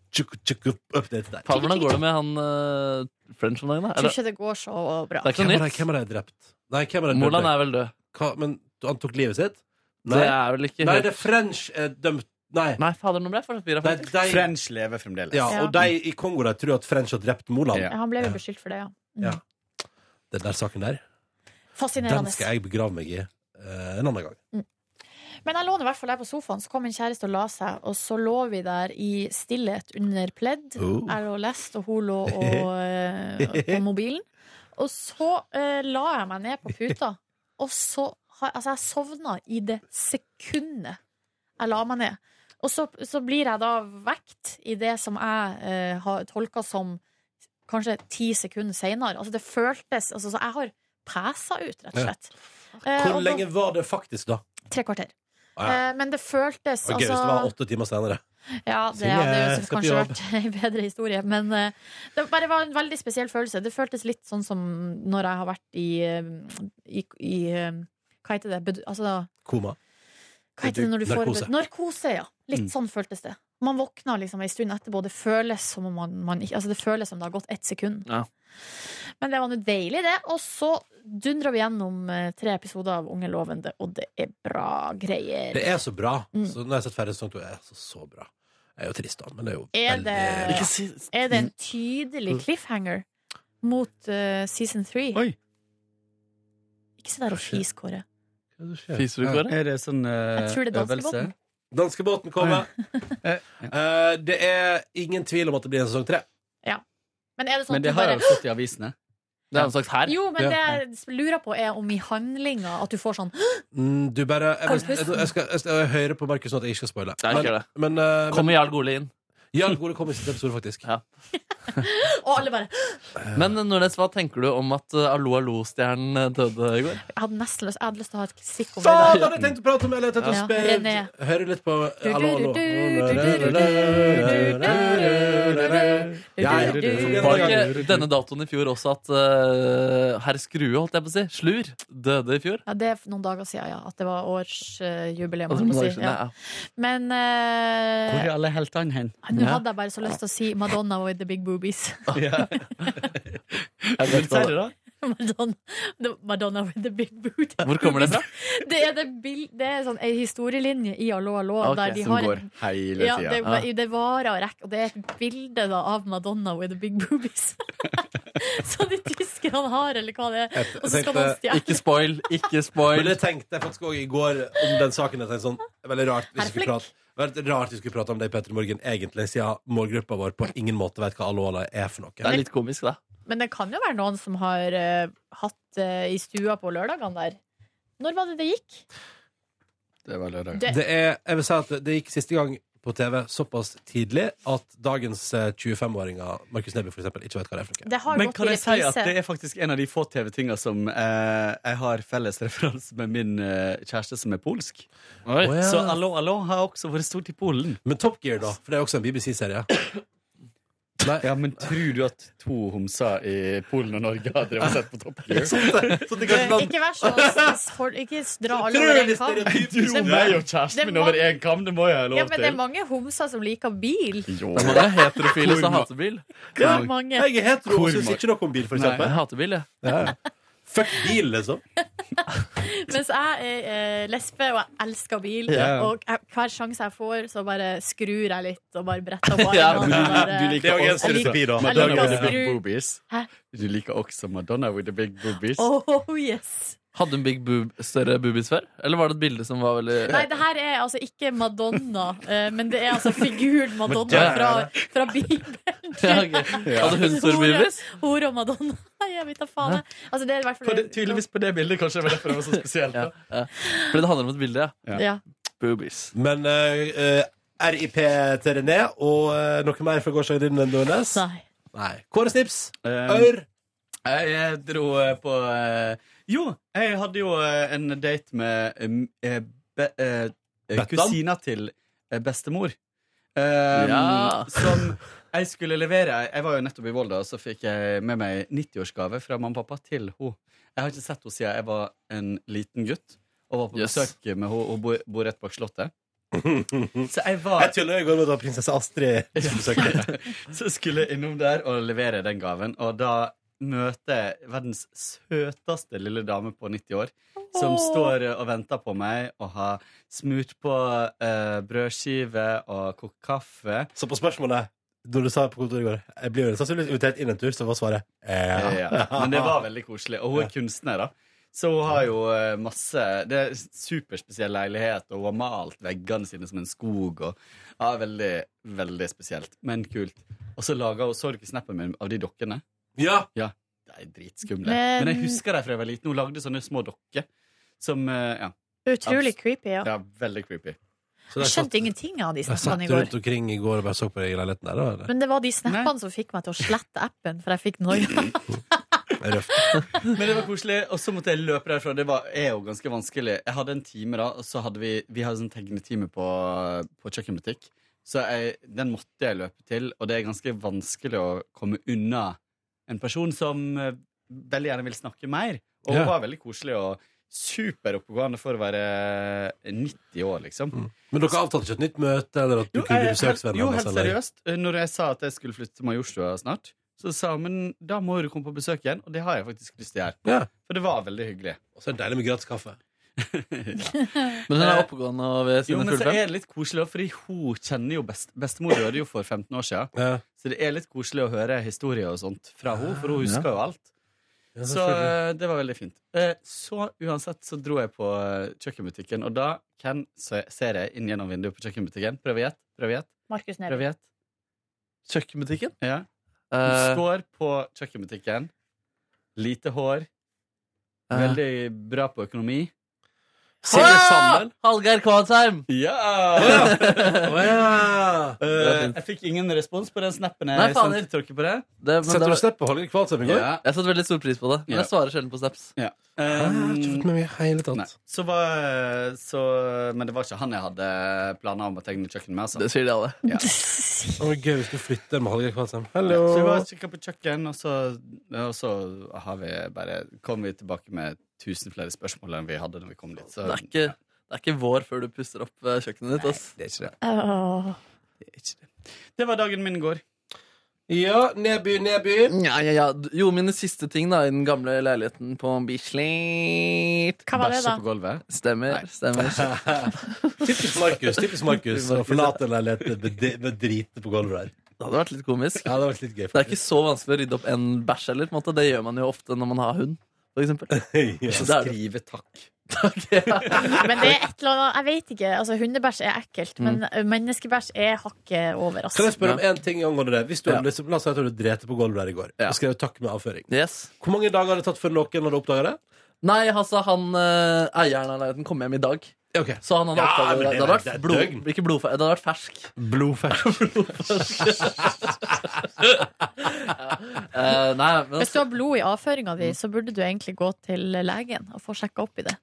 S2: tjukk, tjukk update der.
S4: Faen, Hvordan går det med han eh, French om dagen, da? Er
S3: Tror
S4: det,
S3: ikke det går så bra.
S4: det er ikke
S2: Hvem er
S4: noe
S2: det-
S4: nytt?
S2: Hvem er det drept? Nei, hvem er det
S4: Moland
S2: drept?
S4: er vel død.
S2: Hva, men han tok livet sitt?
S4: Det
S2: Nei,
S4: er vel ikke
S2: Nei det er French er dømt Nei.
S4: Nei, fader, nå ble jeg fortsatt fyra.
S2: Det er de,
S9: French lever fremdeles.
S2: Ja, og de i Kongo de tror at French har drept Moland.
S9: Ja.
S3: Ja, han ble
S2: Ja.
S3: jo beskyldt for det, ja.
S2: Ja. Den der saken der, den
S3: Fascinerende.
S2: skal jeg begrave meg i eh, en annen gang.
S3: Men jeg lå nå i hvert fall der på sofaen, så kom min kjæreste og la seg, og så lå vi der i stillhet under pledd.
S2: Oh.
S3: Jeg lå og leste, og hun lå og, eh, på mobilen. Og så eh, la jeg meg ned på puta, og så har, Altså, jeg sovna i det sekundet jeg la meg ned. Og så, så blir jeg da vekt i det som jeg eh, har tolka som kanskje ti sekunder seinere. Altså, det føltes altså, Så jeg har pæsa ut, rett og
S2: Ja.
S3: slett. Eh,
S2: Hvor
S3: og da-
S2: lenge var det faktisk, da?
S3: Tre kvarter.
S2: Ah, ja.
S3: Eh, Men det føltes altså,
S2: Og gøy hvis det var åtte timer senere.
S3: ja, det
S2: Silje,
S3: hadde jo
S2: skal på
S3: kanskje
S2: jobb.
S3: vært en bedre historie. Men eh, det bare var en veldig spesiell følelse. Det føltes litt sånn som når jeg har vært i, eh, i, i eh, Hva heter det? Bed- Altså, da-
S2: Koma.
S3: hva heter det når du får
S2: Narkose.
S3: Narkose, ja. Litt
S9: Mm.
S3: sånn føltes det. Man våkna liksom en stund etterpå, og det føles som om man, man ikke Altså, det føles som det har gått ett sekund.
S4: Ja.
S3: Men det var nå deilig, det. Og så dundra vi gjennom eh, tre episoder av Unge lovende, og det er bra greier.
S2: Det er så bra.
S3: Mm.
S2: Så når jeg har sett ferdig sesong to, er det så, så bra. Jeg er jo trist, da, men det er jo
S3: Er det-
S2: veldig
S4: Ikke si
S3: Er det en
S9: Mm.
S3: tydelig cliffhanger mot eh, season 3?
S9: Oi.
S3: Ikke se der og fis, Kåre.
S2: Hva er det som skjer?
S4: Fiser du, Kåre?
S9: Er det sånn eh,
S3: Jeg tror det er
S9: øvelse?
S3: danskebåten. Sånn
S2: Danskebåten kommer.
S9: Ja.
S2: Eh, det er ingen tvil om at det blir en sesong tre.
S3: Men er det sånn
S9: Men det
S3: at du
S9: har
S3: bare
S9: jeg jo stått i avisene.
S4: Det er en slags her.
S3: Jo, men
S2: Ja.
S3: det jeg lurer på, er om i handlinga at du får sånn
S2: Mm, du bare Jeg,
S3: Korpus.
S2: jeg, jeg, skal, jeg, skal, jeg hører på Markus nå at jeg ikke skal spoile.
S4: Nei, ikke gjør det.
S2: men, eh, men
S4: Kommer Jarl Goli inn?
S2: Jarl Gole kom i siste episode, faktisk.
S4: Ja.
S3: Og alle bare Jeg
S4: Men eh, Nordnes, hva tenker du om at eh, Allo Allo-stjernen eh, døde i går?
S3: hadde nesten lyst, jeg hadde lyst til å ha et stikkord.
S2: Faen,
S3: der.
S2: hadde jeg tenkt å prate om eller tenkt å
S3: Ja.
S2: spille-
S3: René.
S2: Hører litt på
S3: Du,
S2: Hallo, hallo.
S3: du, du, du, du, du, du,
S2: Ja, ja.
S3: du,
S2: Ja,
S3: du, du, du.
S4: Var det ikke denne datoen i fjor også at eh, herr Skrue, holdt jeg på å si, Slur, døde i fjor?
S3: Ja, det er noen dager siden, ja. At det var årsjubileum.
S4: Altså,
S3: holdt jeg på å
S4: nei,
S3: si.
S4: ja.
S3: Ja. Men eh,
S9: Hvor er alle heltene hen?
S3: nå hadde jeg bare så lyst til å si Madonna og The Big Boobies.
S9: Ja.
S4: Jeg vet hva det-
S3: Madonna, The- Madonna with the big boot.
S4: Hvor kommer det fra?
S3: Det er, det bil, det er sånn ei historielinje i Allo, allo.
S4: Ok,
S3: der de
S9: Som
S3: har
S9: går
S3: et-
S9: hele Ah.
S3: ja,
S9: tida.
S3: det, det varer og rekker, og det er et bilde da, av Madonna with the big boobies. Som de tyskerne har, eller hva det er. Og så skal man
S2: tenkte-
S3: stjele
S4: Ikke spoil, ikke
S2: Men
S4: spoil.
S2: det tenkte jeg faktisk også i går om den saken. Jeg tenkte sånn, det er veldig rart hvis vi skulle prate Veldig rart vi skulle prate om det i Petter Morgen, egentlig, siden målgruppa vår på ingen måte vet hva Aloala er for noe.
S4: Det er litt komisk, da.
S3: Men det kan jo være noen som har eh, hatt eh, i stua på lørdagene der. Når var det det gikk?
S9: Det var lørdag.
S3: Det,
S2: Det er, jeg vil si at det gikk siste gang på TV såpass tidlig at dagens eh, 25-åringer, Markus Neby for eksempel, ikke vet hva det er for noe.
S3: det har
S9: Men
S3: gått i
S9: kan jeg si at
S3: reprise.
S9: det er faktisk en av de få TV-tinga som eh, jeg har felles referanse med min eh, kjæreste som er polsk.
S4: Oi.
S2: Å, ja.
S9: Så Allo, allo har også vært stort i Polen.
S2: Men Top Gear, da? For det er også en BBC-serie.
S9: Ja, men tror du at to homser i Polen og Norge har drevet og sett på Top Gear?
S3: Eh, Ikke vær så for, Ikke dra alle over en
S2: Utrolig
S3: kam.
S2: stereotyp!
S9: Du
S3: Det-
S9: meg og
S3: det
S9: kjæresten min
S3: må-
S9: over én kam, det må jeg ha
S3: Ja,
S9: lov
S3: men det er
S9: til.
S3: mange homser som liker bil.
S9: Jo.
S4: Det er mange heterofile som hater bil.
S3: Det
S9: Ja.
S3: er mange.
S2: Jeg er hetero og
S9: Hvor
S2: syns
S9: ma-
S2: ikke noe om bil, for
S9: Nei.
S2: eksempel.
S4: Jeg hater bil, jeg.
S2: Ja. Fuck bil, liksom.
S3: Mens jeg er eh, lesbe, og jeg elsker bil,
S9: Ja.
S3: og jeg, hver sjanse jeg får, så bare skrur jeg litt og bare bretter opp
S4: Ja,
S9: Men
S3: armene. og
S9: du, du
S3: bare-
S9: liker
S2: jo en
S9: også
S2: stereotypi, da.
S9: Madonna
S3: Jeg liker
S9: with the big
S3: skru.
S9: boobies.
S3: Hæ?
S9: Du liker også Madonna with the big boobies.
S3: Oh yes!
S4: Hadde hun big boob, større boobies før? Eller var det et bilde som var veldig
S3: Nei, det her er altså ikke Madonna, eh, men det er altså figuren Madonna
S4: Madonna.
S3: fra, fra Bibelen.
S4: ja, ok. Hadde hun store boobies?
S3: Hore og Madonna. Nei, jeg vet da faen. jeg. Altså, det er i hvert
S9: På
S3: fall
S9: det, tydeligvis på det bildet, kanskje. Det var derfor det var så spesielt.
S4: Ja, ja. Fordi det handler om et bilde, ja.
S3: Ja.
S4: Boobies.
S2: Men eh, eh, RIP til René, og eh, noe mer fra gårsdagen din enn Nordnes?
S3: Nei.
S2: Nei. Kåre Snips,
S4: Ehm, Mm.
S9: Um,
S2: Ør,
S9: Jeg, jeg dro eh, på eh, Jo, jeg hadde jo eh, en date med em, eh, be, eh, eh,
S2: Bettan?
S9: kusina til eh, bestemor. Um,
S4: Ja.
S9: Som
S8: Ehm, Jeg skulle levere Jeg var jo nettopp i Volda, og så fikk jeg med meg 90-årsgave fra mamma og pappa til henne. Jeg har ikke sett henne siden jeg var en liten gutt og var på
S4: Yes.
S8: besøk med henne. Hun bor, bor rett bak Slottet. Så jeg var
S2: Jeg tuller i går med at det var prinsesse Astrid som besøkte.
S8: Så skulle jeg innom der og levere den gaven, og da møter jeg verdens søteste lille dame på 90 år, som står og venter på meg og har smurt på eh, brødskive og kokt kaffe.
S2: Så på spørsmålet da du sa på kontoret i går Jeg blir jo sannsynligvis invitert inn en tur, så var svaret ja.
S8: Ja. Men det var veldig koselig. Og hun er kunstner, da. Så hun har jo eh, masse Det er superspesiell leilighet, og hun har malt veggene sine som en skog. Og, ja, veldig, veldig spesielt, men kult. Og så laga hun Så dere snappen min av de dokkene?
S2: ja.
S8: De er dritskumle.
S3: Men-
S8: Men, jeg husker dem fra jeg var liten. Hun lagde sånne små dokker. Som eh, ja,
S3: Utrolig
S8: Abs-
S3: creepy, ja.
S8: ja, veldig creepy.
S2: Så der
S3: Jeg
S2: satt,
S3: skjønte ingenting av de
S2: der satt
S3: snappene i
S2: du rundt
S3: går.
S2: omkring i går og bare så på deg i leiligheten der, da? eller?
S3: Men det var de snappene som fikk meg til å slette appen, for jeg fikk noia.
S2: Det er røft.
S8: Men det var koselig, og så måtte jeg løpe derfra. Det var, er jo ganske vanskelig. Jeg hadde en time, da, og så hadde vi Vi hadde sånn tegnetime på, på kjøkkenbutikk. Så jeg, den måtte jeg løpe til, og det er ganske vanskelig å komme unna en person som eh, veldig gjerne vil snakke mer. Og hun
S2: Ja.
S8: var veldig koselig og superoppegående for å være 90 år, liksom.
S2: Men dere avtalte ikke et nytt møte, eller at du kunne bli
S8: jeg-
S2: besøksvenn?
S8: jo,
S2: hennes,
S8: helt
S2: eller?
S8: seriøst. eh, Når jeg sa at jeg skulle flytte til Majorstua snart, så sa hun men da må du komme på besøk igjen. Og det har jeg faktisk lyst til å gjøre.
S2: Ja.
S8: For det var veldig hyggelig.
S2: Og så er det deilig med gratis kaffe.
S4: Men hun er oppegående og ved
S8: Eh, Jo,
S4: sine
S8: men så
S4: fulle fem.
S8: er det litt koselig, også, fordi hun kjenner jo best, Bestemor døde jo for 15 år siden.
S2: Ja.
S8: Så det er litt koselig å høre historier og sånt fra henne, for hun husker jo alt.
S2: Ja,
S8: Så eh, det var veldig fint. Eh, Så uansett så dro jeg på eh, kjøkkenbutikken, og da Ken, så ser jeg inn gjennom vinduet på kjøkkenbutikken. Prøv igjen, prøv igjen,
S3: Markus Neby.
S8: prøv igjen.
S4: Kjøkkenbutikken?
S8: Ja. Hun
S4: Eh,
S8: står på kjøkkenbutikken. Lite hår.
S4: eh,
S8: Veldig bra på økonomi.
S4: Silje Sandel? Hallgeir Kvadsheim!
S8: Ja!
S2: Å, ja.
S8: Eh, jeg fikk ingen respons på den snappen
S4: Nei,
S8: jeg
S4: faen,
S8: sendte til dere på det.
S4: Det, men Altså, det
S2: Setter du
S4: var,
S2: slipp på Holger Kvalsheim i går?
S8: Ja.
S4: jeg setter veldig stor pris på det, men
S8: Ja.
S4: jeg svarer sjelden på snaps.
S2: Jeg har ikke fått
S8: Um,
S2: med meg i hele
S8: nei.
S2: tatt.
S8: Så var, så, men det var ikke han jeg hadde planer om å tegne kjøkken med. Altså.
S4: Det sier de alle.
S2: Det var gøy hvis du flytter med Holger Kvalsheim.
S8: Ja,
S2: Hallo!
S8: Så vi var og kikket på kjøkken, og så, og så har vi bare, kom vi tilbake med tusen flere spørsmål enn vi hadde når vi kom dit. Så,
S4: Det er ikke, det er ikke vår før du puster opp eh, kjøkkenet ditt. Ass.
S8: det, er ikke det.
S3: Åh.
S8: det er ikke det. Det var dagen min i går.
S2: Ja, Neby, Neby.
S4: Ja, ja, ja. Jo, mine siste ting da i den gamle leiligheten på Bislett.
S3: Hva var det,
S8: Bæsje
S3: da?
S8: på gulvet.
S4: Stemmer. stemmer
S2: Typisk Markus. Typisk Markus å forlate en leilighet med de- med drite på gulvet der.
S4: Det hadde vært litt komisk.
S2: Ja, det var litt gøy.
S4: Det er ikke så vanskelig å rydde opp en bæsj heller. på en måte. Det gjør man jo ofte når man har hund. For eksempel.
S2: ikke
S4: Så det er det.
S8: Skrive takk.
S3: Men det er et eller annet Jeg vet ikke. Altså, hundebæsj er ekkelt, men
S4: Mm.
S3: menneskebæsj er hakket over,
S2: Kan jeg
S3: altså.
S2: spørre om en ting angående det? Hvis du
S4: Ja.
S2: hadde, lyst- la oss si at du hadde drept på gulvet der i går
S4: Ja.
S2: og skrevet takk med avføring.
S4: Yes.
S2: Hvor mange dager har det tatt før noen hadde oppdaga det?
S4: Nei, altså, han eh, eieren av leiligheten kom hjem i dag.
S2: Okay.
S4: Så han hadde
S2: Ja,
S4: oppdaget
S2: men
S4: det.
S2: det
S4: Det hadde
S2: var-
S4: vært,
S2: det er
S4: blod,
S2: døgn.
S4: ikke blodfersk, det hadde vært fersk.
S2: Blodfersk.
S4: Eh, nei, men
S3: Hvis du har blod i avføringa di, så burde du egentlig gå til legen og få sjekka opp i det.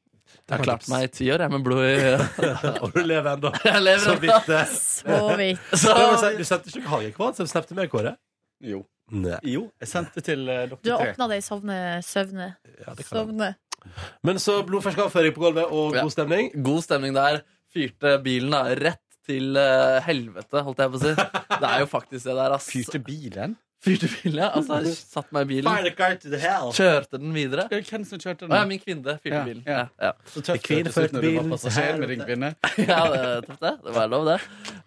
S4: jeg har klart meg i ti år, jeg, med blod i
S2: og du lever ennå.
S4: Jeg lever
S2: Så vidt det.
S3: Så vidt.
S4: Så,
S2: Det vil si, Du sendte ikke Hagekvad, så du snapte med Kåre?
S8: Jo.
S2: Nei.
S8: jo, jeg sendte til eh,
S3: Du
S8: dere
S3: har
S8: tre.
S3: åpna deg i sovne, søvne.
S2: Ja, det kan jeg.
S3: Sovne.
S2: Men så blodfersk avføring på gulvet og
S4: Ja.
S2: god stemning.
S4: god stemning der. Fyrte bilen da, rett til eh, helvete, holdt jeg på å si. Det er jo faktisk det der, ass.
S8: Fyrte bilen?
S4: Fyrte bilen, ja. Altså, jeg satt meg i bilen,
S2: the car to the hell.
S4: kjørte den videre.
S8: Det er Hvem som kjørte den?
S4: Å ja, min kvinne fyrte
S8: Ja,
S4: bilen. Ja,
S8: ja.
S4: ja.
S8: Så tøft
S2: Kvinne
S8: det hørtes ut
S2: førte
S8: når du var
S2: bilen.
S8: passasjer med din kvinne.
S4: ja det, er tøft det. det var lov, det.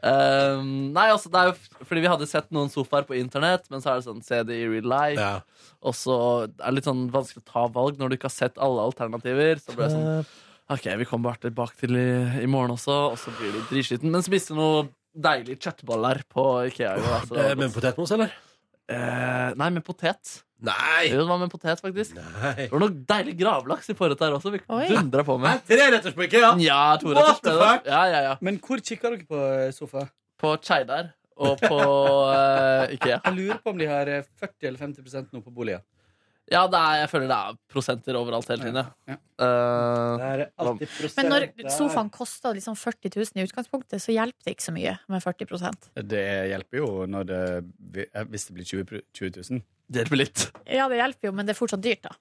S4: Ehm, nei, altså, det er jo f- fordi vi hadde sett noen sofaer på internett, men så er det sånn se det i real life.
S2: Ja.
S4: Og så er det litt sånn vanskelig å ta valg når du ikke har sett alle alternativer. Så ble jeg sånn Ok, vi kommer bare tilbake til i, i morgen også, og så blir du dritsliten. Men spiste noen deilige kjøttboller på Ikea. Jo, altså,
S2: Eh, Med potetmos, eller?
S4: Eh, nei, med potet.
S2: Nei!
S4: Jo, det var med potet, faktisk.
S2: Nei.
S4: Det var noe deilig gravlaks i forrett der også. Vi
S3: Oi.
S4: dundra på med.
S2: Tre retters på IKEA!
S4: Ja, to
S2: What
S4: retter.
S2: the
S4: ble det.
S2: fuck?
S4: Ja, ja, ja.
S8: Men hvor kikka dere på eh, sofa?
S4: På Cheidar og på eh, Ikea.
S8: Jeg lurer på om de har eh, 40 eller 50 nå på boliger.
S4: Ja, det er, jeg føler det er prosenter overalt hele tiden. Ja. Eh,
S10: Det er alltid prosent
S3: Men når
S10: der.
S3: sofaen koster liksom 40 000 i utgangspunktet, så hjelper det ikke så mye med 40
S9: Det hjelper jo når det,
S8: eh,
S9: hvis det blir 20, pro- 20 000.
S4: det hjelper litt.
S3: Ja, det hjelper jo, men det er fortsatt dyrt, da.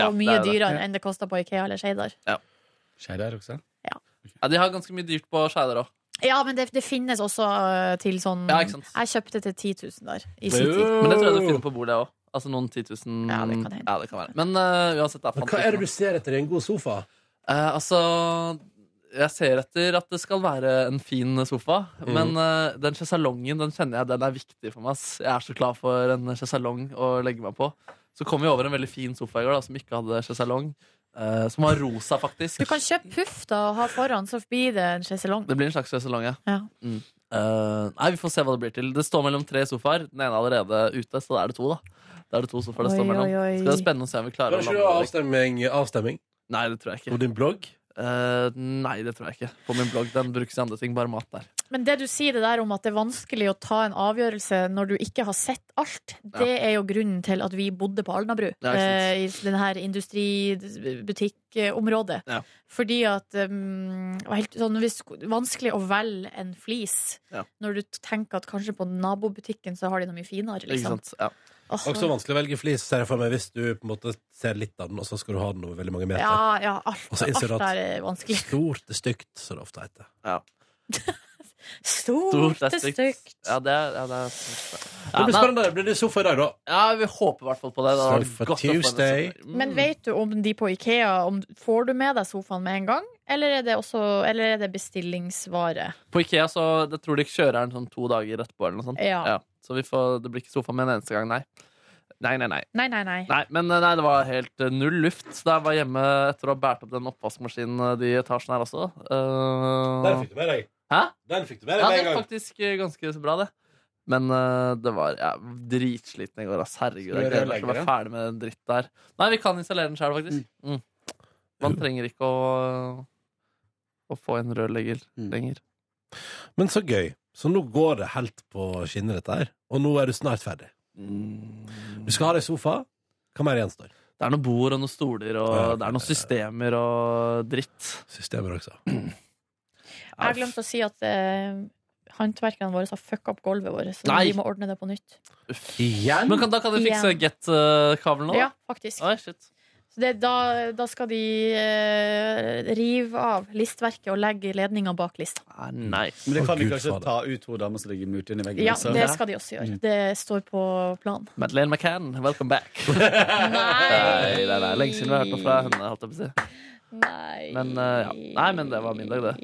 S4: Ja,
S3: og
S4: det
S3: mye
S4: er det.
S3: dyrere enn det kosta på Ikea eller Skeidar.
S9: Skjer det her også?
S4: Ja, de har ganske mye dyrt på Skeidar òg.
S3: Ja, men det, det finnes også øh, til sånn
S4: Ja, ikke sant.
S3: Jeg kjøpte til 10 000 der i sin tid.
S4: Men det tror jeg du
S2: Jo.
S4: finner på bordet òg. Altså noen 10 000
S3: Ja, det kan hende.
S4: Ja, det kan være. Men eh, uansett, det er
S2: Men
S4: fant
S2: hva er det
S4: ikke
S2: du ser etter i en god sofa?
S4: noe. Eh, altså, jeg ser etter at det skal være en fin sofa,
S2: Mm.
S4: men eh, den sjesalongen den kjenner jeg den er viktig for meg. ass. Jeg er så klar for en sjesalong å legge meg på. Så kom vi over en veldig fin sofa i går da, som ikke hadde sjesalong. eh, som var rosa, faktisk.
S3: Du kan kjøpe puff da og ha foran, så blir det en sjeselong.
S4: Det blir en slags sjesalong, ja.
S3: Ja.
S4: Mm. Eh, nei, vi får se hva det blir til. Det står mellom tre sofaer. Den ene er allerede ute, så da er det to, da. Da er det to sofaer det står
S3: Oi,
S4: mellom.
S3: oi, oi.
S4: Så det er spennende å se om vi klarer
S2: Kan
S4: å
S2: ikke du ha
S4: lande det.
S2: avstemming, avstemming
S4: Nei, det tror jeg ikke.
S2: om din blogg?
S4: Eh, nei, det tror jeg ikke. På min blogg. Den brukes i andre ting. Bare mat der.
S3: Men det du sier det der om at det er vanskelig å ta en avgjørelse når du ikke har sett alt, det er jo grunnen til at vi bodde på Alnabru.
S4: Ja, ikke sant.
S3: eh, I denne her industributikkområdet.
S4: Ja.
S3: Fordi at um, det var helt, sånn, hvis, Vanskelig å velge en flis
S4: Ja.
S3: når du tenker at kanskje på nabobutikken så har de noe mye finere.
S4: Ikke
S3: Liksom.
S4: sant? Ja.
S3: Åh,
S2: Også vanskelig å velge flis, ser jeg for meg, hvis du på en måte ser litt av den, og så skal du ha den over veldig mange meter.
S3: ja, ja, alt,
S2: Og så innser du
S3: alt
S2: at-
S3: er eh, vanskelig.
S2: Stort er stygt, som det ofte heter.
S3: Stort
S4: det
S3: og
S4: er stygt.
S3: stygt.
S4: Ja, det er, ja, det er
S2: Det
S4: ja,
S2: blir
S4: nei,
S2: spennende. Det blir ny sofa i dag, da.
S4: ja, vi håper i hvert fall på det. Det hadde vært
S2: Surfer
S4: godt å få en
S2: Tuesday.
S4: surfer. Mm.
S3: Men vet du om de på Ikea om, Får du med deg sofaen med en gang? Eller er det, også, eller er det bestillingsvare?
S4: På Ikea så jeg tror de kjører den sånn to dager etterpå. eller noe sånt
S3: Ja.
S4: Så vi får, det blir ikke sofa med en eneste gang, nei. Nei, nei, nei.
S3: Nei, nei, nei.
S4: nei men eh, nei, det var helt eh, null luft da jeg var hjemme etter å ha båret opp den oppvaskmaskinen eh, de etasjen her også. Eh,
S2: Den fikk du med deg.
S4: Hæ?
S2: Den fikk du med deg
S4: Ja,
S2: med
S4: det
S2: en
S4: er
S2: gang.
S4: faktisk eh, ganske så bra, det. Men eh, det var ja, dritsliten i går. ass. Herregud,
S9: Skal
S4: jeg
S9: vi gjøre
S4: gleder meg til å
S9: rørleggere?
S4: være ferdig med den dritt der. Nei, vi kan installere den sjøl, faktisk. Mm. Man trenger ikke å, å få en rørlegger
S9: Mm.
S4: lenger.
S2: Men så gøy. Så nå går det helt på skinner, dette her. Og nå er du snart ferdig. Du skal ha deg sofa. Hva mer gjenstår?
S4: Det er noen bord og noen stoler og
S2: Ja,
S4: det er noen systemer og dritt.
S2: Systemer også.
S3: Jeg
S4: altså.
S3: har glemt å si at eh, håndverkerne våre har fucka opp gulvet vårt, så
S4: Nei.
S3: vi må ordne det på nytt.
S2: Igjen?
S4: Men kan, da kan de fikse
S3: Igjen.
S4: get-kabelen nå? da?
S3: Ja, faktisk.
S4: Oi, shit.
S3: Så det, da, da skal de eh, rive av listverket og legge ledninga bak lista.
S4: Ah, nice.
S9: Men det
S2: Å,
S9: kan vi
S2: Gud,
S9: kanskje
S2: fader.
S9: ta ut to damer som ligger murt inn i
S4: Mm,
S9: veggen.
S3: Ja,
S9: også.
S3: det skal de også gjøre. Det står på planen.
S4: Madeleine McCann, welcome back. Nei, nei, nei, lenge siden vi har hørt noe fra henne. Holdt jeg på å si.
S3: Nei.
S4: Men, eh, ja. Nei, men det var min dag, det.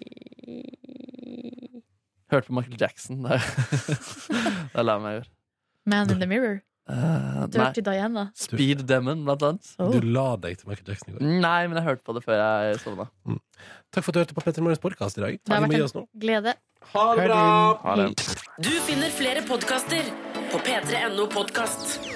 S4: Hørte på Michael Jackson. Det det la jeg meg gjøre.
S3: Man in the Mirror.
S4: Eh, nei.
S3: Dirty Diana.
S4: Speed Demon, blant annet.
S3: Oh.
S2: Du la deg til Michael Jackson i går.
S4: Nei, men jeg hørte på det før jeg sovna.
S2: Takk for at du hørte på Petter Morgens podkast i dag.
S3: Det har
S2: Vi må gi
S3: vært
S2: oss nå.
S3: en glede.
S4: Ha det.
S1: Du finner flere podkaster på p3.no podkast.